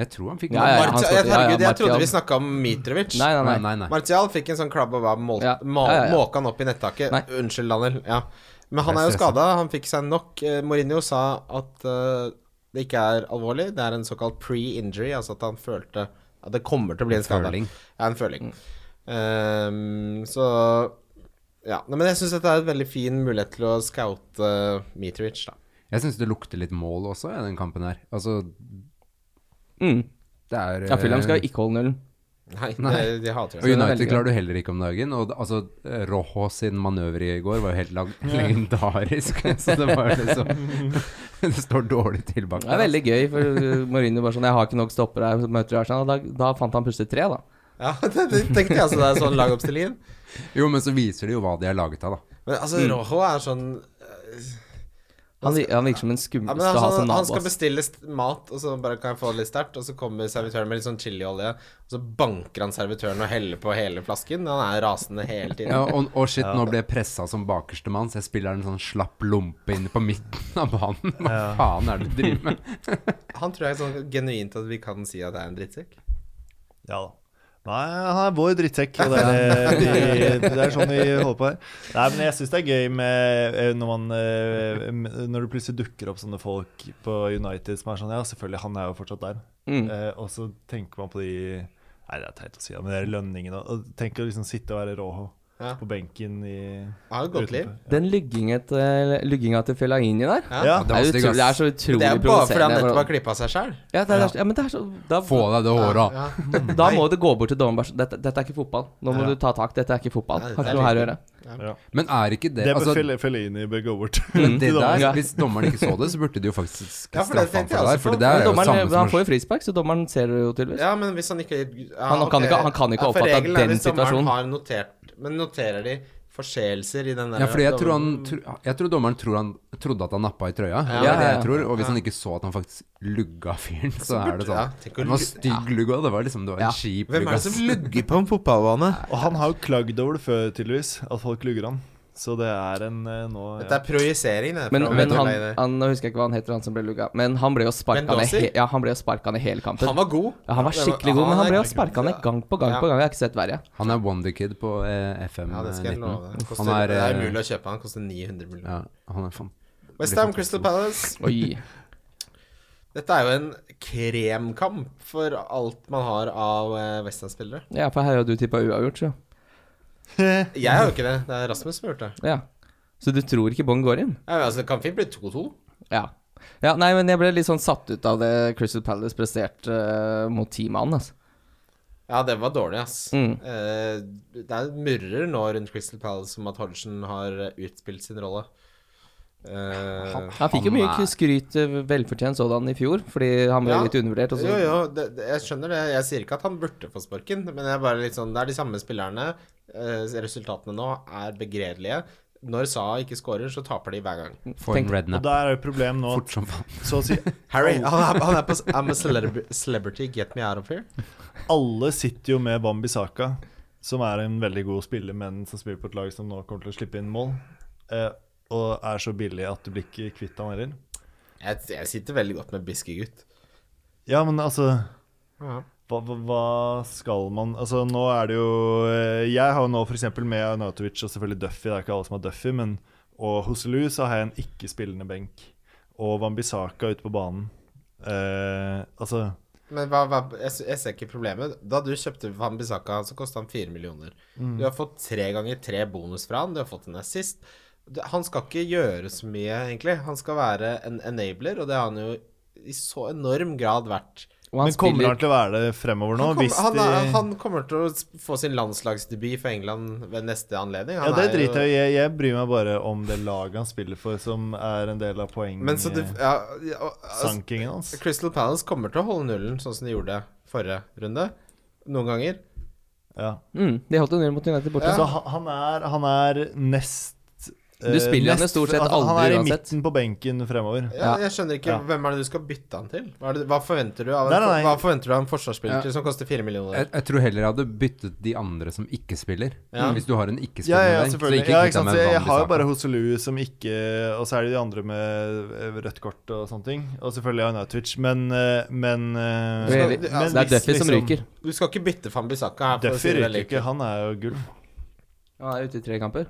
Speaker 5: Jeg tror han fikk
Speaker 4: Ja,
Speaker 5: mål.
Speaker 4: ja, ja.
Speaker 3: Marti-
Speaker 4: han skårte, ja,
Speaker 3: jeg,
Speaker 4: ja,
Speaker 3: herregud, jeg trodde
Speaker 4: Martial.
Speaker 3: vi snakka om Mitrovic.
Speaker 4: Nei, nei,
Speaker 5: Nei,
Speaker 4: nei.
Speaker 5: nei, nei.
Speaker 3: Martial fikk en sånn klabb og var målt,
Speaker 4: Ja.
Speaker 3: må-
Speaker 4: Ja, ja, ja.
Speaker 3: måka han opp i nettaket.
Speaker 4: Nei.
Speaker 3: Unnskyld, Daniel. Ja. Men han
Speaker 5: Jeg
Speaker 3: er jo
Speaker 5: ser
Speaker 3: skada. Han fikk seg nok. Eh, Mourinho sa at eh, det ikke er alvorlig. Det er en såkalt pre-injury, altså at han følte at det kommer til å bli en skade.
Speaker 5: Føling.
Speaker 3: Ja, en
Speaker 4: Mm.
Speaker 3: føling. Ehm, så Ja. Nei, men jeg syns dette er en veldig fin mulighet til å scoute eh, Mitrovic, da.
Speaker 5: Jeg syns det lukter litt mål også i den kampen her. Altså,
Speaker 4: Mm.
Speaker 5: det er
Speaker 4: Ja, Fulham skal
Speaker 5: eh,
Speaker 4: ikke holde nullen.
Speaker 3: Nei,
Speaker 5: Nei.
Speaker 3: Det, de hater det.
Speaker 5: Og
Speaker 4: det er
Speaker 5: United
Speaker 4: veldig
Speaker 5: klarer du heller ikke om dagen. Og d- altså, eh, Rojo sin manøver i går var jo helt lag- legendarisk. Så det var jo liksom Det står dårlig til bak
Speaker 4: Det er veldig gøy, for uh, Mourinho bare sånn 'Jeg har ikke nok stoppere her', så møter Arsenal. Da, da fant han plutselig tre, da.
Speaker 3: Ja, det, det tenkte jeg altså. Det er sånn lagoppstillingen.
Speaker 5: Jo, men så viser de jo hva de er laget av, da.
Speaker 3: Men altså, Rojo er sånn
Speaker 4: Han, vi- han virker som en
Speaker 3: Ja,
Speaker 4: skumleste
Speaker 3: men han,
Speaker 4: å ha
Speaker 3: sånn-
Speaker 4: som
Speaker 3: han skal
Speaker 4: nabo. ass.
Speaker 3: bestille st- mat, og så bare kan jeg få litt sterkt. Og så kommer servitøren med litt sånn chiliolje, og så banker han servitøren og heller på hele flasken. Han er rasende hele tiden.
Speaker 5: Ja, og, og shit, nå ble jeg pressa som bakerste mann, så jeg spiller en sånn slapp lompe inne på midten av banen. Hva
Speaker 6: Ja.
Speaker 5: faen er det du driver med?
Speaker 3: Han tror jeg sånn genuint at vi kan si at det er en drittsekk.
Speaker 6: Ja da. Nei, han er vår drittsekk. Og det, er, vi, det er sånn vi holder på her. Nei, men jeg syns det er gøy med eh, når, man, eh, m- når det plutselig dukker opp sånne folk på United som er sånn Ja, selvfølgelig, han er jo fortsatt der.
Speaker 5: Mm.
Speaker 6: Eh, og så tenker man på de Nei, det er teit å si, det, men det er lønningene. Og tenk å liksom sitte og være råhå
Speaker 3: Ja.
Speaker 6: på benken i
Speaker 3: Han har et godt liv.
Speaker 6: utenfor.
Speaker 4: Den lygginga til, lygginga til Fellaini der
Speaker 3: Ja.
Speaker 6: Ja.
Speaker 4: er
Speaker 5: Det var
Speaker 4: utrolig,
Speaker 5: stygg,
Speaker 4: det er
Speaker 5: ass.
Speaker 4: så utrolig
Speaker 3: Det er bare fordi han
Speaker 4: provoserende.
Speaker 3: nettopp har
Speaker 4: hvordan-
Speaker 3: klippa seg sjæl.
Speaker 4: Ja, det er, ja, men det er så da,
Speaker 5: Få av deg det håret.
Speaker 3: Ja.
Speaker 6: Mm.
Speaker 4: da må det gå bort til dommeren bare sånn, dette, 'Dette er ikke fotball. Nå må
Speaker 6: Ja.
Speaker 4: du ta tak. Dette er ikke fotball.
Speaker 3: Ja, det
Speaker 4: Har
Speaker 3: er
Speaker 4: ikke noe her å
Speaker 3: litt-
Speaker 4: gjøre.'
Speaker 5: Men er ikke det
Speaker 6: Det
Speaker 5: altså,
Speaker 6: bør Fel- Fellaini bør gå bort.
Speaker 5: men det
Speaker 6: til dommeren.
Speaker 5: der,
Speaker 4: Ja.
Speaker 5: Hvis dommeren ikke så det, så burde de jo faktisk
Speaker 3: Ja, for det
Speaker 5: straffe han
Speaker 3: tenkte jeg også
Speaker 5: for det der. For
Speaker 3: på.
Speaker 5: det
Speaker 4: Men
Speaker 5: er jo det
Speaker 4: dommeren, eh,
Speaker 5: samme som
Speaker 4: han får jo frispark, så dommeren ser det jo tydeligvis.
Speaker 3: Ja, men hvis han ikke ja,
Speaker 4: Han kan
Speaker 3: ok.
Speaker 4: ikke- han kan ikke
Speaker 3: Ja, for
Speaker 4: oppfatte
Speaker 3: regelen er
Speaker 4: den
Speaker 3: hvis dommeren
Speaker 4: situasjonen.
Speaker 3: Har notert, men noterer de forseelser i den der
Speaker 5: Ja, fordi jeg tror, han, tro- jeg tror dommeren tror han, trodde at han nappa i trøya. det
Speaker 4: Ja,
Speaker 5: er det
Speaker 4: ja,
Speaker 5: jeg
Speaker 4: ja.
Speaker 5: tror. Og hvis han ikke så at han faktisk lugga fyren, så er det
Speaker 3: ja,
Speaker 5: sånn.
Speaker 3: tenk å
Speaker 5: Det var
Speaker 3: lugge-
Speaker 5: stygg lugg òg. Det var liksom det var
Speaker 4: Ja.
Speaker 5: en kjip
Speaker 3: Hvem
Speaker 5: lugg.
Speaker 3: er det
Speaker 5: ass.
Speaker 3: som lugger på en fotballbane?
Speaker 6: Og han har jo klagd over det før, tydeligvis, at folk lugger han. Så det er en eh, nå ja.
Speaker 3: Dette er projisering, det.
Speaker 4: Men,
Speaker 3: fra-
Speaker 4: men han,
Speaker 3: Fellaini.
Speaker 4: han Nå husker jeg ikke hva han heter, han som ble lugga. Men han ble jo sparka ned,
Speaker 3: Mendozzi?
Speaker 4: he, ja, han ble jo sparka ned hele kampen.
Speaker 3: Han var god.
Speaker 4: ja, han var skikkelig god, men han ble jo sparka ned gang på gang
Speaker 3: Ja.
Speaker 4: på gang. Jeg har ikke sett verre.
Speaker 5: Han er Wonderkid på eh, FM19.
Speaker 3: Ja, det skal jeg love deg. Koster,
Speaker 5: Han er,
Speaker 3: det er
Speaker 5: eh,
Speaker 3: umulig å kjøpe, han koster 900 millioner.
Speaker 5: ja, han er fan.
Speaker 3: West Westham Crystal Palace.
Speaker 4: Oi.
Speaker 3: Dette er jo en kremkamp for alt man har av eh, Westham-spillere.
Speaker 4: Ja, for her har du tippa uavgjort, så.
Speaker 3: Jeg har jo ikke det. Det er Rasmus som har gjort det.
Speaker 4: Ja. Så du tror ikke Bong går inn?
Speaker 3: Ja, men altså, det kan fint bli 2-2.
Speaker 4: Ja. ja. Nei, men jeg ble litt sånn satt ut av det Crystal Palace presterte eh, mot ti mann, altså.
Speaker 3: Ja, det var dårlig, ass.
Speaker 4: Mm.
Speaker 3: Eh, det er murrer nå rundt Crystal Palace om at Hodgson har utspilt sin rolle. Eh,
Speaker 4: Han fikk jo
Speaker 5: Han
Speaker 4: mye
Speaker 5: er-
Speaker 4: skryt, eh, velfortjent sådan, i fjor, fordi han ble
Speaker 3: Ja.
Speaker 4: litt undervurdert. Og sånn. så
Speaker 3: jo, jo, det, det, jeg skjønner det. Jeg sier ikke at han burde få sparken, men jeg er bare litt sånn, det er de samme spillerne. Eh, resultatene nå er begredelige. Når Saha ikke skårer, så taper de hver gang.
Speaker 5: Få en
Speaker 4: Tenk-
Speaker 6: Og
Speaker 5: rednap
Speaker 6: der er jo problemet nå
Speaker 5: fort
Speaker 6: at
Speaker 5: som faen.
Speaker 6: så å si
Speaker 3: Harry, han er, han er på s- I'm a celeb- celebrity, get me out of here.
Speaker 6: alle sitter jo med Bambi Saka, som er en veldig god spiller, men som spiller på et lag som nå kommer til å slippe inn mål, eh, og er så billig at du blir ikke kvitt han heller.
Speaker 3: Jeg, jeg sitter veldig godt med Biskegutt.
Speaker 6: Ja, men altså
Speaker 3: Ja.
Speaker 6: hva, hva, hva skal man Altså, nå er det jo eh, Jeg har jo nå f.eks. med Arnautovic og selvfølgelig Duffy, det er ikke alle som har Duffy, men og Hosselu så har jeg en ikke-spillende benk. Og Wambisaka ute på banen. Eh, altså
Speaker 3: Men hva, hva, jeg, s- jeg ser ikke problemet. Da du kjøpte Van Bissaka, så kosta han fire millioner.
Speaker 6: Mm.
Speaker 3: Du har fått tre ganger tre bonus fra han, du har fått en assist. Du, han skal ikke gjøre så mye, egentlig. Han skal være en enabler, og det har han jo i så enorm grad vært.
Speaker 4: og han
Speaker 6: Men kommer
Speaker 4: spiller
Speaker 6: han til å være det fremover nå?
Speaker 3: Han, kommer-
Speaker 6: hvis
Speaker 3: han,
Speaker 6: de...
Speaker 3: er- han kommer til å s- få sin landslagsdebut for England ved neste anledning.
Speaker 6: ja,
Speaker 3: Han
Speaker 6: det
Speaker 3: er jo-
Speaker 6: driter jeg i. Jeg- Jeg bryr meg bare om det laget han spiller for, som er en del av
Speaker 3: Men så du,
Speaker 6: poengsankingen
Speaker 3: ja, ja, altså,
Speaker 6: hans.
Speaker 3: Crystal Palace kommer til å holde nullen, sånn som de gjorde forrige runde. Noen ganger.
Speaker 6: Ja.
Speaker 4: Mm, de holdt en null mot United borte.
Speaker 6: Så han- han er, han er nest eh,
Speaker 4: Du spiller han jo
Speaker 6: nest-
Speaker 4: stort sett
Speaker 6: altså, Han
Speaker 4: aldri
Speaker 6: er i
Speaker 4: uansett.
Speaker 6: midten på benken fremover.
Speaker 3: Ja,
Speaker 4: Ja.
Speaker 3: jeg skjønner ikke
Speaker 6: Ja.
Speaker 3: Hvem er det du skal bytte han til? Hva, er det, hva, forventer, du av en,
Speaker 6: Nei, nei, nei.
Speaker 3: hva forventer du av en forsvarsspiller
Speaker 5: Ja.
Speaker 3: til som koster fire millioner?
Speaker 5: Jeg, jeg tror heller jeg hadde byttet de andre som ikke spiller.
Speaker 3: Ja.
Speaker 5: Hvis du har en
Speaker 6: Ja,
Speaker 5: ikke-spiller
Speaker 6: ja, ja,
Speaker 5: der.
Speaker 6: selvfølgelig.
Speaker 5: ikke
Speaker 6: Ja,
Speaker 5: kvitt
Speaker 6: ikke sant?
Speaker 5: deg
Speaker 6: Så
Speaker 5: med
Speaker 6: jeg
Speaker 5: Van
Speaker 6: har jo
Speaker 5: Bissaka.
Speaker 6: bare Hoselu som ikke Og så er det de andre med eh, rødt kort og sånne ting. Og selvfølgelig Arnautovic, men eh, Men, eh,
Speaker 4: Det er-
Speaker 6: men
Speaker 3: det er
Speaker 4: Det er
Speaker 6: hvis
Speaker 4: Duffy som
Speaker 6: liksom-
Speaker 4: ryker.
Speaker 3: Du skal ikke bytte Fambisaka her. for å si
Speaker 6: Duffy
Speaker 3: det veldig
Speaker 6: ryker ikke,
Speaker 3: enkelt.
Speaker 6: han er jo gull.
Speaker 4: Han er ute i tre kamper.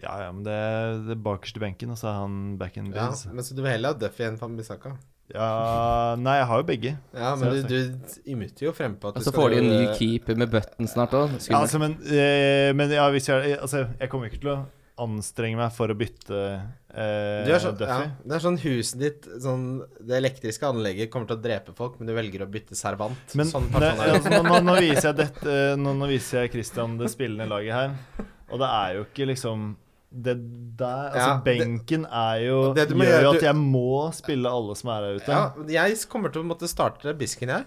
Speaker 6: Ja, ja, men det er det er bakerst i benken, og så er han back in
Speaker 3: Ja,
Speaker 6: biz.
Speaker 3: men Så du vil heller ha Duffy enn Fambisaka?
Speaker 6: Ja, nei, jeg har jo begge.
Speaker 3: Ja, men du, du imuter jo eh, frempå at
Speaker 4: Og
Speaker 3: du
Speaker 4: så
Speaker 3: skal
Speaker 4: får de en ny
Speaker 3: gjøre-
Speaker 4: keeper med button snart òg.
Speaker 6: Ja, altså, men, eh, men ja, hvis jeg Altså, jeg kommer ikke til å anstrenge meg for å bytte eh,
Speaker 3: Du er sånn, ja,
Speaker 6: Duffy.
Speaker 3: det er sånn huset ditt sånn, Det elektriske anlegget kommer til å drepe folk, men du velger å bytte servant.
Speaker 6: Men
Speaker 3: sånn
Speaker 6: det,
Speaker 3: person er
Speaker 6: altså, nå, nå, nå viser jeg dette Nå, nå viser jeg Christian det spillende laget her, og det er jo ikke liksom det der, altså
Speaker 3: Ja, det-
Speaker 6: Benken er jo
Speaker 3: Det du må
Speaker 6: gjør jo
Speaker 3: gjøre,
Speaker 6: at
Speaker 3: du-
Speaker 6: jeg må spille alle som er her ute.
Speaker 3: Ja, jeg kommer til å måtte starte bisken her.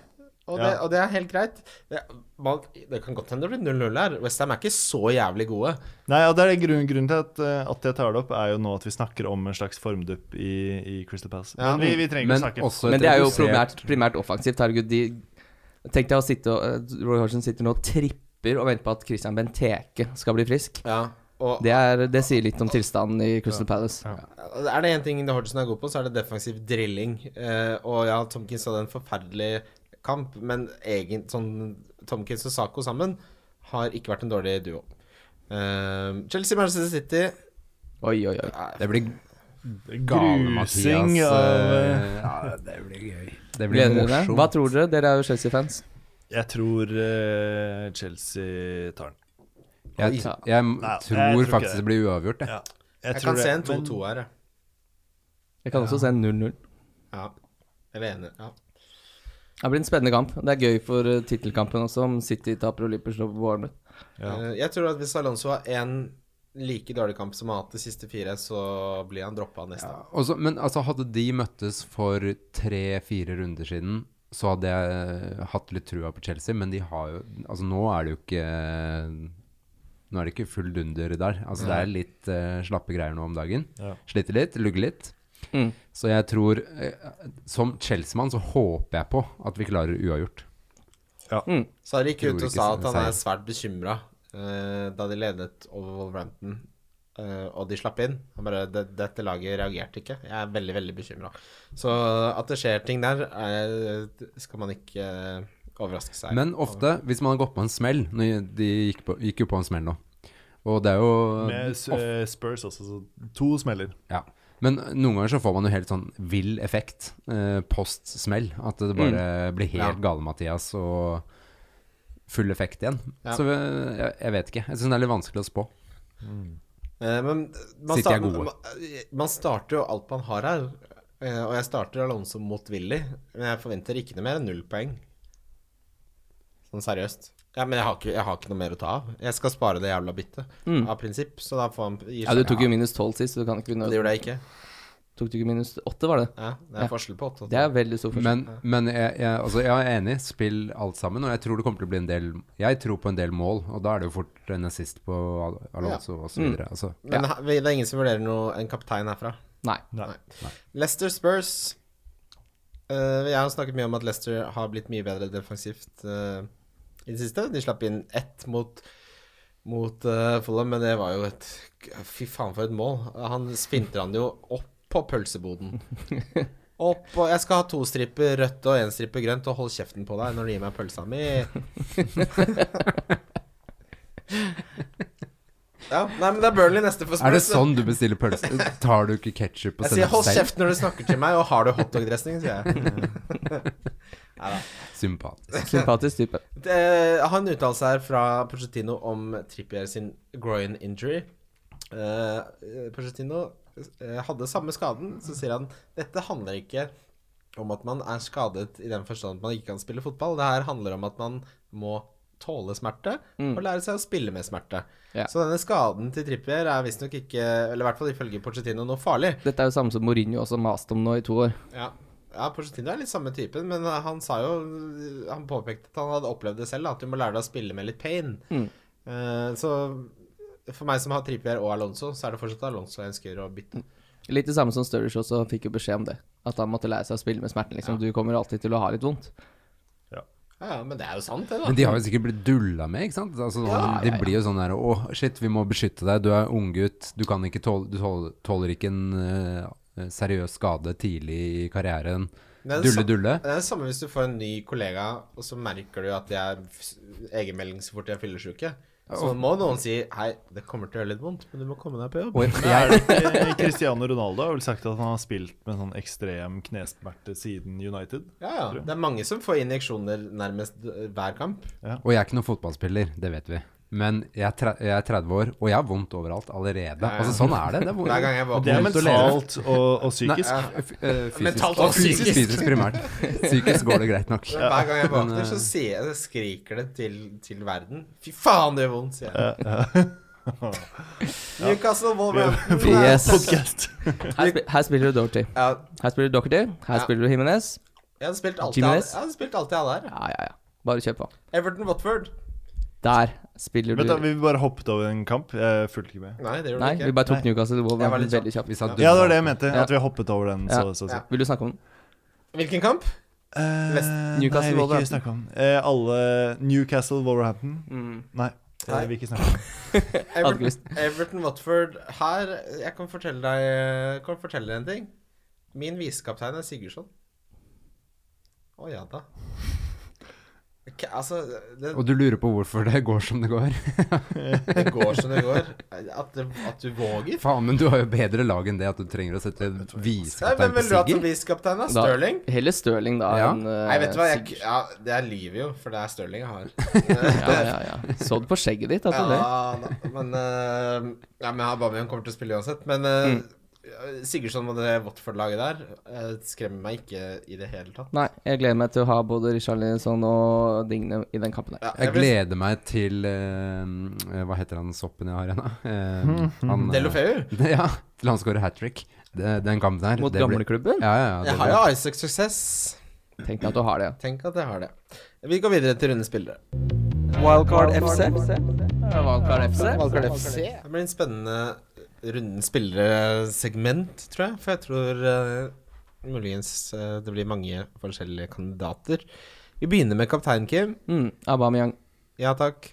Speaker 3: Og, det,
Speaker 6: sånn- Ja.
Speaker 3: og det er helt greit. Det, man, det kan godt hende det blir 0-0 her. Westham er ikke så jævlig gode.
Speaker 6: Nei, og det er grunn, Grunnen til at, eh, at jeg tar det opp, er jo nå at vi snakker om en slags formdupp i, i Crystal Palace.
Speaker 3: Ja,
Speaker 6: men vi, vi trenger
Speaker 5: Men
Speaker 6: ikke snakke
Speaker 5: også et
Speaker 4: Men det er jo
Speaker 5: redusert-
Speaker 4: primært, primært offensivt. Herregud, de Tenk deg å sitte og eh, Roy Hodgson sitter nå og tripper og venter på at Christian Benteke skal bli frisk.
Speaker 3: Og
Speaker 4: Det, er, det sier litt om tilstanden i Crystal Palace.
Speaker 3: er det én ting Hodgson er god på, så er det defensiv drilling. Eh, og ja, Tomkins hadde en forferdelig kamp, men egen, sånn, Tomkins og Sako sammen har ikke vært en dårlig duo. Eh, Chelsea Manchester City
Speaker 4: Oi, oi, oi.
Speaker 5: Det blir gale
Speaker 6: grusing
Speaker 5: Mathias.
Speaker 6: av eh,
Speaker 5: eh, Ja, det blir gøy. Det blir
Speaker 4: Gleder dere dere?
Speaker 5: morsomt.
Speaker 4: Hva tror dere? Dere er jo Chelsea-fans.
Speaker 6: Jeg tror eh, Chelsea tar den.
Speaker 5: Jeg,
Speaker 4: Ja.
Speaker 5: jeg m-
Speaker 6: Nei, jeg tror
Speaker 5: tror
Speaker 6: ikke
Speaker 5: faktisk
Speaker 6: det.
Speaker 5: det blir uavgjort, jeg.
Speaker 6: Ja.
Speaker 3: Jeg, kan se en 2-2 her, jeg.
Speaker 4: Jeg kan også se 0-0.
Speaker 3: Ja. Eller enig. Ja.
Speaker 4: Det blir en spennende kamp. Det er gøy for eh, tittelkampen også, om City taper og Lippers slår på Bournemouth.
Speaker 6: Ja.
Speaker 3: Eh, Jeg tror at hvis Alonso har én like dårlig kamp som han har hatt de siste fire, så blir han droppa neste.
Speaker 5: Ja, og så- men altså, hadde de møttes for tre-fire runder siden, så hadde jeg eh, hatt litt trua på Chelsea, men de har jo Altså, nå er det jo ikke Nå er det ikke full dunder der. Altså, det er litt eh, slappe greier nå om dagen.
Speaker 6: Ja.
Speaker 5: Sliter litt, lugger litt.
Speaker 4: Mm.
Speaker 5: Så jeg tror eh, Som Chelsea-mann så håper jeg på at vi klarer uavgjort.
Speaker 6: Mm.
Speaker 3: Så har de gikk
Speaker 5: Tror
Speaker 3: ut og
Speaker 5: ikke
Speaker 3: sa
Speaker 5: så-
Speaker 3: at han
Speaker 5: seier.
Speaker 3: er svært bekymra da de ledet over Wolverhampton. eh, og de slapp inn. Han bare "Det- 'Dette laget reagerte ikke'. Jeg er veldig, veldig bekymra. Så at det skjer ting der, er, skal man ikke eh, overraske seg.
Speaker 5: Men ofte, hvis man har gått på en smell nå- De gikk, på, gikk jo på en smell nå. Og det er jo
Speaker 6: Med s- eh, Spurs også, så to smeller.
Speaker 5: Ja. Men noen ganger så får man jo helt sånn vill effekt eh, post smell. At det bare
Speaker 3: Mm.
Speaker 5: blir helt gale, Mathias, og full effekt igjen.
Speaker 3: Ja.
Speaker 5: Så eh, jeg, jeg vet ikke. Jeg syns det er litt vanskelig å spå.
Speaker 3: Eh, men man,
Speaker 5: City er
Speaker 3: start,
Speaker 5: gode.
Speaker 3: man, man starter jo alt man har her. eh, og jeg starter Alonso motvillig, men jeg forventer ikke noe mer enn null poeng. Sånn seriøst. Ja, Men jeg har, ikke, jeg har ikke noe mer å ta av. Jeg skal spare det jævla byttet av prinsipp. Så da får han gir
Speaker 4: Mm. Ja, du tok jo minus 12 sist, så du kan ikke
Speaker 3: Det
Speaker 4: begynne
Speaker 3: gjorde jeg ikke.
Speaker 4: Tok du ikke minus 8, var det?
Speaker 3: Ja, det er
Speaker 4: Ja.
Speaker 3: forskjell på åtte og
Speaker 4: Det er veldig stor forskjell.
Speaker 5: Men, men jeg, jeg, altså, jeg er enig. Spill alt sammen. Og jeg tror det kommer til å bli en del Jeg tror på en del mål, og da er det jo fort en assist på Al- Alonso og så
Speaker 3: Mm.
Speaker 5: videre. Altså,
Speaker 3: Men her- vi- det er ingen som vurderer noe, en kaptein herfra.
Speaker 4: Nei.
Speaker 6: Nei.
Speaker 3: Leicester Spurs. Eh, jeg har snakket mye om at Leicester har blitt mye bedre defensivt eh, i det siste. De slapp inn ett mot, mot eh, Fulham, men det var jo et Fy faen, for et mål. Han spinter han jo opp på pølseboden. Opp og Jeg skal ha to striper rødt og én stripe grønt, og hold kjeften på deg når du gir meg pølsa mi. ja, nei, men det er Burnley neste for Spurs.
Speaker 5: er det
Speaker 3: da.
Speaker 5: sånn du bestiller pølse? Tar du ikke ketsjup og
Speaker 3: Jeg sier
Speaker 5: sennep
Speaker 3: 'hold
Speaker 5: selv?
Speaker 3: kjeft når du snakker til meg', og 'har du hotdog-dressing', sier jeg.
Speaker 5: Sympatisk.
Speaker 4: Sympatisk type.
Speaker 3: Det, jeg har en uttalelse her fra Pochettino om Trippier sin groin injury. Eh, Pochettino eh, hadde samme skaden, så sier han dette handler ikke om at man er skadet i den forstand at man ikke kan spille fotball. Det her handler om at man må tåle smerte og lære seg å spille med smerte.
Speaker 4: Ja.
Speaker 3: Så denne skaden til Trippier er visstnok ikke, eller i hvert fall ifølge Pochettino, noe farlig.
Speaker 4: Dette er jo samme som Mourinho også maste om nå i to år.
Speaker 3: Ja. Ja, Pochettino er litt samme typen, men eh, han sa jo Han påpekte at han hadde opplevd det selv, da, at du må lære deg å spille med litt pain.
Speaker 4: Mm.
Speaker 3: Eh, så for meg som har Trippier og Alonso, så er det fortsatt Alonso jeg ønsker å bytte.
Speaker 5: Mm.
Speaker 4: Litt det samme som Sturridge også fikk jo beskjed om det. At han måtte lære seg å spille med smerten. liksom. Du kommer alltid til å ha litt vondt.
Speaker 3: Ja, ja, men det er jo sant, det, da.
Speaker 5: Men de har jo sikkert blitt dulla med, ikke sant? Altså, sånn, De blir jo sånn der Å, shit, vi må beskytte deg. Du er unggutt. Du kan ikke tåle Du tåler, tåler ikke en eh, seriøs skade tidlig i karrieren.
Speaker 3: Det er det
Speaker 5: Dulle,
Speaker 3: sam-
Speaker 5: dulle.
Speaker 3: Det er det samme hvis du får en ny kollega, og så merker du at de er f- egenmelding så fort de er fyllesyke. Så må noen si 'hei, det kommer til å gjøre litt vondt, men du må komme deg på jobb'.
Speaker 5: Og jeg,
Speaker 6: Eh, Cristiano Ronaldo har vel sagt at han har spilt med sånn ekstrem knesmerte siden United.
Speaker 3: Ja, ja. Det er mange som får injeksjoner nærmest eh, hver kamp.
Speaker 5: og jeg er ikke noen fotballspiller, det vet vi. Men jeg er, tre, jeg er 30 år, og jeg har vondt overalt allerede.
Speaker 3: ja.
Speaker 5: Altså, sånn er det. Det er,
Speaker 3: Hver gang jeg var
Speaker 6: Det er
Speaker 3: på
Speaker 5: vondt å leve.
Speaker 6: mentalt og, og
Speaker 5: Nei,
Speaker 6: psykisk.
Speaker 5: eh, f- eh, fysisk.
Speaker 3: Mentalt og
Speaker 5: Fysisk,
Speaker 3: psykisk.
Speaker 5: fysisk primært. Psykisk går det greit nok.
Speaker 3: Hver gang jeg
Speaker 5: Men,
Speaker 3: våkner,
Speaker 5: eh,
Speaker 3: så sier jeg, skriker det til, til verden. Fy faen, det gjør vondt, sier jeg. Newcastle Wolverhampton. eh,
Speaker 4: Yes.
Speaker 6: Podcast.
Speaker 4: Her, spi her spiller du Dorothy.
Speaker 3: Ja,
Speaker 4: Her spiller du Doherty. Her
Speaker 3: Ja.
Speaker 4: spiller du Jimenez.
Speaker 3: jeg hadde spilt alt jeg hadde-
Speaker 4: Jimenez?
Speaker 3: jeg hadde spilt alt jeg hadde her.
Speaker 4: Ja, ja, ja. Bare kjør på.
Speaker 3: Everton Watford.
Speaker 4: Der spiller
Speaker 6: Vent da,
Speaker 4: du
Speaker 6: vi bare hoppet over en kamp. Jeg fulgte ikke med.
Speaker 3: Nei, det gjorde
Speaker 4: Nei,
Speaker 3: du
Speaker 4: vi
Speaker 3: ikke.
Speaker 4: bare tok Newcastle
Speaker 3: Jeg var
Speaker 4: Wolverhampton
Speaker 3: litt sånn-
Speaker 4: veldig kjapt.
Speaker 5: Vi sa dulle.
Speaker 6: Ja, det var det jeg mente.
Speaker 4: Ja.
Speaker 6: At vi hoppet over den.
Speaker 4: Ja.
Speaker 6: Så, så, så.
Speaker 3: Ja.
Speaker 4: Vil du snakke om den?
Speaker 3: Hvilken kamp?
Speaker 6: Eh,
Speaker 4: Newcastle,
Speaker 3: West-
Speaker 6: nei, vi vil ikke
Speaker 4: Wolverhampton.
Speaker 6: snakke om eh, alle Newcastle Wolverhampton. Nei, det
Speaker 3: Nei.
Speaker 6: vil vi ikke snakke om.
Speaker 4: Hadde ikke visst.
Speaker 3: Everton, Everton Watford her Jeg kan fortelle deg jeg kan fortelle deg en ting. Min visekaptein er Sigurdsson. Å ja da. Ok, altså det,
Speaker 5: Og du lurer på hvorfor det går som det går.
Speaker 3: det går som det går. At, det, at du våger.
Speaker 5: Faen, men du har jo bedre lag enn det at du trenger å sette
Speaker 3: Nei,
Speaker 5: visekaptein
Speaker 3: Hvem
Speaker 5: på
Speaker 3: vil du ha som
Speaker 5: Sigurd.
Speaker 3: visekaptein, da?
Speaker 4: Da-
Speaker 3: Stirling?
Speaker 4: Heller Stirling, da.
Speaker 5: Ja.
Speaker 4: enn eh,
Speaker 3: Nei, vet du hva, jeg,
Speaker 4: Sigurd.
Speaker 3: ja, det er lyver jo, for det er Stirling jeg har. Eh,
Speaker 4: Ja, ja, ja. Så du på skjegget ditt? at
Speaker 3: Ja,
Speaker 4: du det?
Speaker 3: da, men uh, ja, men Aubameyang kommer til å spille uansett. Men eh,
Speaker 5: Mm.
Speaker 3: Sigurdsson og det Watford-laget der eh, skremmer meg ikke i det hele tatt.
Speaker 4: Nei, jeg gleder meg til å ha både Richarlison og Digne i den kampen der.
Speaker 3: Ja,
Speaker 5: Jeg
Speaker 3: vil-
Speaker 5: gleder meg til eh, Hva heter han soppen jeg har igjen, da? Eh, han, eh,
Speaker 3: Delofeu.
Speaker 5: Ja. Til han scorer hat trick. Det, den kampen her.
Speaker 4: Mot
Speaker 5: det blir-
Speaker 4: gamleklubben?
Speaker 5: Ja, ja, ja. det
Speaker 3: Jeg har jo Isaac Success.
Speaker 4: Tenk deg at du har det.
Speaker 3: Tenk at jeg har det. Vi går videre til runde spillere.
Speaker 1: Wildcard FC.
Speaker 4: Valkar FC?
Speaker 3: Valgard FC. Det blir en spennende runden spillere-segment, tror jeg. For jeg tror eh, muligens eh, det blir mange forskjellige kandidater. Vi begynner med kaptein Kim.
Speaker 4: Mm, Aubameyang.
Speaker 3: Ja takk.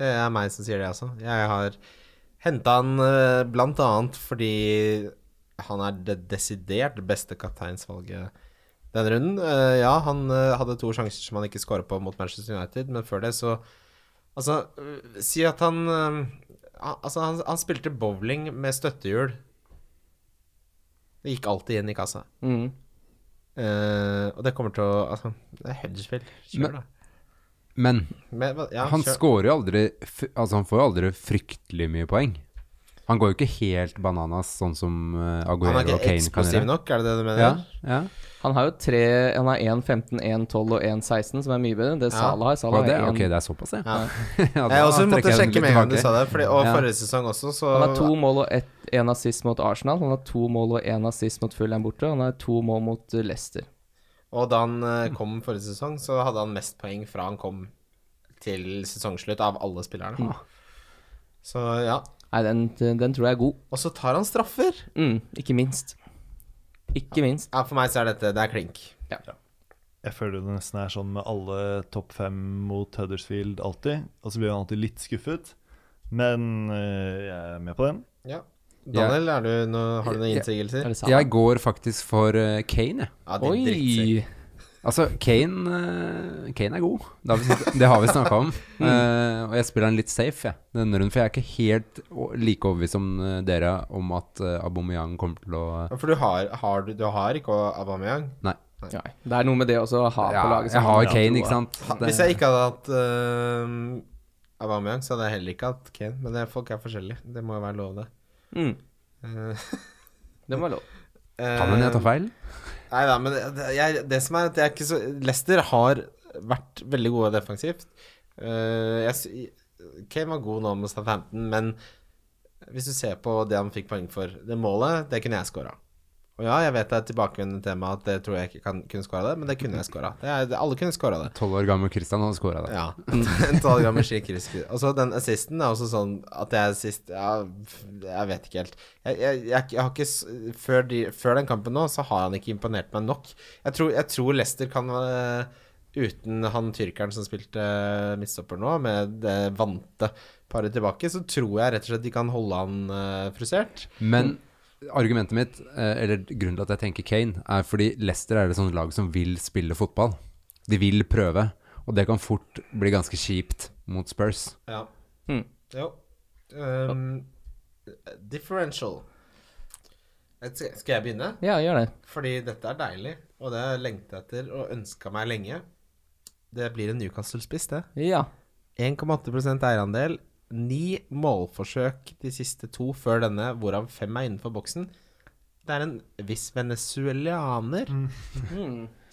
Speaker 3: Det er meg som sier det, altså. Jeg har henta han eh, blant annet fordi han er det desidert beste kapteinsvalget denne runden. Eh, Ja, han eh, hadde to sjanser som han ikke skåra på mot Manchester United, men før det så Altså, øh, si at han øh, han- Altså, han, han spilte bowling med støttehjul. Det gikk alltid inn i kassa.
Speaker 4: Mm.
Speaker 3: Eh, og det kommer til å Altså, det er Huddersfield. Kjør,
Speaker 5: Men-
Speaker 3: da.
Speaker 5: Men
Speaker 3: Men, hva- ja,
Speaker 5: han
Speaker 3: kjør.
Speaker 5: scorer jo aldri f Altså, han får jo aldri fryktelig mye poeng. Han går jo ikke helt bananas, sånn som eh, Aguero
Speaker 3: Han er
Speaker 5: og
Speaker 3: ikke
Speaker 5: Kane kan
Speaker 3: eksplosiv
Speaker 5: gjøre.
Speaker 3: nok, er det det du mener?
Speaker 5: Ja, ja.
Speaker 4: Han har jo tre Han har 1.15, 1.12 og 1.16, som er mye bedre enn det
Speaker 3: Ja.
Speaker 4: Salah har.
Speaker 5: Var
Speaker 4: Salah
Speaker 5: det?
Speaker 4: har en-
Speaker 5: Ok, det er såpass, ja.
Speaker 3: Ja.
Speaker 5: Ja, da
Speaker 3: Jeg også
Speaker 5: trekker
Speaker 3: måtte
Speaker 5: jeg den
Speaker 3: sjekke
Speaker 5: litt
Speaker 3: med en gang du
Speaker 5: tilbake.
Speaker 3: sa det, fordi, og
Speaker 5: Ja.
Speaker 3: forrige sesong også, så
Speaker 4: Han har to mål og ett, en assist mot Arsenal. Han har to mål og en assist mot Fulham borte. og Han har to mål mot uh, Leicester.
Speaker 3: Og da han eh, kom forrige sesong, så hadde han mest poeng fra han kom til sesongslutt av alle spillerne.
Speaker 5: Mm.
Speaker 3: Så ja.
Speaker 4: Nei, den, den tror jeg er god.
Speaker 3: Og så tar han straffer.
Speaker 4: Mm, ikke minst. Ikke minst.
Speaker 3: Ja, for meg så er dette Det er klink.
Speaker 6: Jeg føler det nesten er sånn med alle topp fem mot Huddersfield alltid. Og så blir man alltid litt skuffet. Men eh, jeg er med på den.
Speaker 3: Ja. Daniel, er du noe, har du noen
Speaker 5: Ja.
Speaker 4: Er
Speaker 3: innsigelser?
Speaker 4: det Salah?
Speaker 5: Jeg går faktisk for eh, Kane, jeg.
Speaker 3: Ja, din drittsekk.
Speaker 4: Oi!
Speaker 5: Altså, Kane, eh, Kane er god. Det har vi snakket, det har vi snakket om.
Speaker 4: Mm.
Speaker 5: Eh, og jeg spiller han litt safe, jeg, denne runden. For jeg er ikke helt o- like overbevist som eh, dere om at uh, Aubameyang kommer til å
Speaker 3: Ja, For du har, har, du, du har ikke Aubameyang?
Speaker 5: Nei.
Speaker 4: Nei, Det er noe med det også å ha
Speaker 5: Ja,
Speaker 4: på laget. som
Speaker 5: jeg har
Speaker 4: han
Speaker 5: Kane,
Speaker 4: tror,
Speaker 5: ikke sant.
Speaker 3: Ha,
Speaker 5: Det-
Speaker 3: hvis jeg ikke hadde hatt uh, Aubameyang, så hadde jeg heller ikke hatt Kane. Men det, folk er forskjellige. Det må jo være lov, det.
Speaker 4: da. Mm,
Speaker 3: Eh,
Speaker 4: det må være lov.
Speaker 5: Kan hende jeg
Speaker 3: Ehm,
Speaker 5: tar feil.
Speaker 3: Nei da, men det, jeg, det som er at jeg er ikke så Leicester har vært veldig gode defensivt. Eh, jeg, sy- Kane var god nå med Southampton, men hvis du ser på det han fikk poeng for Det målet, det kunne jeg skåra. Og Og ja, jeg vet det er et tilbakevendende tema at det tror jeg ikke kan, kunne skåra det, men det kunne jeg skåra. Alle kunne skåra det.
Speaker 5: Tolv år gammel Christian hadde scora det.
Speaker 3: Ja. en 12 gammel Shea Krisk. Og så Altså, den assisten er også sånn at jeg sist ja, Jeg vet ikke helt. Jeg, jeg, jeg, jeg har ikke s- før, de, før den kampen nå, så har han ikke imponert meg nok. Jeg tror, jeg tror Leicester kan eh, Uten han tyrkeren som spilte eh, midtstopper nå, med det vante paret tilbake, så tror jeg rett og slett de kan holde han eh, frustrert.
Speaker 5: Men argumentet mitt, eh, eller grunnen til at jeg tenker Kane, er fordi Leicester er et sånt lag som vil spille fotball. De vil prøve, og det kan fort bli ganske kjipt mot Spurs.
Speaker 3: Ja.
Speaker 4: Mm.
Speaker 3: Jo. Um, differential. Jeg Skal skal jeg begynne?
Speaker 4: Ja, gjør det.
Speaker 3: Fordi dette er deilig, og det har jeg lengta etter og ønska meg lenge. Det blir en Newcastle-spiss, det.
Speaker 4: Ja.
Speaker 3: 1,8 eierandel. Ni målforsøk de siste to før denne, hvorav fem er innenfor boksen. Det er en viss venezuelaner.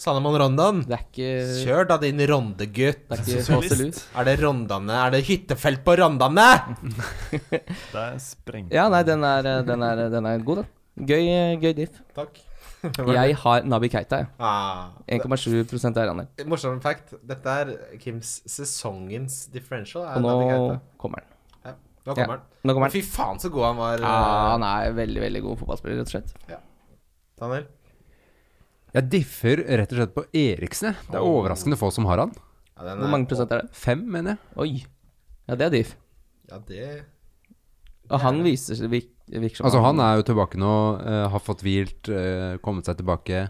Speaker 3: Sanemon Rondan.
Speaker 4: Mm. Det er ikke
Speaker 3: Kjør da, din rondegutt.
Speaker 4: Det er ikke
Speaker 6: Sosialist.
Speaker 4: Håselus.
Speaker 3: Er det Rondane? Er det hyttefelt på Rondane?
Speaker 6: Der sprengte
Speaker 4: Ja, nei, den er, den er, den er god, den. Gøy, gøy diff.
Speaker 3: Takk.
Speaker 4: Jeg har Nabi Keita, jeg.
Speaker 3: Ah,
Speaker 4: 1,7 eierandel.
Speaker 3: morsom fact. Dette er Kims sesongens differential. Er
Speaker 4: Og nå
Speaker 3: Naby Keita.
Speaker 4: kommer den.
Speaker 3: Ja, nå
Speaker 4: Ja,
Speaker 3: kommer han.
Speaker 4: nå kommer han.
Speaker 3: Fy faen så god han var,
Speaker 4: Ja,
Speaker 3: eh,
Speaker 4: Ah, han er veldig, veldig god fotballspiller, rett og slett.
Speaker 3: Daniel.
Speaker 5: Jeg differ rett og slett på Eriksen. jeg. Det er overraskende få som har han.
Speaker 3: Ja, den eh,
Speaker 4: Hvor
Speaker 3: er-
Speaker 4: mange prosent er det?
Speaker 5: Fem, mener jeg.
Speaker 4: Oi. Ja, det er diff.
Speaker 3: Ja, det
Speaker 4: Og han viser seg virk- virker som
Speaker 5: Altså, han er jo tilbake nå, eh, har fått hvilt, eh, kommet seg tilbake.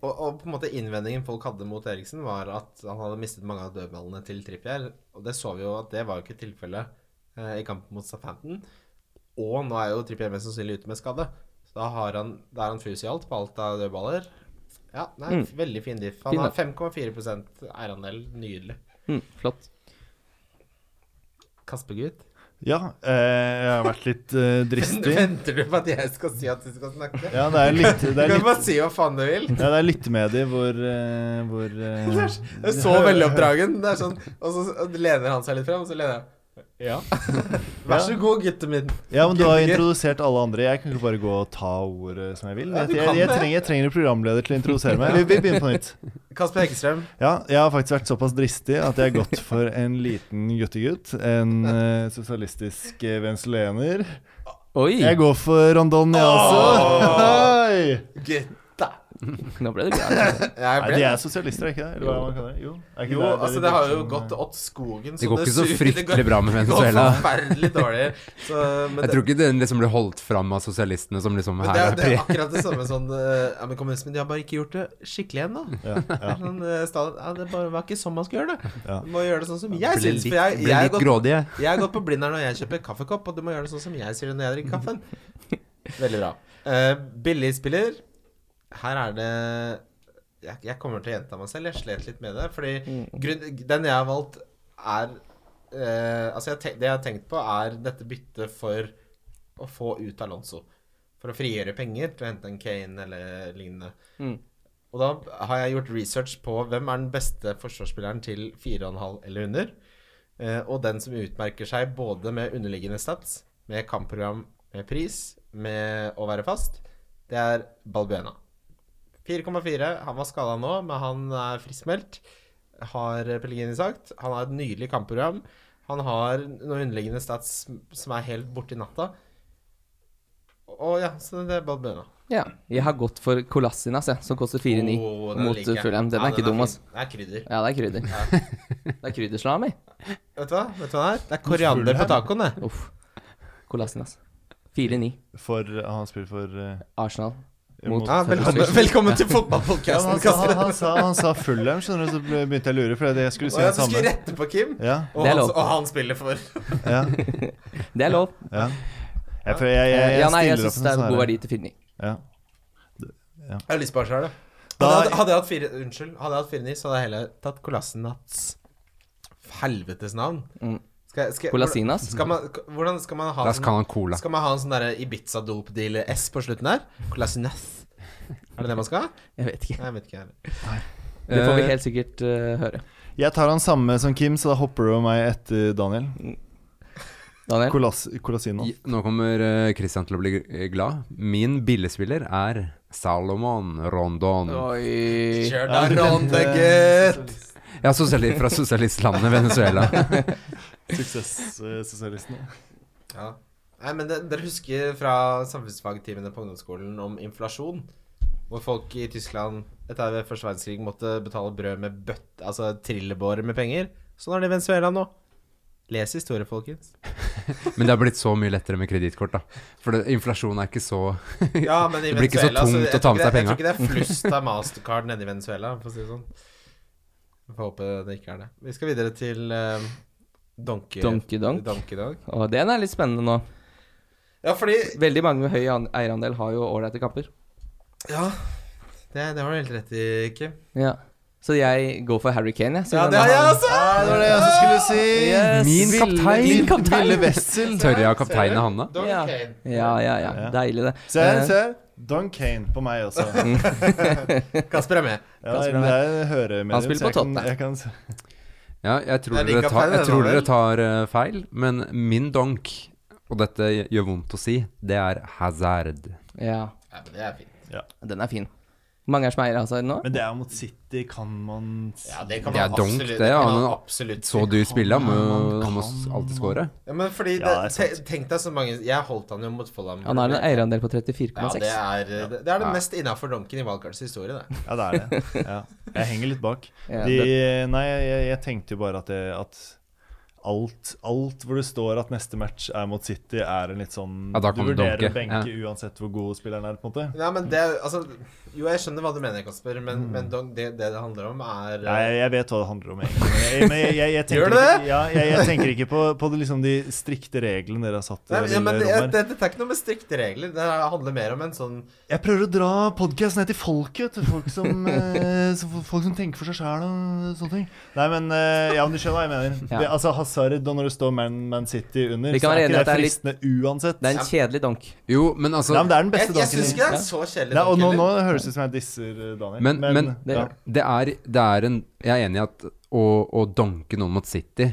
Speaker 3: og, og på en måte innvendingen folk hadde mot Eriksen, var at han hadde mistet mange av dødballene til Trippier. Og det så vi jo at det var jo ikke tilfellet eh, i kampen mot Southampton. Og nå er jo Trippier mest sannsynlig ute med skade. Så da, har han, da er han fus i alt på alt av dødballer. Ja, nei, veldig fin diff. Han
Speaker 4: Mm. Fin
Speaker 3: har
Speaker 4: da.
Speaker 3: 5,4 eierandel. Nydelig.
Speaker 4: mm, Flott.
Speaker 3: Kaspergutt.
Speaker 6: Ja, eh, jeg har vært litt eh, dristig.
Speaker 3: Venter du på at jeg skal si at du skal snakke?
Speaker 6: Ja, det er litt Det
Speaker 3: Du
Speaker 6: er
Speaker 3: kan
Speaker 6: litt
Speaker 3: bare si hva faen du vil.
Speaker 6: ja, det er lyttemedier hvor, eh, hvor eh,
Speaker 3: Det er s- det er så veloppdragen. Det er sånn, og så lener han seg litt frem, og så lener jeg. Ja. Vær så god, gutten min.
Speaker 6: Ja, men du har
Speaker 3: Gutt-
Speaker 6: introdusert alle andre. Jeg kan ikke bare gå og ta ordet som jeg vil.
Speaker 3: Ja,
Speaker 6: Jeg,
Speaker 3: du
Speaker 6: jeg,
Speaker 3: kan
Speaker 6: jeg,
Speaker 3: det.
Speaker 6: trenger, jeg trenger en programleder til å introdusere meg. Vi, vi begynner på nytt.
Speaker 3: Kasper Hekkestrøm.
Speaker 6: Ja, jeg har faktisk vært såpass dristig at jeg har gått for en liten guttegutt. En eh, sosialistisk eh, venezuelaner.
Speaker 4: Oi!
Speaker 6: Jeg går for Rondon, jeg også. Oi!
Speaker 3: Gutta.
Speaker 4: Nå ble det bra.
Speaker 3: Jeg
Speaker 6: Nei,
Speaker 3: ble
Speaker 6: de
Speaker 3: det.
Speaker 6: er sosialister, er ikke det? Eller hva man kaller det? Jo, er ikke
Speaker 3: Jo,
Speaker 6: det,
Speaker 3: altså,
Speaker 6: de
Speaker 3: det har
Speaker 6: bruker
Speaker 3: jo
Speaker 6: som,
Speaker 3: gått
Speaker 6: eh,
Speaker 3: ått skogen.
Speaker 5: Det går ikke så
Speaker 3: suger. Det går-
Speaker 5: fryktelig bra med
Speaker 3: Det går
Speaker 5: Venezuela.
Speaker 3: forferdelig dårlig. Så, men
Speaker 5: Jeg
Speaker 3: det-
Speaker 5: tror ikke den liksom blir holdt fram av sosialistene som liksom
Speaker 3: men det, er-
Speaker 5: her er
Speaker 3: det er
Speaker 5: pri...
Speaker 3: akkurat det samme sånn eh, ja, men kommunismen de har bare ikke gjort det skikkelig ennå.
Speaker 6: ja, ja.
Speaker 3: Sånn, eh, sta- ja, det bare var ikke sånn man skulle gjøre det.
Speaker 6: Ja.
Speaker 3: Du må gjøre det sånn som jeg
Speaker 5: Blir
Speaker 3: syns. For
Speaker 5: litt,
Speaker 3: jeg,
Speaker 5: blir
Speaker 3: jeg har
Speaker 5: litt
Speaker 3: gått
Speaker 5: grådige.
Speaker 3: Jeg har gått på Blindern når jeg kjøper kaffekopp, og du må gjøre det sånn som jeg sier det når jeg drikker kaffen. Veldig bra. Eh, billig spiller. Her er det jeg, jeg kommer til å gjenta meg selv. Jeg slet litt med det. Fordi grunn, den jeg har valgt, er eh, Altså, jeg, tenk- det jeg har tenkt på, er dette byttet for å få ut Alonso. For å frigjøre penger til å hente en Kane eller lignende.
Speaker 4: Mm.
Speaker 3: Og da har jeg gjort research på hvem er den beste forsvarsspilleren til 4,5 eller under. Eh, og den som utmerker seg både med underliggende stats, med kampprogram, med pris, med å være fast, det er Balbuena. 4,4. Han var skada nå, men han er friskmeldt, har Pellegrini sagt. Han har et nydelig kampprogram. Han har noen underliggende stats som er helt borti natta. Og ja, så det er Balbuena.
Speaker 4: Ja. Jeg har gått for Colassinas, jeg, som koster 4,9
Speaker 3: Åh, den
Speaker 4: mot
Speaker 3: liker jeg.
Speaker 4: Fulham. Den
Speaker 3: Ja,
Speaker 4: er ikke dum, altså.
Speaker 3: fin. Det er krydder.
Speaker 4: Ja, det er krydder. Det er krydderslam i.
Speaker 3: Vet du hva Vet du hva det er? Det er koriander på tacoen, det.
Speaker 4: Uff. Colassinas. 4-9.
Speaker 6: For Han spiller for eh,
Speaker 4: Arsenal.
Speaker 6: mot
Speaker 3: Ja, velkommen, velkommen til
Speaker 6: Ja, men
Speaker 3: fotballpodkasten,
Speaker 6: han, sa,
Speaker 4: altså,
Speaker 6: han, han, sa, han sa Fulham, skjønner du, så ble- begynte jeg å lure, for jeg skulle si
Speaker 3: Å ja,
Speaker 6: det
Speaker 3: du skulle
Speaker 6: samme.
Speaker 3: rette på Kim?
Speaker 6: Ja,
Speaker 3: Og,
Speaker 4: Det er
Speaker 3: han,
Speaker 4: lov.
Speaker 3: og han spiller for
Speaker 6: ja,
Speaker 4: Det er lov.
Speaker 6: ja. Jeg, for jeg, jeg, jeg
Speaker 4: ja, nei, jeg
Speaker 6: stiller opp
Speaker 4: syns
Speaker 6: en
Speaker 4: det er
Speaker 6: sånn
Speaker 4: god
Speaker 6: her-
Speaker 4: verdi til 4-9.
Speaker 6: Ja.
Speaker 3: Jeg har lyst på Arsenal, da. Hadde,
Speaker 6: Da-
Speaker 3: jeg hatt- hadde jeg hatt fire Unnskyld. Hadde jeg hatt fire ni, så hadde jeg heller tatt Kolassinats helvetes navn.
Speaker 4: Mm.
Speaker 3: Skal, jeg- skal, jeg-
Speaker 4: Colassinas?
Speaker 3: Skal man, hvordan skal man ha
Speaker 5: Da skal han ha cola.
Speaker 3: Skal man ha en sånn derre Ibiza-dop-deal-S på slutten der? Colassinas. Er det det man skal ha?
Speaker 4: Jeg vet ikke.
Speaker 3: Nei, Jeg vet ikke.
Speaker 4: Det får vi
Speaker 5: Eh,
Speaker 4: helt sikkert eh, høre.
Speaker 6: Jeg tar han samme som Kim, så da hopper du over meg etter Daniel.
Speaker 4: Daniel?
Speaker 6: Kolas, Kolasino.
Speaker 5: I- Nå kommer eh, Christian til å bli eh, glad. Min billigspiller er Salomon Rondon.
Speaker 4: Oi.
Speaker 3: Kjør
Speaker 6: Ja,
Speaker 3: da,
Speaker 6: du
Speaker 3: Ronde,
Speaker 6: nevnte
Speaker 3: gutt!
Speaker 6: sosialist-
Speaker 5: Ja, sosiali- fra sosialistlandet Venezuela.
Speaker 6: Suksesssosialistene.
Speaker 3: Ja. Nei, men det, Dere husker fra samfunnsfagtimene på ungdomsskolen om inflasjon? Hvor folk i Tyskland etter ved første verdenskrig måtte betale brød med bøtt, altså trillebårer med penger. Sånn er det i Venezuela nå. Les historie, folkens.
Speaker 5: Men det har blitt så mye lettere med kredittkort, da. For det, inflasjon er ikke så
Speaker 3: Ja, men i
Speaker 5: Det blir ikke så
Speaker 3: Venezuela, jeg
Speaker 5: tungt å ta
Speaker 3: tror ikke
Speaker 5: med seg
Speaker 3: det-
Speaker 5: penger.
Speaker 3: Jeg tror ikke det er flust av mastercard nede i Venezuela, for å si det sånn. Vi får håpe det ikke er det. Vi skal videre til eh, Donkey
Speaker 4: Donkey Donk.
Speaker 3: Donkey Donk.
Speaker 4: Og den er litt spennende nå.
Speaker 3: Ja, fordi
Speaker 4: Veldig mange med høy an- eierandel har jo ålreite kamper.
Speaker 3: Ja, det, det har du helt rett i, Kim.
Speaker 4: Ja. Så jeg går for Harry Kane, jeg.
Speaker 3: Ja,
Speaker 4: siden
Speaker 3: det har
Speaker 4: han-
Speaker 3: jeg også!
Speaker 6: Ja, det var det jeg også skulle si!
Speaker 4: Yes,
Speaker 5: Min
Speaker 4: ville-
Speaker 5: kaptein!
Speaker 4: Min
Speaker 6: Ville
Speaker 4: kaptein!
Speaker 6: Wessel.
Speaker 5: Tør jeg å kapteine Hanna?
Speaker 3: Donkey
Speaker 4: Ja.
Speaker 3: Kane.
Speaker 4: Ja, ja, ja.
Speaker 6: Ja.
Speaker 4: Deilig, det.
Speaker 6: Se her,
Speaker 4: Eh,
Speaker 6: se her. Don Kane på meg også.
Speaker 3: Kasper er med.
Speaker 6: Ja, det er høremedium.
Speaker 4: Han spiller
Speaker 6: så jeg
Speaker 4: på
Speaker 6: kan-
Speaker 4: Tottenham.
Speaker 6: jeg kan se-
Speaker 5: Ja, jeg tror
Speaker 3: Det er din
Speaker 5: dere tar,
Speaker 3: kaptein,
Speaker 5: jeg
Speaker 3: det da
Speaker 5: tror dere
Speaker 3: vel?
Speaker 5: tar eh, feil, men min donk, og dette gjør vondt å si, det er Hazard.
Speaker 4: Ja.
Speaker 3: Ja, men det er fint.
Speaker 4: Den er fin. Hvor mange er det som eier Hazard nå?
Speaker 6: Men det er mot City, kan man si.
Speaker 3: Ja, det kan
Speaker 5: Det er
Speaker 3: man
Speaker 5: donk,
Speaker 3: absolutt.
Speaker 5: det, ja,
Speaker 3: kan man
Speaker 5: men
Speaker 3: absolutt.
Speaker 5: Så dyr spiller, han må jo- han må
Speaker 6: Man kan-
Speaker 5: alltid score.
Speaker 3: Ja, men fordi det,
Speaker 6: Ja, det er sant.
Speaker 3: te- Tenk deg så mange Jeg holdt han jo mot Follum.
Speaker 4: Han har en
Speaker 3: ja,
Speaker 4: eierandel på 34,6.
Speaker 3: det er det, det er det
Speaker 5: Ja.
Speaker 3: mest innafor donken i Valgards historie, det.
Speaker 6: Ja, det er det. Ja. Jeg henger litt bak.
Speaker 4: Ja,
Speaker 6: De, nei, jeg, jeg tenkte jo bare at, det, at alt, alt hvor det står at neste match er mot City, er en litt sånn
Speaker 5: Ja, da
Speaker 6: Du
Speaker 5: kommer
Speaker 6: vurderer
Speaker 5: dunke,
Speaker 6: å benke uansett hvor god spilleren er, på en måte.
Speaker 3: Nei, men det er- altså Jo, jeg skjønner hva du mener, Kasper, men, men donk, det, det det handler om, er
Speaker 6: Mm.
Speaker 3: eh,
Speaker 6: Nei, jeg, jeg vet hva det handler om, egentlig. Men jeg, men jeg, jeg, jeg tenker
Speaker 3: Gjør du det?
Speaker 6: Ikke, ja, jeg, jeg tenker ikke på, på det, liksom, de strikte reglene dere har satt i
Speaker 3: Nei,
Speaker 6: det
Speaker 3: ja,
Speaker 6: lille
Speaker 3: men det,
Speaker 6: rommet.
Speaker 3: det, Dette er ikke noe med strikte regler. Det handler mer om en sånn
Speaker 6: Jeg prøver å dra podkasten ned til folket. Til folk, som, eh, så f- folk som tenker for seg sjæl og sånne ting. Nei, men eh, ja, men du skjønner hva jeg mener.
Speaker 4: Ja.
Speaker 6: Det, altså Hazard, og når det står Man, Man City under,
Speaker 4: Vi kan
Speaker 6: så
Speaker 4: være
Speaker 6: er
Speaker 4: enige
Speaker 6: ikke
Speaker 4: at det
Speaker 6: det
Speaker 4: er litt-
Speaker 6: fristende uansett.
Speaker 4: Det er en kjedelig donk.
Speaker 5: Jo, men
Speaker 6: Nei,
Speaker 5: altså
Speaker 6: men det er den
Speaker 3: Jeg,
Speaker 6: beste
Speaker 3: jeg syns
Speaker 6: danken.
Speaker 3: ikke det
Speaker 4: Ja.
Speaker 3: er så kjedelig.
Speaker 6: Nei, og
Speaker 3: donk
Speaker 6: nå, nå
Speaker 3: heller.
Speaker 6: høres det ut som jeg disser eh, Daniel.
Speaker 5: Men, men,
Speaker 4: det-
Speaker 6: ja.
Speaker 5: det, er, det er en Jeg er enig i at å, å donke noen mot City,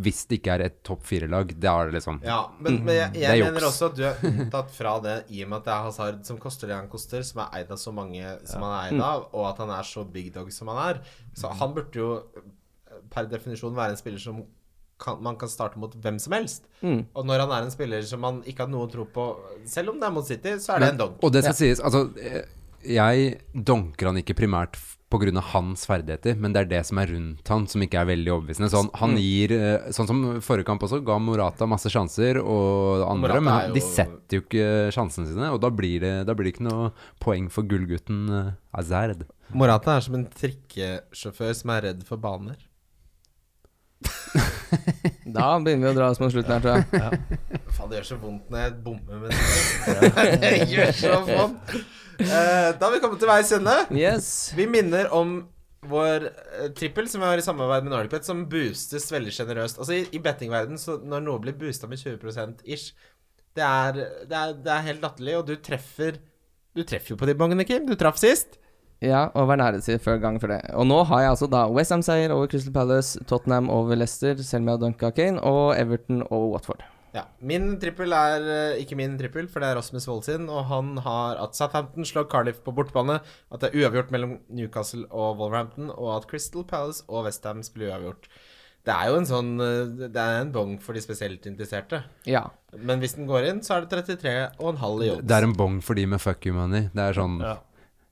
Speaker 5: hvis det ikke er et topp fire-lag, det er det liksom
Speaker 3: Ja, men, men jeg,
Speaker 5: Det er
Speaker 3: jeg
Speaker 5: juks.
Speaker 3: mener også at du er unntatt fra det i og med at det er Hazard som koster det han koster, som er eid av så mange som han er eid av, og at han er så big dog som han er. Så han burde jo per definisjon være en spiller som kan, man kan starte mot hvem som helst. Og når han er en spiller som man ikke har noe tro på, selv om det er mot City, så er det en donk.
Speaker 5: Og det skal sies, altså eh, Jeg donker han ikke primært f- på grunn av hans ferdigheter, men det er det som er rundt han som ikke er veldig overbevisende. Sånn, han
Speaker 3: Mm.
Speaker 5: gir, eh, sånn som forrige kamp også, ga Morata masse sjanser og andre,
Speaker 3: Morata
Speaker 5: men
Speaker 3: er jo-
Speaker 5: de setter jo ikke sjansene sine, og da blir det, da blir det ikke noe poeng for gullgutten eh, Hazard.
Speaker 3: Morata er som en trikkesjåfør som er redd for baner.
Speaker 4: Da begynner vi å dra oss mot slutten her, tror jeg.
Speaker 3: Faen, det gjør så vondt når jeg bommer med det. det gjør så vondt. Eh, da har vi kommet til veis ende.
Speaker 4: Yes.
Speaker 3: Vi minner om vår eh, trippel, som vi har i samarbeid med Nordic Bet, som boostes veldig generøst. Altså, i, i bettingverden, så når noe blir boosta med 20 ish, det er, det, er, det er helt latterlig, og du treffer Du treffer jo på de bongene, Kim. Du traff sist.
Speaker 4: Ja, og vær nære til før gang for det. Og nå har jeg altså da Westham-seier over Crystal Palace, Tottenham over Leicester, selv om jeg har dunka Kane, og Everton og Watford.
Speaker 3: Ja. Min trippel er eh, ikke min trippel, for det er Rasmus Wold sin, og han har at Southampton slår Cardiff på bortebane, at det er uavgjort mellom Newcastle og Wolverhampton, og at Crystal Palace og Westham spiller uavgjort. Det er jo en sånn eh, Det er en bong for de spesielt interesserte.
Speaker 4: Ja.
Speaker 3: Men hvis den går inn, så er det 33,5 i odds.
Speaker 5: Det er en bong for de med fuck you money. Det er sånn
Speaker 6: Ja.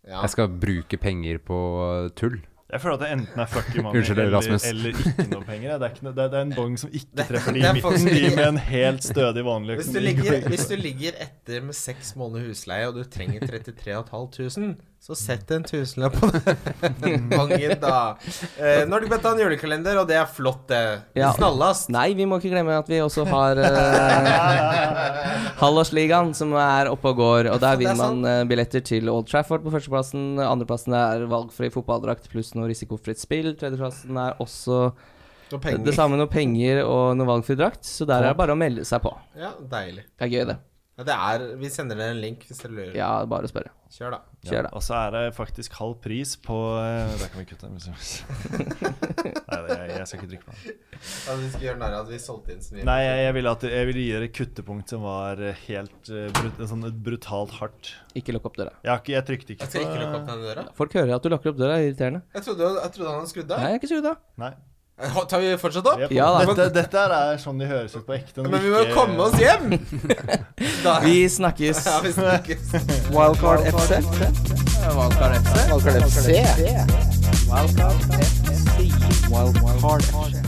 Speaker 3: Ja.
Speaker 5: Jeg skal bruke penger på eh, tull.
Speaker 6: Jeg føler at det enten er fuck you money
Speaker 5: Unnskyld,
Speaker 6: eller,
Speaker 5: Rasmus.
Speaker 6: eller ikke noe penger. jeg. Det er, ikke noe, det er, det er en bong som ikke treffer de
Speaker 3: det
Speaker 6: i
Speaker 3: er
Speaker 6: midten,
Speaker 3: faktisk-
Speaker 6: de med en helt stødig, vanlig
Speaker 3: Hvis du, ligger, hvis du ligger etter med seks måneder husleie, og du trenger 33.500, så sett en tusenlapp på den bangen, da. Eh, Nordic Bet har en julekalender, og det er flott, det.
Speaker 4: Ja.
Speaker 3: Snallast.
Speaker 4: Nei, vi må ikke glemme at vi også har eh, Halvårsligaen, som er oppe og går. Og der
Speaker 3: Det er
Speaker 4: vinner man eh, billetter til Old Trafford på førsteplassen. Andreplassen er valgfri fotballdrakt pluss noe risikofritt spill. Tredjeplassen er også
Speaker 3: Og penger.
Speaker 4: det samme, noe penger og noe valgfri drakt. Så der er det bare å melde seg på.
Speaker 3: Ja, deilig.
Speaker 4: Det er gøy, det.
Speaker 3: Ja, det er, vi sender dere en link hvis dere lurer.
Speaker 4: Ja, bare å spørre.
Speaker 3: Kjør, da.
Speaker 4: Kjør, da.
Speaker 6: Og så er det faktisk halv pris på eh, Der kan vi kutte. men så- Nei, det- jeg, jeg skal ikke drikke på den.
Speaker 3: Ja, vi skal gjøre narr av at vi solgte inn så mye.
Speaker 6: Nei, jeg, jeg ville at- jeg ville gi dere et kuttepunkt som var eh, helt eh, brut, sånn et brutalt hardt.
Speaker 4: Ikke lukk opp døra.
Speaker 6: Jeg, har ikke, jeg trykte ikke
Speaker 3: Jeg skal ikke lukke opp
Speaker 6: på
Speaker 3: den døra.
Speaker 4: Folk hører at du lukker opp døra, irriterende.
Speaker 3: Jeg trodde, jeg trodde han hadde skrudd av.
Speaker 4: Nei, jeg er ikke skrudd av.
Speaker 6: Nei.
Speaker 3: Eh, Tar vi fortsatt opp?
Speaker 6: Jepp.
Speaker 4: Ja, da.
Speaker 6: dette, dette her er sånn de høres ut på ekte. når
Speaker 3: Men vi må
Speaker 6: ikke-
Speaker 3: jo komme oss hjem! Da-
Speaker 4: Vi snakkes.
Speaker 3: Ja, vi snakkes.
Speaker 1: Wildcard FC.
Speaker 2: Valkar FC.
Speaker 1: Wildcard FC. Wildcard FC. Wildcard FC.